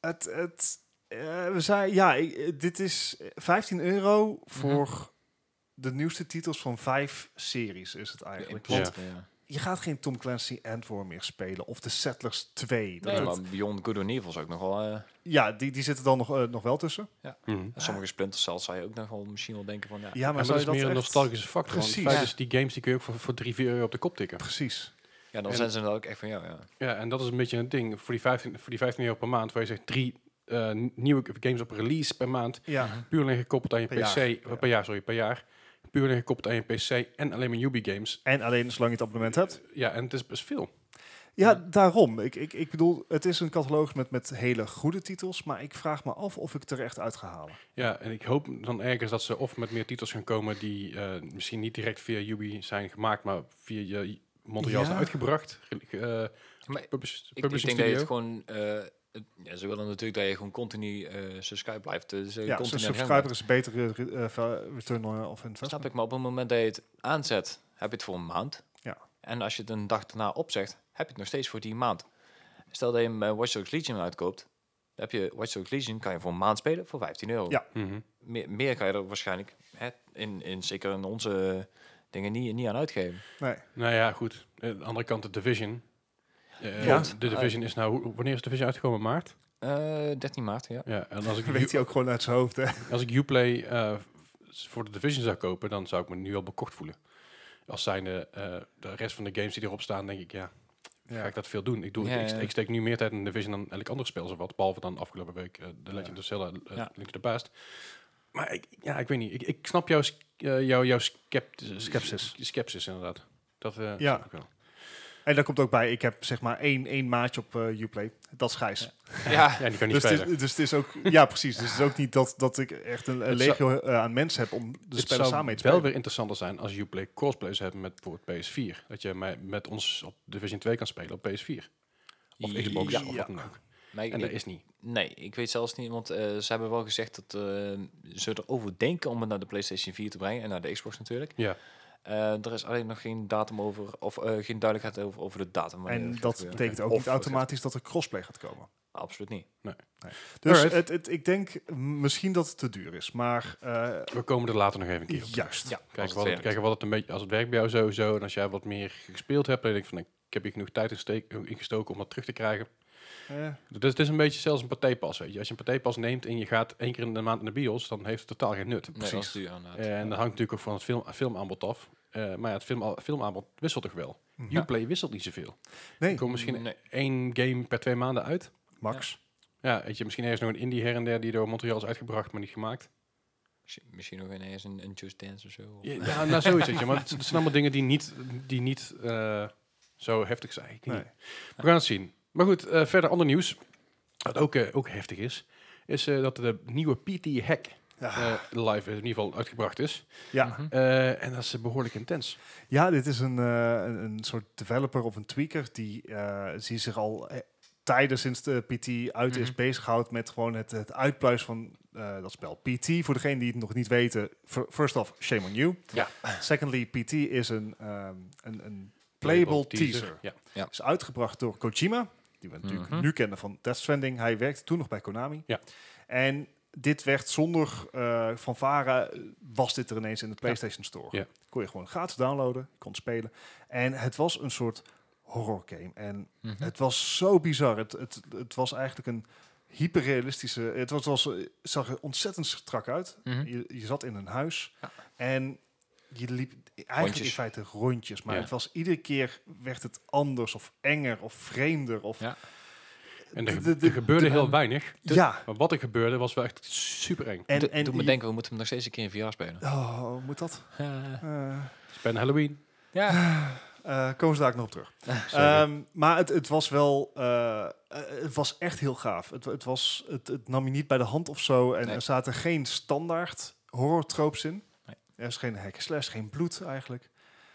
het, het, eh, we zei, ja, ik- eh, dit is 15 euro voor Mhm. de nieuwste titels van vijf series is het eigenlijk. Ja. Want Ja. je gaat geen Tom Clancy Antwoord meer spelen of The Settlers 2. Dat, Nee, dat- maar Beyond Good and Evil zou ik nog wel... eh, ja, die, die zitten dan nog, eh, nog wel tussen. Mhm. sommige Splinter Cells zou je ook nog wel misschien wel denken van... Ja, Ja, maar, Maar, dat zou is je meer een dat echt- nostalgische factor. want Precies. Het feit Ja. is, die games die kun je ook voor, voor 3, 4 euro op de kop tikken. Precies. ja dan en- zijn ze dan ook echt van jou, ja. Ja, en dat is een beetje een ding. Voor die 15, voor die 15 euro per maand, waar je zegt drie eh, nieuwe games op release per maand. Ja, Puur alleen gekoppeld aan je Per PC. jaar. eh, Per jaar, sorry, per jaar. Puur alleen gekoppeld aan je PC en alleen maar Ubi games. en alleen zolang je het abonnement hebt. Ja, en het is best veel. Ja, daarom. Ik, ik, ik bedoel, het is een catalogus met, met hele goede titels, maar ik vraag me af of ik het er echt uit ga halen. Ja, en ik hoop dan ergens dat ze of met meer titels gaan komen die eh, misschien niet direct via Ubi zijn gemaakt, maar via je Montreal zijn Ja. uitgebracht. ge- ge- eh, Maar publish- Ik, ik publishing denk dat je het studio. gewoon eh, eh, ja, ze willen natuurlijk dat je gewoon continu eh subscribe blijft. Dus eh, Ja, continu zo'n aan het gang subscriber is een betere eh, va- return eh, of investment. bent. Snap ik, maar op het moment dat je het aanzet, heb je het voor een maand. Ja. En als je het een dag daarna opzegt, heb je het nog steeds voor die maand. Stel dat je hem eh, Watch Dogs Legion uitkoopt, dan heb je Watch Dogs Legion, kan je voor een maand spelen voor 15 euro. Ja. Mhm. Meer, meer kan je er waarschijnlijk, hè, in, in, zeker in onze eh, dingen, niet, niet aan uitgeven. Nee. Nou ja, goed. Eh, Aan de andere kant, de Division. Eh, Ja. De Division is nou... hoe- Wanneer is de Division uitgekomen? Maart? Eh, 13 maart, ja. Ja, en als ik, Weet hij ook gewoon uit zijn hoofd, hè? als ik Uplay eh, voor de Division zou kopen, dan zou ik me nu al bekocht voelen. Als zijnde eh, de rest van de games die erop staan, denk ik, ja, ga ik dat veel doen? Ik, doe, Ja, ik, ja. ik steek nu meer tijd in Division dan elk ander spel, wat, behalve dan afgelopen week eh The Legend of Zelda, eh, Ja. Link to the Past. Maar ik, ja, ik weet niet. Ik, ik snap jouw, sk- eh, jouw, jouw scept- Skepsis. Skepsis, inderdaad. Dat eh, Ja. snap ik wel. En daar komt ook bij, ik heb zeg maar één, één maatje op eh Uplay. Dat is Gijs. Ja, Ja, die kan niet Dus het, spelen. is, dus het is ook, ja precies, dus het is ook niet dat, dat ik echt een, een Het zou- legio eh, aan mensen heb om de Het spellen zou samen mee te wel spelen. weer interessanter zijn als Uplay crossplay zou hebben met bijvoorbeeld PS4. Dat je mij- met ons op Division 2 kan spelen op PS4. Of Xbox Ja. of wat dan ook. Maar ik- En dat ik- is niet. Nee, ik weet zelfs niet, want eh, ze hebben wel gezegd dat eh, ze erover denken om het naar de PlayStation 4 te brengen en naar de Xbox natuurlijk. Ja. Eh, er is alleen nog geen datum over, of eh, geen duidelijkheid over, over de datum. wanneer En het dat gaat gebeuren. betekent ook Of niet het gaat- automatisch dat er crossplay gaat komen. Absoluut niet. Dus Alright. het, het, ik denk misschien dat het te duur is, maar eh, We komen er later nog even een keer op. juist. Ja, Kijken wat, het, kijken wat het een beetje, als het werkt bij jou sowieso. En als jij wat meer gespeeld hebt, dan denk ik van, nou, ik heb hier genoeg tijd in steek- in gestoken om dat terug te krijgen. Eh, Dus het is een beetje zelfs een partijpas, weet je. Als je een partijpas neemt en je gaat één keer in de maand in de bios, dan heeft het totaal geen nut. Nee, dat is duur inderdaad. Eh, En dat hangt natuurlijk ook van het film, filmaanbod af. Eh, maar ja, het film, filmaanbod wisselt toch wel. ja, Uplay wisselt niet zoveel. Nee. Er komt misschien Nee. één game per twee maanden uit. Max. Ja, weet je, misschien ergens nog een indie her en der die door Montreal is uitgebracht, maar niet gemaakt. Misschien- Misschien nog ineens een, een Just Dance of zo. Ja, ja nou, zoiets, weet je. Maar het, het zijn allemaal dingen die niet, die niet eh, zo heftig zijn. Ik weet Nee. niet. We gaan het zien. Maar goed, eh, verder ander nieuws, wat ook, eh, ook heftig is, is eh, dat de nieuwe PT Hack Ja. eh, live in ieder geval uitgebracht is. Ja. Mhm. Eh, en dat is eh, behoorlijk intens. Ja, dit is een, eh, een, een soort developer of een tweaker die, eh, die zich al eh, tijden sinds de PT uit is Mhm. bezighoudt met gewoon het, het uitpluizen van eh, dat spel. PT, voor degenen die het nog niet weten, fir- first off, shame on you. Ja. Secondly, PT is een, ehm, een, een playable teaser. Ja. Is uitgebracht door Kojima, die we natuurlijk Mhm. nu kennen van Death Stranding. Hij werkte toen nog bij Konami. Ja. En dit werd zonder eh fanfare, eh, was dit er ineens in de PlayStation Store. Ja. Kon je gewoon gratis downloaden, je kon het spelen. En het was een soort horror game. En Hm. Mhm. het was zo bizar. Het, het, het was eigenlijk een hyperrealistische... Het was, was, eh, zag er ontzettend strak uit. Mhm. Je, je zat in een huis Ja. en je liep eigenlijk in Rondjes. feite rondjes. Maar Ja. het was iedere keer werd het anders of enger of vreemder. Of, Ja. En er, De- ge- de- er gebeurde de- heel weinig. Ja, Maar wat er gebeurde was wel echt super eng. en, Doe- en doe me je- denken, we moeten hem nog steeds een keer in VR spelen. Oh, moet dat? Ja. Eh Span Halloween. ja. eh komen ze daar ook nog op terug. Sorry. Ehm, maar het, het was wel, eh, eh, het was echt heel gaaf. Het, het, was, het, het nam je niet bij de hand of zo. En Nee. er zaten geen standaard horror-tropes in. Nee. Er is geen hack and slash, geen bloed eigenlijk.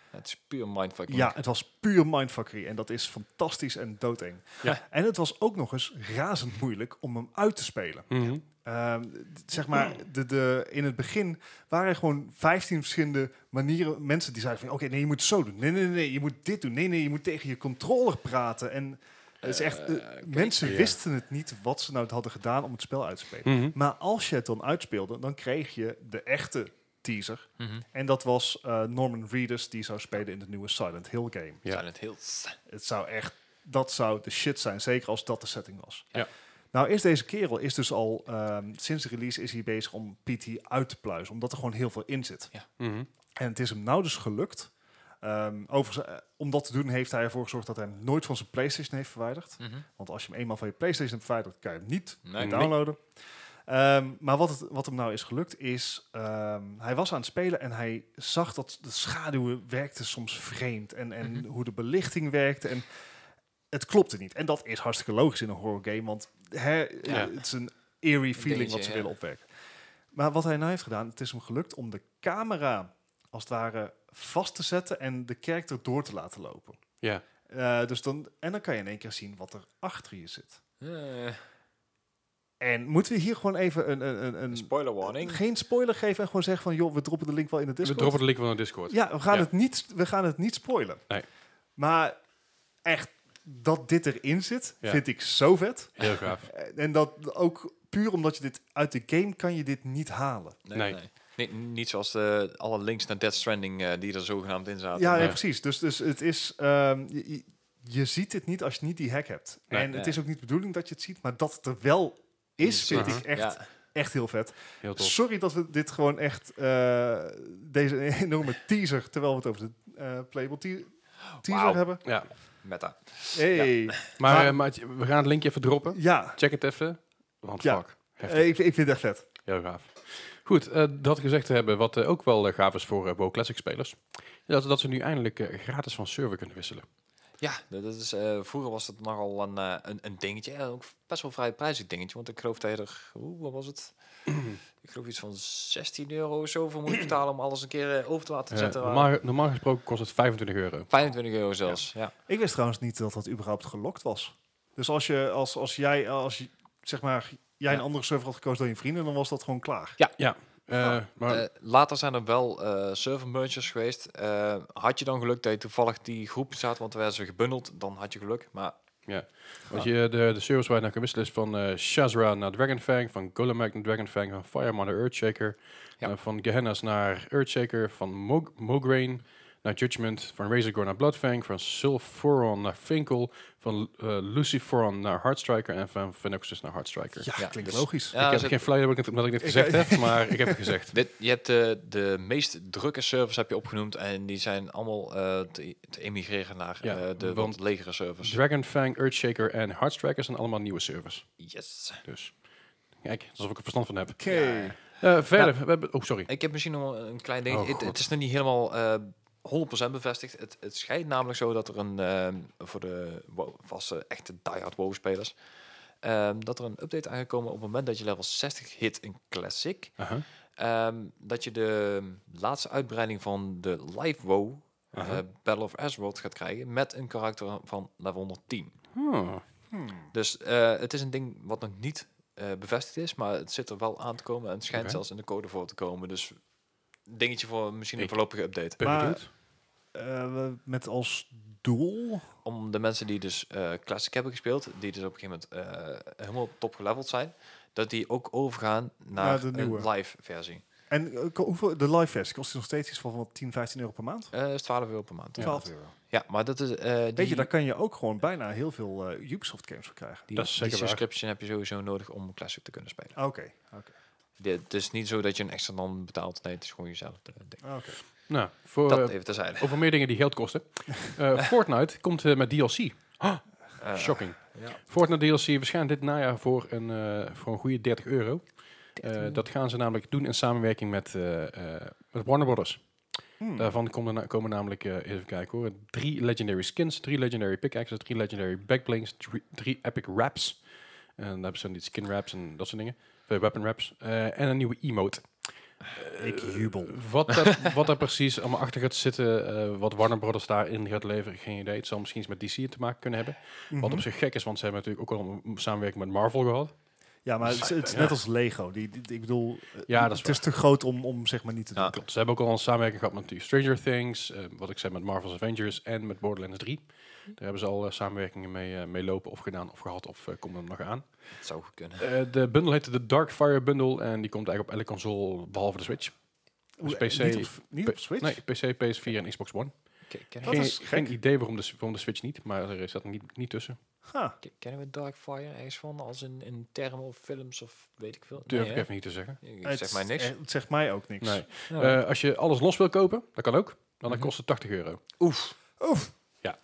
Het is puur mindfuck. Ja, het was puur mindfuckery en dat is fantastisch en doodeng. Ja. En het was ook nog eens razend moeilijk om hem uit te spelen. Mhm. Ehm, d- zeg maar, de, de, in het begin waren er gewoon 15 verschillende manieren. Mensen die zeiden van, oké, nee, je moet het zo doen. Nee, nee, nee, je moet dit doen. Nee, nee, je moet tegen je controller praten. En het is echt, eh, Eh, oké. mensen Ja. wisten het niet wat ze nou hadden gedaan om het spel uit te spelen. Mhm. Maar als je het dan uitspeelde, dan kreeg je de echte teaser. Mhm. En dat was eh, Norman Reedus die zou spelen in de nieuwe Silent Hill game. Ja. Silent Hills. Het zou echt, dat zou de shit zijn, zeker als dat de setting was. Ja. Nou is deze kerel is dus al ehm, sinds de release is hij bezig om PT uit te pluizen, omdat er gewoon heel veel in zit. Mhm. En het is hem nou dus gelukt. Ehm, overigens, eh, om dat te doen heeft hij ervoor gezorgd dat hij hem nooit van zijn PlayStation heeft verwijderd. Mhm. Want als je hem eenmaal van je PlayStation hebt verwijderd, kan je hem niet Nee. Nee. downloaden. Ehm, maar wat, het, wat hem nou is gelukt is, ehm, hij was aan het spelen en hij zag dat de schaduwen werkten soms vreemd. En, en Mhm. hoe de belichting werkte en het klopte niet. En dat is hartstikke logisch in een horror game, want hè, eh, het is een eerie feeling dingetje, wat ze ja. willen opwekken. Maar wat hij nou heeft gedaan, het is hem gelukt om de camera als het ware vast te zetten en de character door te laten lopen. Ja. Eh, dus dan, en dan kan je in één keer zien wat er achter je zit. Eh, En moeten we hier gewoon even een... een, een, een spoiler warning. geen spoiler geven en gewoon zeggen van... joh, we droppen de link wel in de We Discord. droppen de link van de Discord. Ja, we gaan, Ja. Het niet, we gaan het niet spoilen. Nee. Maar echt, dat dit erin zit, Ja. vind ik zo vet. Heel gaaf. Eh, En dat ook puur omdat je dit uit de game kan je dit niet halen. Nee, Nee. nee. Nee, niet zoals de, alle links naar Death Stranding eh, die er zogenaamd in zaten. Ja, ja, nee. precies. Dus, dus het is... ehm, je, je- je ziet het niet als je niet die hack hebt. Nee. en het Ja. is ook niet de bedoeling dat je het ziet, maar dat het er wel is, vind Mhm. ik echt, Ja. echt heel vet. Heel tof. Sorry dat we dit gewoon echt... eh, deze enorme teaser, terwijl we het over de eh, playable te- teaser Wauw. hebben. Ja. Meta. Hey. Maar, Maar- eh, maar het- we gaan het linkje even droppen. ja. Check het even. Want Ja. fuck. Heftig. Eh, ik, ik vind het echt vet. Heel gaaf. Goed, eh, dat gezegd te hebben, wat eh, ook wel eh, gaaf is voor eh WoW Classic spelers, is dat, dat ze nu eindelijk eh, gratis van server kunnen wisselen. Ja, dat dat is, eh, vroeger was dat nogal een, eh, een, een dingetje. En ook best wel vrij prijzig dingetje. Want ik geloof dat je er, oeh, wat was het? ik geloof iets van 16 euro of zo voor moet betalen om alles een keer eh, over te laten Eh, zetten. normaal, normaal gesproken kost het 25 euro. 25 euro zelfs, ja. Ik wist trouwens niet dat dat überhaupt gelokt was. Dus als, je, als, als jij, als je, zeg maar, jij Ja. een andere server had gekozen dan je vrienden, dan was dat gewoon klaar. Eh, maar Eh, later zijn er wel eh server mergers geweest. Eh, had je dan geluk dat je toevallig die groep zat, want we werden ze gebundeld, dan had je geluk. Maar Ah. wat je, de, de servers waar je naar kan wisselen is van eh, Shazra naar Dragonfang, van Golemack naar Dragonfang, van Fireman naar Earthshaker, Ja. eh, van Gehenna's naar Earthshaker, van Mog Mograine naar Judgment, van Razorgore naar Bloodfang, van Sylphoron naar Finkel, van eh, Luciferon naar Heartstriker en van Phenoxus naar Heartstriker. Ja, dus- logisch. ja, ik heb zet- geen flyer omdat ik het- omdat ik het Ik- gezegd heb, maar ik heb het gezegd. dit, je hebt de, de meest drukke servers heb je opgenoemd en die zijn allemaal eh, te, te emigreren naar Ja, eh, de want- wat legere servers. Dragonfang, Earthshaker en Heartstriker zijn allemaal nieuwe servers. Yes. Dus kijk, alsof ik er verstand van heb. Oké. Eh, verder, we hebben, oh sorry. Nou. Ik heb misschien nog wel een klein ding. Oh, het, God. het is nog niet helemaal eh 100% bevestigd. Het, het schijnt namelijk zo dat er een, ehm, voor de wow, vaste echte diehard WoW-spelers, ehm, dat er een update aangekomen op het moment dat je level 60 hit in Classic, Aha. ehm, dat je de laatste uitbreiding van de live WoW, eh, Aha. Battle of Azeroth, gaat krijgen met een karakter van level 110. Oh, Hmm. Dus eh, het is een ding wat nog niet eh, bevestigd is, maar het zit er wel aan te komen en het schijnt Oké. zelfs in de code voor te komen. Dus een dingetje voor misschien een Ik- voorlopige update. ben Maar- benieuwd. Eh, met als doel... Om de mensen die dus eh, Classic hebben gespeeld, die dus op een gegeven moment eh, helemaal top geleveld zijn, dat die ook overgaan naar de de nieuwe. live versie. En eh, ko- hoeveel, de live versie kost die nog steeds iets van wat 10, 15 euro per maand? Eh is 12 euro per maand. Ja, 12 euro. maar dat is... eh, Weet je, die, daar kan je ook gewoon bijna heel veel eh, Ubisoft games voor krijgen. Ah, die, Dat is die zeker waar. subscription heb je sowieso nodig om Classic te kunnen spelen. Oké. Oké. Dit- Het is niet zo dat je een extra dan betaalt. Nee, het is gewoon jezelf. eh, ding. Ah, Oké. Nou, voor, Dat eh, even terzijde. over meer dingen die geld kosten. Eh, Fortnite komt eh, met DLC. Eh, Shocking. ja. Fortnite DLC waarschijnlijk dit najaar voor een, eh, voor een goede 30 euro. Eh, dat gaan ze namelijk doen in samenwerking met, eh, eh, met Warner Brothers. Hmm. Daarvan komen, na- komen namelijk, eh even kijken hoor, drie legendary skins, drie legendary pickaxes, drie legendary backblings, drie, drie epic wraps. En daar hebben ze dan die skin wraps en dat soort dingen. Eh, Weapon wraps. Eh, en een nieuwe emote. ik jubel. Wat daar, wat daar precies allemaal achter gaat zitten, eh, wat Warner Brothers daarin gaat leveren, geen idee. Het zal misschien iets met DC te maken kunnen hebben. Wat Mhm. op zich gek is, want ze hebben natuurlijk ook al een samenwerking met Marvel gehad. Ja, maar het is, het is net als Lego. Die, die- ik bedoel, eh, Ja, dat is het is te groot om, om zeg maar niet te doen. Ja. Klopt. Ze hebben ook al een samenwerking gehad met die Stranger Things, eh, wat ik zei met Marvel's Avengers en met Borderlands 3. Daar hebben ze al eh, samenwerkingen mee, eh, mee lopen of gedaan of gehad of eh, komt er nog aan. Het zou goed kunnen. Eh, de bundle heette de Darkfire Bundle en die komt eigenlijk op elke console behalve de Switch. Dus Oeh, PC niet op, niet op Switch? Nee, PC, PS4 en Xbox One. Kijk, ken- Dat geen, is gek. geen idee waarom de, waarom de Switch niet, maar er zat niet, niet tussen. Ha. Ke- Kennen we Darkfire ergens van? Als in, in termen of films of weet ik veel? Durf Nee, ik hè? even niet te zeggen. Ik zeg mij niks. Oh, eh, Het zegt mij ook niks. Nee. Ja. Eh, als je alles los wil kopen, dat kan ook. Dan, dan Mhm. kost het 80 euro. Oef. Oef,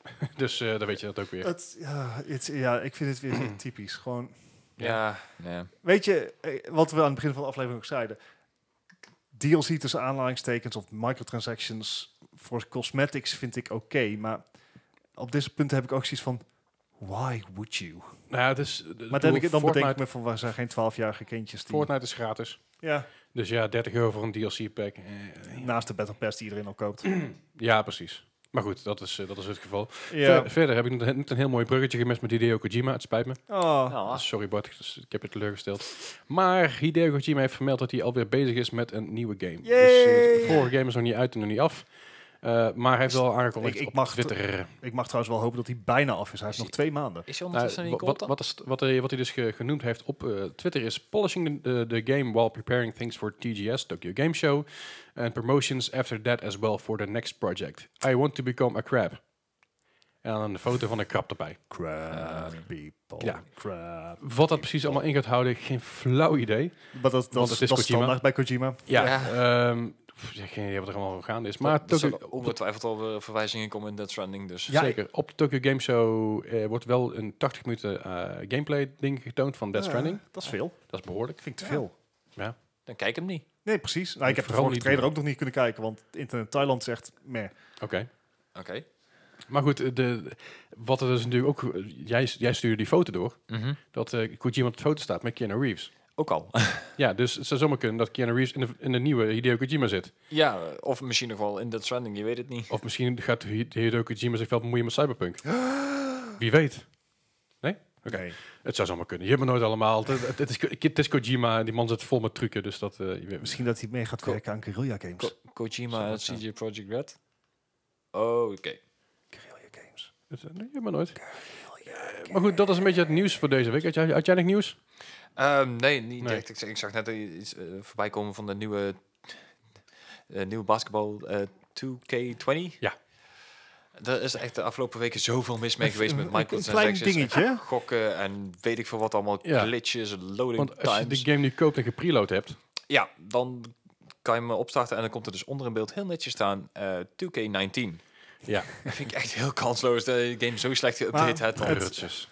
Dus eh, dan weet je dat ook weer. het, ja, het, ja, ik vind het weer zo typisch. Gewoon, Ja. Nee. weet je, eh, wat we aan het begin van de aflevering ook zeiden. DLC tussen aanhalingstekens of microtransactions voor cosmetics vind ik oké. maar op dit punt heb ik ook zoiets van, why would you? Nou, ja, het is, Maar dan, dan Fortnite, bedenk ik me van, waar zijn geen 12-jarige kindjes die... Fortnite is gratis. Ja, Dus ja, 30 euro voor een DLC pack. eh, naast de Battle Pass die iedereen al koopt. ja, precies. Maar goed, dat is, eh, dat is het geval. Ja. Ver- verder heb ik net- net een heel mooi bruggetje gemist met Hideo Kojima. Het spijt me. Oh. Nou, ah, Sorry Bart, dus ik heb je teleurgesteld. Maar Hideo Kojima heeft vermeld dat hij alweer bezig is met een nieuwe game. Dus eh, Yay! de Dus vorige game is nog niet uit en nog niet af. Eh, maar hij heeft wel aangekondigd Ik- ik op mag Twitter. eh, Ik mag trouwens wel hopen dat hij bijna af is. Hij is nog twee maanden. ah, is je Nou, ondertussen wa- niet wat, wat, wat, is, t- wat, hij, wat hij dus ge- genoemd heeft op eh, Twitter is polishing the, the, the game while preparing things for TGS, Tokyo Game Show, and promotions after that as well for the next project. I want to become a crab. En dan een foto van een krab erbij. Crab people. ja. Crab. Wat dat precies allemaal in gaat houden, geen flauw idee. Maar dat, dat, Want is, het is dat Kojima. is standaard bij Kojima. Ja, Ja. ehm, pff, ja, geen idee wat er allemaal gaande is. Maar er Tokyo, zullen ongetwijfeld al weer verwijzingen komen in Dead Stranding, dus... ja, zeker, op de Tokyo Game Show eh, wordt wel een 80 minuten eh, gameplay ding getoond van Death Ja, Stranding. dat is veel. Dat is behoorlijk. Ik vind ik te veel. Dan kijk hem niet. Nee, precies. Nou, ik heb de Vooral vorige niet trailer doen. ook nog niet kunnen kijken, want internet Thailand zegt, meh. Oké. Oké. Maar goed, eh, de, wat er dus natuurlijk ook... Jij, jij stuurde die foto door. Dat eh Kojima op de foto staat met Keanu Reeves. Ook al. Ja, dus het zou zomaar kunnen dat Keanu Reeves in de, in de nieuwe Hideo Kojima zit. ja, of misschien nog wel in Dead Stranding, je weet het niet. Of misschien gaat Hi- Hideo Kojima zich wel bemoeien met Cyberpunk. Wie weet. Oké. Nee. Het zou zomaar kunnen. Je hebt me nooit allemaal. Het, het- het is, Ko- het is Kojima en die man zit vol met trucken. Dus dat... eh, je weet- Misschien dat hij mee gaat Cool. werken aan Guerrilla Games. Ko- Kojima Zou en dat zijn? CJ Project Red? Oh, oké. Guerrilla Games. het- eh, Je hebt me nooit. Eh, Maar goed, dat is een beetje het nieuws voor deze week. Had jij, had jij nog nieuws? Ehm, nee, niet Nee. direct. Ik, zag- ik zag net iets eh, voorbij komen van de nieuwe, eh, nieuwe basketbal eh, 2K20. Ja. Er is echt de afgelopen weken zoveel mis mee geweest met Een- een- Michael Een klein dingetje. hè? gokken en weet ik veel wat allemaal, Ja. glitches, loading Want als je de times. game nu koopt en gepreload hebt... Ja, dan kan je hem opstarten en dan komt er dus onder in beeld heel netjes staan eh, 2K19. Ja. Dat vind ik echt heel kansloos dat je de game zo slecht geüpdate Maar hebt. Oh, Het- rutjes.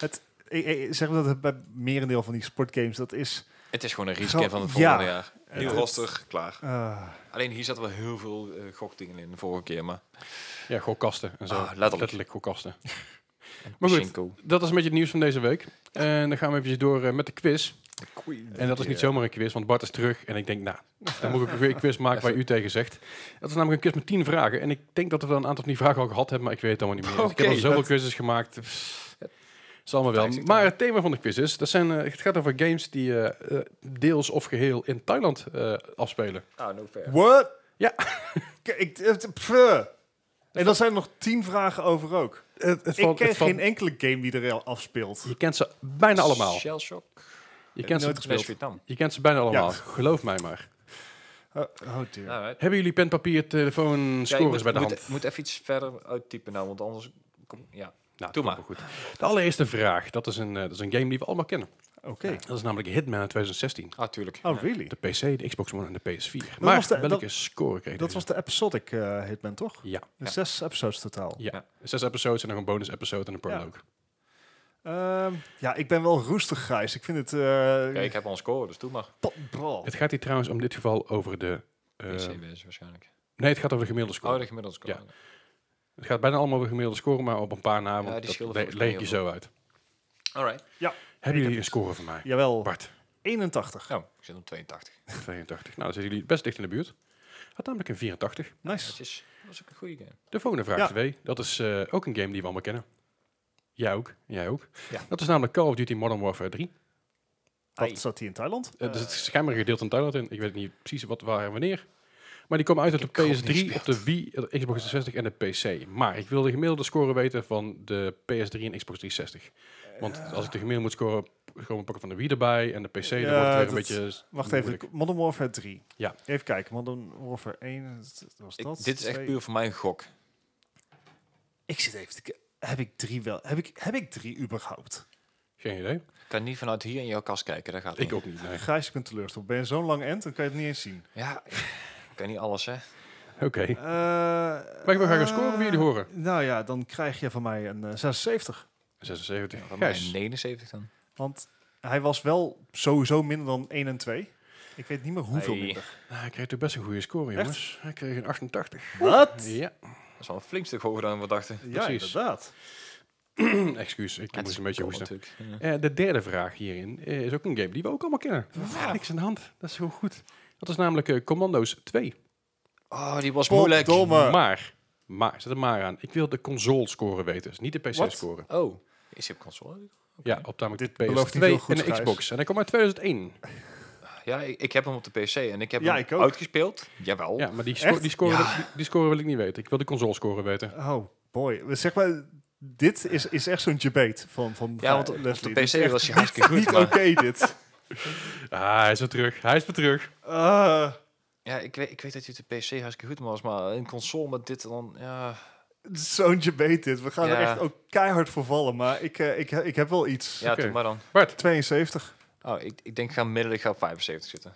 Ik- ik- Zeg maar dat het bij merendeel van die sportgames, dat is... Het is gewoon een Zo- reskin van het volgende ja. jaar. Nieuw Het- roster, klaar. eh, Alleen hier zaten wel heel veel eh, gokdingen in de vorige keer, maar... Ja, gokkasten en zo. Ah, letterlijk. gokkasten. maar goed, dat is een beetje het nieuws van deze week. En dan gaan we eventjes door eh, met de quiz. En dat is eh, niet zomaar een quiz, want Bart is terug. En ik denk, nou, dan moet ik ook weer een quiz maken waar u tegen zegt. Dat is namelijk een quiz met 10 vragen. En ik denk dat we wel een aantal van die vragen al gehad hebben, maar ik weet het allemaal niet meer. Dus ik heb al Oké, zoveel dat- quizzes gemaakt. Pff, Het is allemaal wel. Vijftig Maar dan. het thema van de quiz is, dat zijn, eh, het gaat over games die eh, eh, deels of geheel in Thailand eh, afspelen. Ah, no fair. What? Ja. K- ik, het- pff. en dan zijn er nog tien vragen over ook. ik ken geen enkele game die er al afspeelt. Je kent ze bijna allemaal. Shell Shock. Je kent ze, nooit Smash Vietnam. je kent ze bijna allemaal, Ja. geloof mij maar. Oh, oh dear. Alright. Hebben jullie pen, papier, telefoon, Ja, scores ik moet, bij de moet, hand? moet even iets verder uittypen nou, want anders... Kom, ja. nou, dat doe maar. komt wel Goed. De allereerste vraag, dat is, een, eh, dat is een game die we allemaal kennen. Oké. Dat is namelijk Hitman uit 2016. Ah, tuurlijk. Oh, really? De PC, de Xbox One en de PS4. maar was de- welke dat- score kreeg Dat deze? was de episodic eh, Hitman, toch? Ja, Ja. Zes episodes totaal. ja. Ja. Zes episodes en nog een bonus episode en een prologue. Ehm, ja, ik ben wel roestig grijs. Ik vind het... eh Kijk, ik heb al een score, dus doe maar. pa- bro. Het gaat hier trouwens om dit geval over de... eh, PC wees waarschijnlijk. nee, het gaat over de gemiddelde score. Oh, de gemiddelde score. Ja. Het gaat bijna allemaal over de gemiddelde score, maar op een paar namen. Ja, die dat schillen le- volgens mij leek je heel zo uit. Alright. Hebben jullie heb een score van mij? Jawel, Bart, 81. Nou, ik zit op 82. 82. Nou, dan zitten jullie best dicht in de buurt. Had namelijk een 84. Dat Nice. is, dat is ook een goede game. De volgende vraag Ja. 2, dat is eh, ook een game die we allemaal kennen. Jij ook, jij ook. Ja. Dat is namelijk Call of Duty Modern Warfare 3. Ai. Wat zat hij in Thailand? Eh, dus het is schijnbaar een gedeelte in Thailand in. Ik weet niet precies wat, waar en wanneer. Maar die kwam uit op de heb God niet PS3, op de gespeeld. Wii, de Xbox 360 en de PC. Maar ik wil de gemiddelde score weten van de PS3 en Xbox 360. Want als ik de gemiddelde moet scoren, gewoon pakken van de Wii erbij en de PC, dan Eh. Ja, wordt het weer een dat- beetje... s- Wacht moeilijk. even, Modern Warfare 3. Ja. Even kijken, Modern Warfare 1, dat was Ik- dat. dit is echt Twee. puur voor mijn gok. Ik zit even te ki- Heb ik drie wel? Heb ik, heb ik drie überhaupt? Geen idee. Ik kan niet vanuit hier in jouw kast kijken, dat gaat Ik niet. ook niet, nee. Gijs, ik ben teleurgesteld. Ben je zo'n lang end, dan kan je het niet eens zien. Ja, ik kan niet alles, hè. Oké. Eh, Maar ik wil graag een eh, score van jullie horen. Nou ja, dan krijg je van mij een eh, 76. 76. Van mij Gijs. 79 dan. Want hij was wel sowieso minder dan 1 en 2. Ik weet niet meer hoeveel Hey. minder. Nou, hij kreeg toch best een goede score, Echt? jongens. Hij kreeg een 88. Wat? Ja, Ja, Dat is wel een flink stuk hoger dan we dachten. precies. inderdaad. excuus, ik Het moest is een beetje cool hoesten. natuurlijk. Eh, de derde vraag hierin eh, is ook een game die we ook allemaal kennen. Niks aan de hand, dat is heel goed. Dat is namelijk eh, Commando's 2. Oh, die was moeilijk. Potdomme. Maar Maar, zet er maar aan. Ik wil de console-score weten, dus niet de Wat? PC-score. Oh, is je op console? Ja, op namelijk Dit belooft niet PS2 heel goed, en de Gijs. Xbox. En hij kwam uit 2001. Ja, ik, ik heb hem op de PC en ik heb Ja, hem ik ook. uitgespeeld. Jawel. Ja, maar die, Oh, Echt? sco- die, score, Ja. die, die score wil ik niet weten. Ik wil de console-score weten. Oh, boy. Zeg maar, dit is, is echt zo'n debate van, van Ja, want op- op de Leslie. Dit is PC echt was hij hartstikke Niet goed, oké, maar- dit. Ah, hij is weer terug. Hij is weer terug. Ah, Ja, ik weet, ik weet dat hij op de PC hartstikke goed was, maar een console met dit dan... Ja, zo'n debate dit. We gaan er Ja. echt ook keihard voor vallen, maar ik, eh, ik, ik heb wel iets. ja Oké. doe maar dan. 72. Oh, ik, ik denk ik ga midden, ik ga op 75 zitten.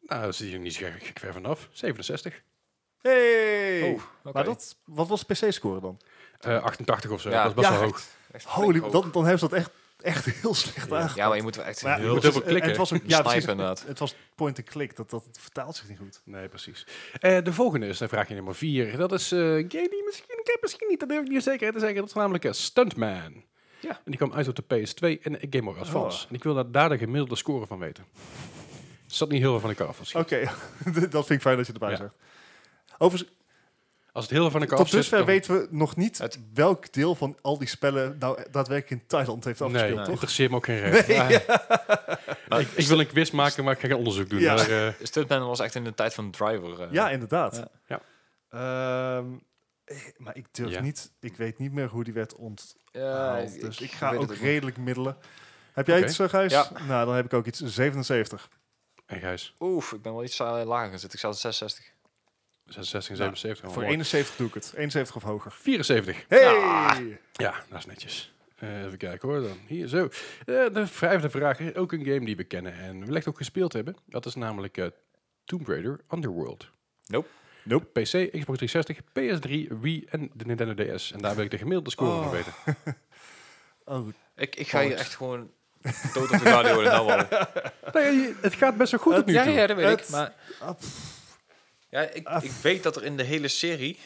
Nou, daar zit je niet zo gek gek ver vanaf. 67. Hey! Oh, oké. Maar dat, wat was PC-score dan? Eh, 88 of zo. Ja. Dat is best Ja, wel echt. hoog. Echt Holy, flink dan, dan hebben ze dat echt, echt heel slecht Ja. hoog. aangepakt. Ja, maar je moet wel echt Maar ja, heel moet het heel was- veel klikken. Het was ook, ja, Snipen precies, inderdaad. het, het was point and click, dat, dat vertaalt zich niet goed. Nee, precies. Eh, de volgende is de vraagje nummer 4. Dat is eh een game die misschien, ik heb misschien niet, dat durf ik niet zeker te zeggen. Dat is namelijk eh, Stuntman. Ja. En die kwam uit op de PS2 en de Game Oh. Boy Advance. En ik wil daar, daar de gemiddelde score van weten. Zat niet heel veel van elkaar af. Als, Oké, dat vind ik fijn dat je erbij Ja. zegt. Overigens, als het heel veel van elkaar Tot af zit, dusver dan- weten we nog niet Het- welk deel van al die spellen nou daadwerkelijk in Thailand heeft Nee, afgespeeld, nee. toch? interesseert me ook geen reden. Ik, ik wil een quiz maken, maar ik ga geen onderzoek doen. Ja. Maar, eh, Stuntman was echt in de tijd van Driver. eh. Ja, inderdaad. Ja. Ehm, eh, maar ik durf Ja. niet, ik weet niet meer hoe die werd onthaald. Ja, dus ik, ga Eh, weet ook het niet. redelijk middelen. Heb jij Oké. iets, eh, Gijs? Ja. Nou, dan heb ik ook iets. 77. en Gijs, Oef, ik ben wel iets eh, lager gezet. Ik zat op 66. 66, Nou, 77. Voor Oh, mooi. 71 doe ik het. 71 of hoger. 74. Hey! Ja, dat is netjes. Eh, even kijken hoor dan. Hier zo. Eh, de vijfde vraag is ook een game die we kennen en wellicht ook gespeeld hebben. Dat is namelijk eh, Tomb Raider Underworld. Nope. Nope. PC, Xbox 360, PS3, Wii en de Nintendo DS. En daar wil ik de gemiddelde score Oh. van weten. Oh, Ik, ik ga hier echt gewoon dood op de radio worden. Nou, al. Nee, het gaat best wel goed op nu Eh, ja, toe. ja, dat weet Het- ik. Maar ah, ja, ik, Ah, ik weet dat er in de hele serie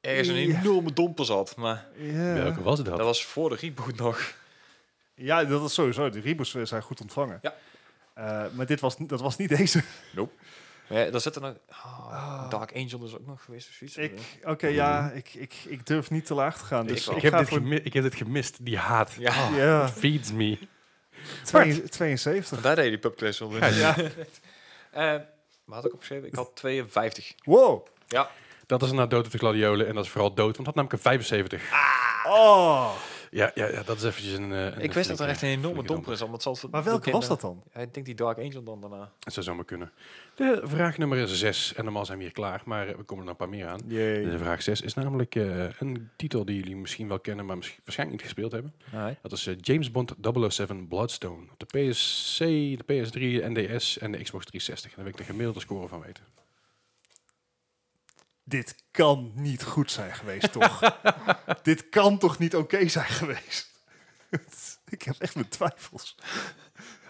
ergens een Ja. enorme domper zat. Maar ja. Welke was dat? dat was voor de reboot nog. Ja, dat is sowieso. De reboots eh, zijn goed ontvangen. Ja. Eh, maar dit was, niet- dat was niet deze. Maar ja, daar zit er nog... ah, Dark Angel is ook nog geweest of zoiets. Ik, oké, ja, ik, ik, ik durf niet te laag te gaan. Ik Dus ik, wel. ik, heb ga dit voor gemi- ik heb dit gemist, die haat. Ja, ja, Feeds me. twee- 72. want daar deed je die pubclass wel in. Ja. Eh, wat had ik opgeschreven? Ik had 52. Wow. Dat is inderdaad dood op de gladiolen en dat is vooral dood, want dat had namelijk een 75. Oh. Ja, ja, ja dat is eventjes een... eh, een ik wist dat er flinke- echt een enorme flinke domper is. want het zal- Maar welke ik- was dat dan? Ja, ik denk die Dark Angel dan daarna. Het zou zomaar kunnen. De vraag nummer 6. En normaal zijn we hier klaar, maar eh, we komen er nog een paar meer aan. De Jee. vraag 6 is namelijk eh, een titel die jullie misschien wel kennen, maar misschien, waarschijnlijk niet gespeeld hebben. Dat is eh, James Bond 007 Bloodstone. Op de PSC, de PS3, de NDS en de Xbox 360. En daar wil ik de gemiddelde score van weten. Dit kan niet goed zijn geweest, toch? Dit kan toch niet oké zijn geweest? ik heb echt mijn twijfels.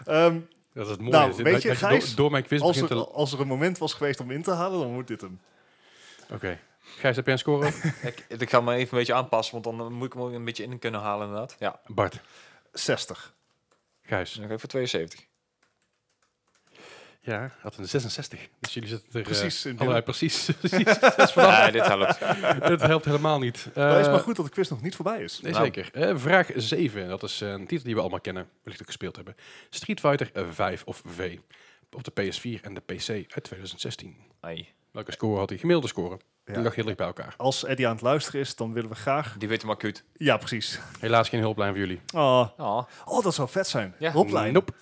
Ehm, Dat is het mooie. Nou, is dit- weet dat- je, dat Gijs, door, door mijn quiz als, begint er, te... Oké. als er een moment was geweest om in te halen, dan wordt dit hem. Gijs, heb jij een score? Ik, ik ga me even een beetje aanpassen, want dan moet ik hem ook een beetje in kunnen halen inderdaad. Ja, Bart. 60. Gijs. nog even 72. Ja, had een 66. Dus jullie zitten er eh, Precies, in allebei midden. precies. precies. Dat is vanaf. Ja, dit helpt. Het helpt helemaal niet. Maar het is Eh, maar goed dat de quiz nog niet voorbij is. Nee, Nou. zeker. Eh, vraag 7. Dat is eh, een titel die we allemaal kennen. Wellicht ook gespeeld hebben. Street Fighter eh, 5 of V. Op de PS4 en de PC uit 2016. Nee, Welke score had hij? Gemiddelde score. Ja. Die lag heel dicht bij elkaar. Als Eddie aan het luisteren is, dan willen we graag... die weet hem acuut. Ja, precies. Helaas geen hulplijn voor jullie. Oh, Ja. oh dat zou vet zijn. Ja. Hulplijn. Nope.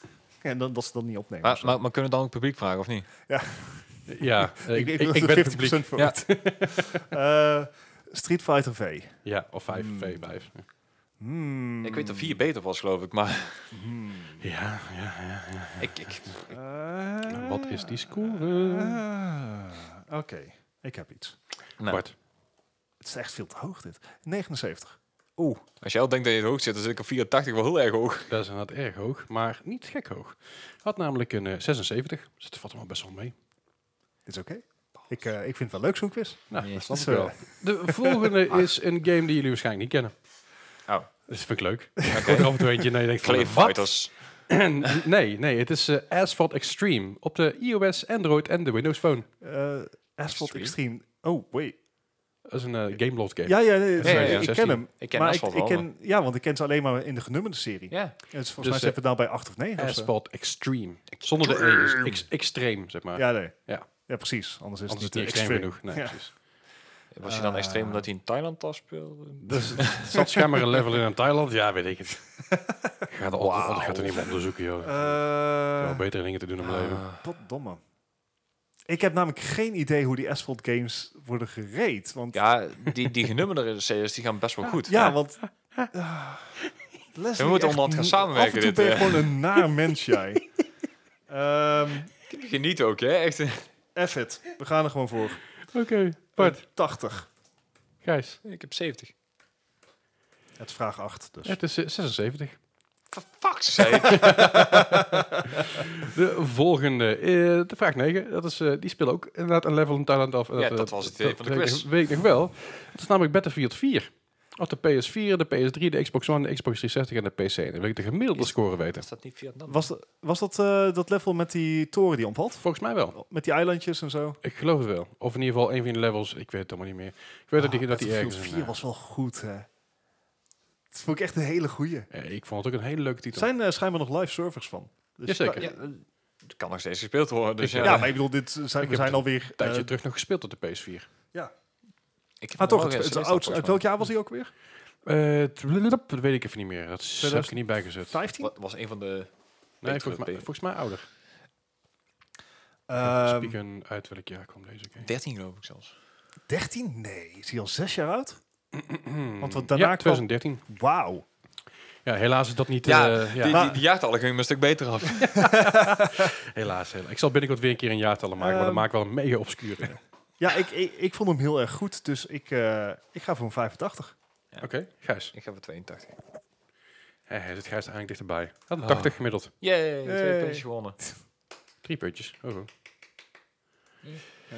En dan, dat ze dat niet opnemen. of Maar, zo. maar, maar kunnen we dan ook publiek vragen, of niet? Ja, eh, ik, ik, was ik er ben het publiek. 50% voor. Ja. Eh, Street Fighter V. Ja, of 5, Hmm. V, 5. Hmm. Ik weet dat vier beter was, geloof ik, maar Hmm. Ja, ja, ja. ja. ik, ik, Eh, Wat is die score? eh, Oké, ik heb iets. nou, Bart. Het is echt veel te hoog dit. 79. Oeh, als jij al denkt dat je het hoog zit, dan zit ik op 84 wel heel erg hoog. Dat is inderdaad erg hoog, maar niet gek hoog. Had namelijk een eh, 76. Dus dat valt hem wel best wel mee. Dit is oké. Ik, eh, ik vind het wel leuk zo'n quiz. Dus, Nou, Nee, dat snap ik zo. wel. De volgende is een game die jullie waarschijnlijk niet kennen. Oh. Dat Dus vind ik leuk. Ik hoor er af en toe eentje en je denkt van, Clay wat? Fighters. nee, nee, het is eh, Asphalt Extreme op de iOS, Android en de Windows Phone. Eh Asphalt Extreme? Extreme. Oh, wait. Dat is een eh, Gameloft game. Ja, ja, nee, dat is- ja, ja. ik 16. ken hem. Ik ken maar Asphalt ik, ik wel, ken, Ja, want ik ken ze alleen maar in de genummerde serie. Ja, En het is Dus, volgens mij zitten we nou bij 8 of 9. of zo. Asphalt Extreme. Zonder de E. is ex- extreem, zeg maar. Ja, nee. Ja. ja, precies. Anders is Anders is het het niet niet extreem extreme. genoeg. Nee, Ja. precies. was hij dan Ah. extreem omdat hij in Thailand al speelde? Dus er zat schijnbaar een level in in Thailand. Ja, weet ik het. Gaat er altijd, altijd gaat er niet meer onderzoeken, joh. Er zijn wel Eh, betere dingen te doen in mijn Ah. leven. Potdomme. Ik heb namelijk geen idee hoe die Asphalt games worden gereed. Want, ja, Ja, die, die genummerde series die gaan best wel goed. want... Ah, Leslie, We moeten echt onderhand gaan mo- samenwerken, Af en toe dit, ben je eh. gewoon een naar mens, jij. Ehm Geniet ook, hè? Echt. F it. We gaan er gewoon voor. Oké, Eh, 80. Gijs. Ik heb 70. Het is vraag 8, dus. Het is eh, 76. For fuck's sake. De volgende, eh, de vraag 9, dat is, eh, die spelen ook inderdaad een level in Thailand af. Ja, eh, dat was het idee van de weet ik- quiz. Weet ik nog wel. Het is namelijk Battlefield 4. Op de PS4, de PS3, de Xbox One, de Xbox 360 en de PC. En dan wil ik de gemiddelde Is- score weten. Is dat niet Vietnam? Was, dat- was dat eh, dat level met die toren die omvalt? Volgens mij wel. Met die eilandjes en zo? Ik geloof het wel. Of in ieder geval een van de levels. Ik weet het allemaal niet meer. Ik weet dat Ah, die, dat die Battlefield ergens... een, 4 eh, was wel goed, hè. Dat vond ik echt een hele goeie. eh, ik vond het ook een hele leuke Er titel. zijn eh, schijnbaar nog live servers van. Dus Jazeker. Ja, eh, het kan nog steeds gespeeld worden. Dus Ja, ja, maar ik bedoel, dit zijn, Ik we heb zijn het alweer... Een tijdje eh, terug nog gespeeld op de PS4. ik heb maar toch, het, nog geen het sms oud, uit volgens welk jaar was die ook weer? Eh, tblulup, dat weet ik even niet meer. Dat is- heb ik er niet bijgezet. 15? mij. Wat was een van de... Nee, Betere volgens mij, P- volgens mij ouder. Ehm, Spieken uit welk jaar kwam deze game? 13 geloof ik zelfs. 13? Nee. Is hij al zes jaar oud? Want wat Hmm. ja, daarna kwam... 2013. Wauw. Ja, helaas is dat niet... Ja, eh, ja. Die, die, die jaartallen gingen me een stuk beter af. Helaas, helaas. Ik zal binnenkort weer een keer een jaartallen maken, maar Ehm. dan maak ik wel een mega obscure. Oké, Ja, ik, ik, ik vond hem heel erg goed, dus ik, eh, ik ga voor een 85. Gijs. ik heb er 82. Hij zit Gijs er eigenlijk dichterbij. Had een Oh. 80 gemiddeld. Yay, twee Eh. Yay. puntjes gewonnen. Drie puntjes. Oh, oh. Ja.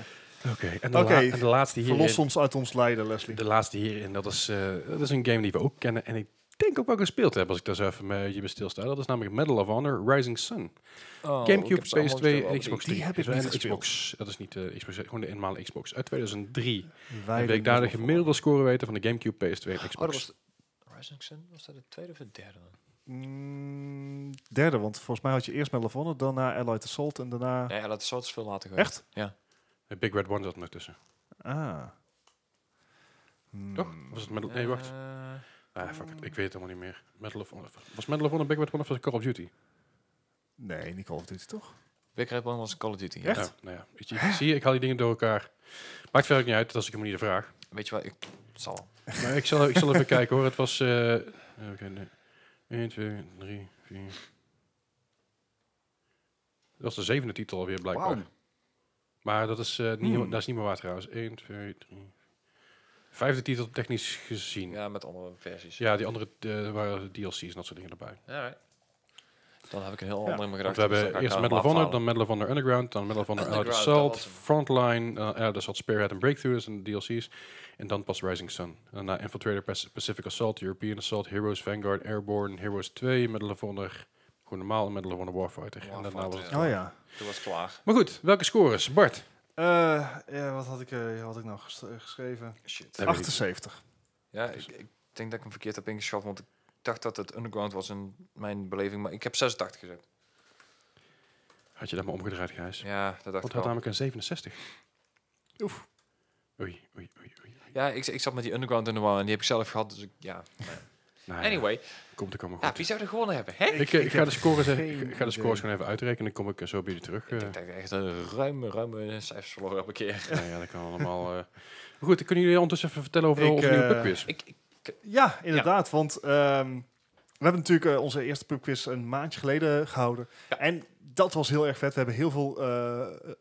Oké, en, de la- Oké, en de laatste hierin. Verlos ons uit ons lijden, Leslie. De laatste hierin, dat is, eh, dat is een game die we ook kennen. En ik denk ook wel gespeeld hebben, als ik daar zo even mee je bij stilsta. Dat is namelijk Medal of Honor Rising Sun. Oh, ik Gamecube, heb ze allemaal PS2 gespeeld. en Xbox 3. Die heb ik En niet de gespeeld. Xbox, dat is niet de Xbox, gewoon de eenmalige Xbox. Uit 2003. Wij en wil ik daar de gemiddelde score weten van de Gamecube, PS2 en Xbox. Oh, dat was... Rising Sun, was dat de tweede of de derde dan? Mm, derde, want volgens mij had je eerst Medal of Honor, daarna Allied Assault en daarna... Ah. Nee, ja, dat is wel veel later geweest. Echt? De Big Red One zat er nog tussen. Ah. Hmm. Toch? Was het Medal... Nee, wacht. Eh, Ah, fuck it. Ik weet het helemaal niet meer. Medal of Honor. Was Medal of Honor Big Red One of was het Call of Duty? Nee, niet Call of Duty, toch? Big Red One was Call of Duty. ja. Echt? Nou, nou ja. Weet je, zie je, ik haal die dingen door elkaar. Maakt verder ook niet uit, dat is ik helemaal niet de vraag. Weet je wat? Ik het zal. wel. Maar ik zal, ik zal even kijken hoor. Het was. eh oké, nee. 1, 2, 3, 4. Dat was de zevende titel alweer blijkbaar. Wauw. Maar dat is, eh, niet, Hmm. dat is niet meer waar trouwens. 1, 2, 3. Vijfde titel technisch gezien. Ja, Ja, met andere versies. die andere eh, waren DLC's en dat soort dingen erbij. Alright. Dan heb ik een heel Ja. ander in mijn Want gedachten. Dus we hebben eerst Medal of Honor, dan Medal of Honor Underground, dan Medal of Honor Allied Underground, dat Assault, was hem. Frontline, eh ja, daar zat Spearhead en Breakthroughs en DLC's. En dan pas Rising Sun. En daarna Infiltrator Pas- Pacific Assault, European Assault, Heroes, Vanguard, Airborne, Heroes 2, Medal of Honor, gewoon normaal en Medal of Honor Warfighter. En daarna was het- Warfighter, Ja. Oh ja. Toen was het klaar. Maar goed, welke scores? Bart? Eh, ja, wat had ik, eh, had ik nou ges- eh, geschreven? Shit. Heb ik niet. 78. Ja, Dus- ik, ik denk dat ik hem verkeerd heb ingeschat, want ik dacht dat het underground was in mijn beleving, maar ik heb 86 gezet. Had je dat maar omgedraaid, Gijs? Ja, dat dacht Want hij ik had wel. namelijk een 67. Oef. Oei, oei, oei. oei. Ja, ik, ik zat met die underground in de war en die heb ik zelf gehad, dus ik, ja. Nou Ah, ja, Anyway, Komt er komen goed. ja, wie zou er gewonnen hebben, hè? ik, eh, ik Ik ga heb de scores, even- geen ik ga de idee. scores gewoon even uitrekenen en dan kom ik eh, zo bij jullie terug. Ik eh. denk dat ik echt een ruime, ruime cijfers verloren heb een keer. Nou ja, dat kan allemaal. eh. Maar Goed, kunnen jullie ondertussen even vertellen over de Ik, onze nieuwe eh, pubquiz? Ik, ik- Ja, inderdaad, want ehm, we hebben natuurlijk eh, onze eerste pubquiz een maandje geleden gehouden. Ja. En dat was heel erg vet. We hebben heel veel eh,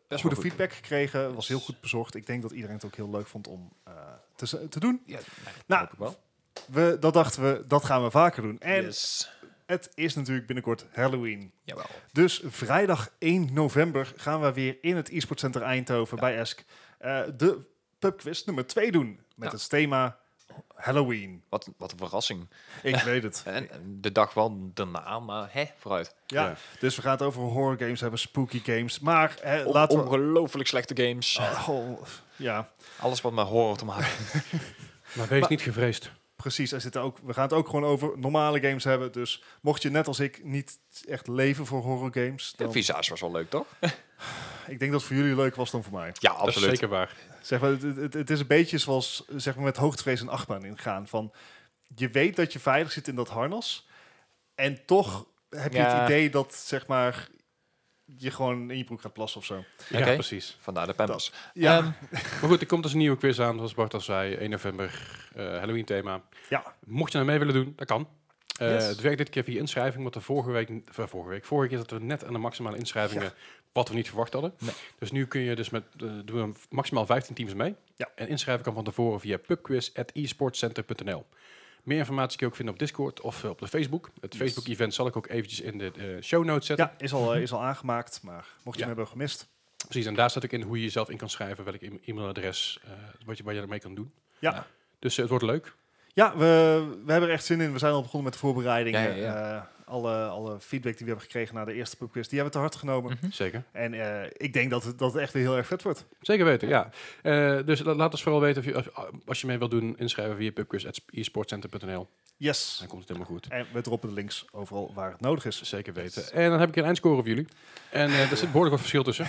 wel goede goed. feedback gekregen. Het was heel goed bezorgd. Ik denk dat iedereen het ook heel leuk vond om eh, te, z- te doen. ja, Nou, nou, hoop ik wel. We, dat dachten we, dat gaan we vaker doen. En Yes. het is natuurlijk binnenkort Halloween. Jawel. Dus vrijdag 1 november gaan we weer in het e-sport center Eindhoven bij ESC eh, de pubquiz nummer 2 doen. Met Ja. het thema Halloween. Wat, wat een verrassing. Ik weet het. En en de dag wel daarna, maar hè, vooruit. Ja. Ja. Dus we gaan het over horror games hebben, spooky games. Maar eh, O- laten we... Ongelooflijk slechte games. Oh, ja, Alles wat met horror te maken heeft. Maar wees Maar- niet gevreesd. precies. Er zitten ook, we gaan het ook gewoon over normale games hebben. Dus mocht je net als ik niet echt leven voor horror games... Dan, Visage was wel leuk, toch? ik denk dat het voor jullie leuker was dan voor mij. Ja, Dat is absoluut. zeker waar. Zeg maar, het, het, het is een beetje zoals zeg maar, met hoogtevrees een achtbaan ingaan. Van, je weet dat je veilig zit in dat harnas. En toch heb je Ja. het idee dat zeg maar, je gewoon in je broek gaat plassen of zo. Ja, Oké. precies. Vandaar de Pampers. Ja, Ehm, Maar goed, er komt dus een nieuwe quiz aan, zoals Bart al zei. 1 november, eh, Halloween thema. ja. Mocht je nou mee willen doen, dat kan. Eh, Yes. Het werkt dit keer via inschrijving, want de vorige week, eh, vorige week, vorige keer zaten we net aan de maximale inschrijvingen, wat we niet verwacht hadden. Nee. Dus nu kun je dus met eh, doen we maximaal 15 teams mee. Ja. En inschrijven kan van tevoren via e pubquiz.esportcenter.nl. Meer informatie kun je ook vinden op Discord of eh, op de Facebook. Het Yes. Facebook-event zal ik ook eventjes in de eh, show notes zetten. ja is, Mhm. al, eh, is al aangemaakt, maar mocht je Ja. hem hebben gemist. Precies, en daar staat ook in hoe je jezelf in kan schrijven, welk e- e-mailadres, eh, wat je, waar je ermee kan doen. Ja. Ja. Dus eh, het wordt leuk. Ja, we, we hebben er echt zin in. We zijn al begonnen met de voorbereidingen. Ja, ja, ja. Eh, alle, alle feedback die we hebben gekregen na de eerste pubquiz, die hebben we te hard genomen. Mhm. Zeker. En eh, ik denk dat het, dat het echt weer heel erg vet wordt. Zeker weten, ja. Eh, dus la- laat ons vooral weten of je, of- als je mee wilt doen, inschrijven via pubquiz.esportcenter.nl. Yes. Dan komt het helemaal goed. En we droppen de links overal waar het nodig is. Zeker weten. En dan heb ik een eindscore voor jullie. En eh er zit behoorlijk wat verschil tussen.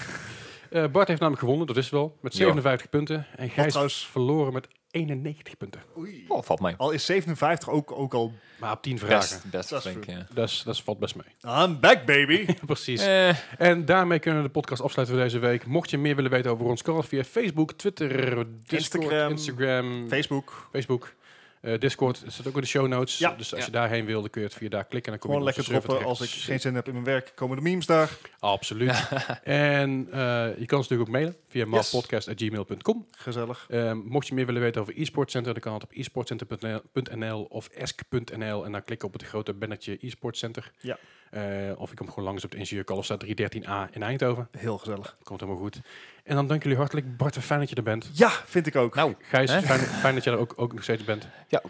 Eh, Bart heeft namelijk gewonnen, dat is het wel, met Ja. 57 punten. En Gijs trouwens- verloren met 91 punten. Oei. Oh, valt mij. Al is 57 ook, ook al... Maar op 10 vragen. Best, best Dat is flink, ja. Dat, is, dat valt best mee. I'm back, baby! Precies. Eh, En daarmee kunnen we de podcast afsluiten voor deze week. Mocht je meer willen weten over ons, kan dat via Facebook, Twitter, Discord, Instagram. Instagram, Facebook. Facebook. eh, Discord dat staat ook in de show notes. Ja. Dus als Ja. je daarheen wil, dan kun je het via daar klikken. En dan kom Gewoon je bij lekker onze server droppen. Als ik terecht. geen zin heb in mijn werk, komen de memes daar. Absoluut. en eh, je kan ons natuurlijk ook mailen via Yes. maalpodcast.gmail.com. Gezellig. Ehm, mocht je meer willen weten over e-sportcenter, dan kan dat op e-sportcenter.nl of esc.nl. En dan klik op het grote bannertje e-sportcenter. Ja. Eh, of je komt gewoon langs op de Ingenieur Kalfstraat 313A in Eindhoven. Heel gezellig. Komt helemaal goed. En dan dank jullie hartelijk. Bart, wat fijn dat je er bent. Ja, vind ik ook. nou, Gijs, Hè? fijn, fijn dat je er ook, ook nog steeds bent. Ja.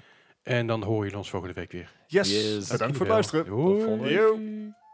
En dan horen jullie ons volgende week weer. yes. Yes. Bedankt voor het Dankjewel. luisteren. Hoi. Tot volgende week.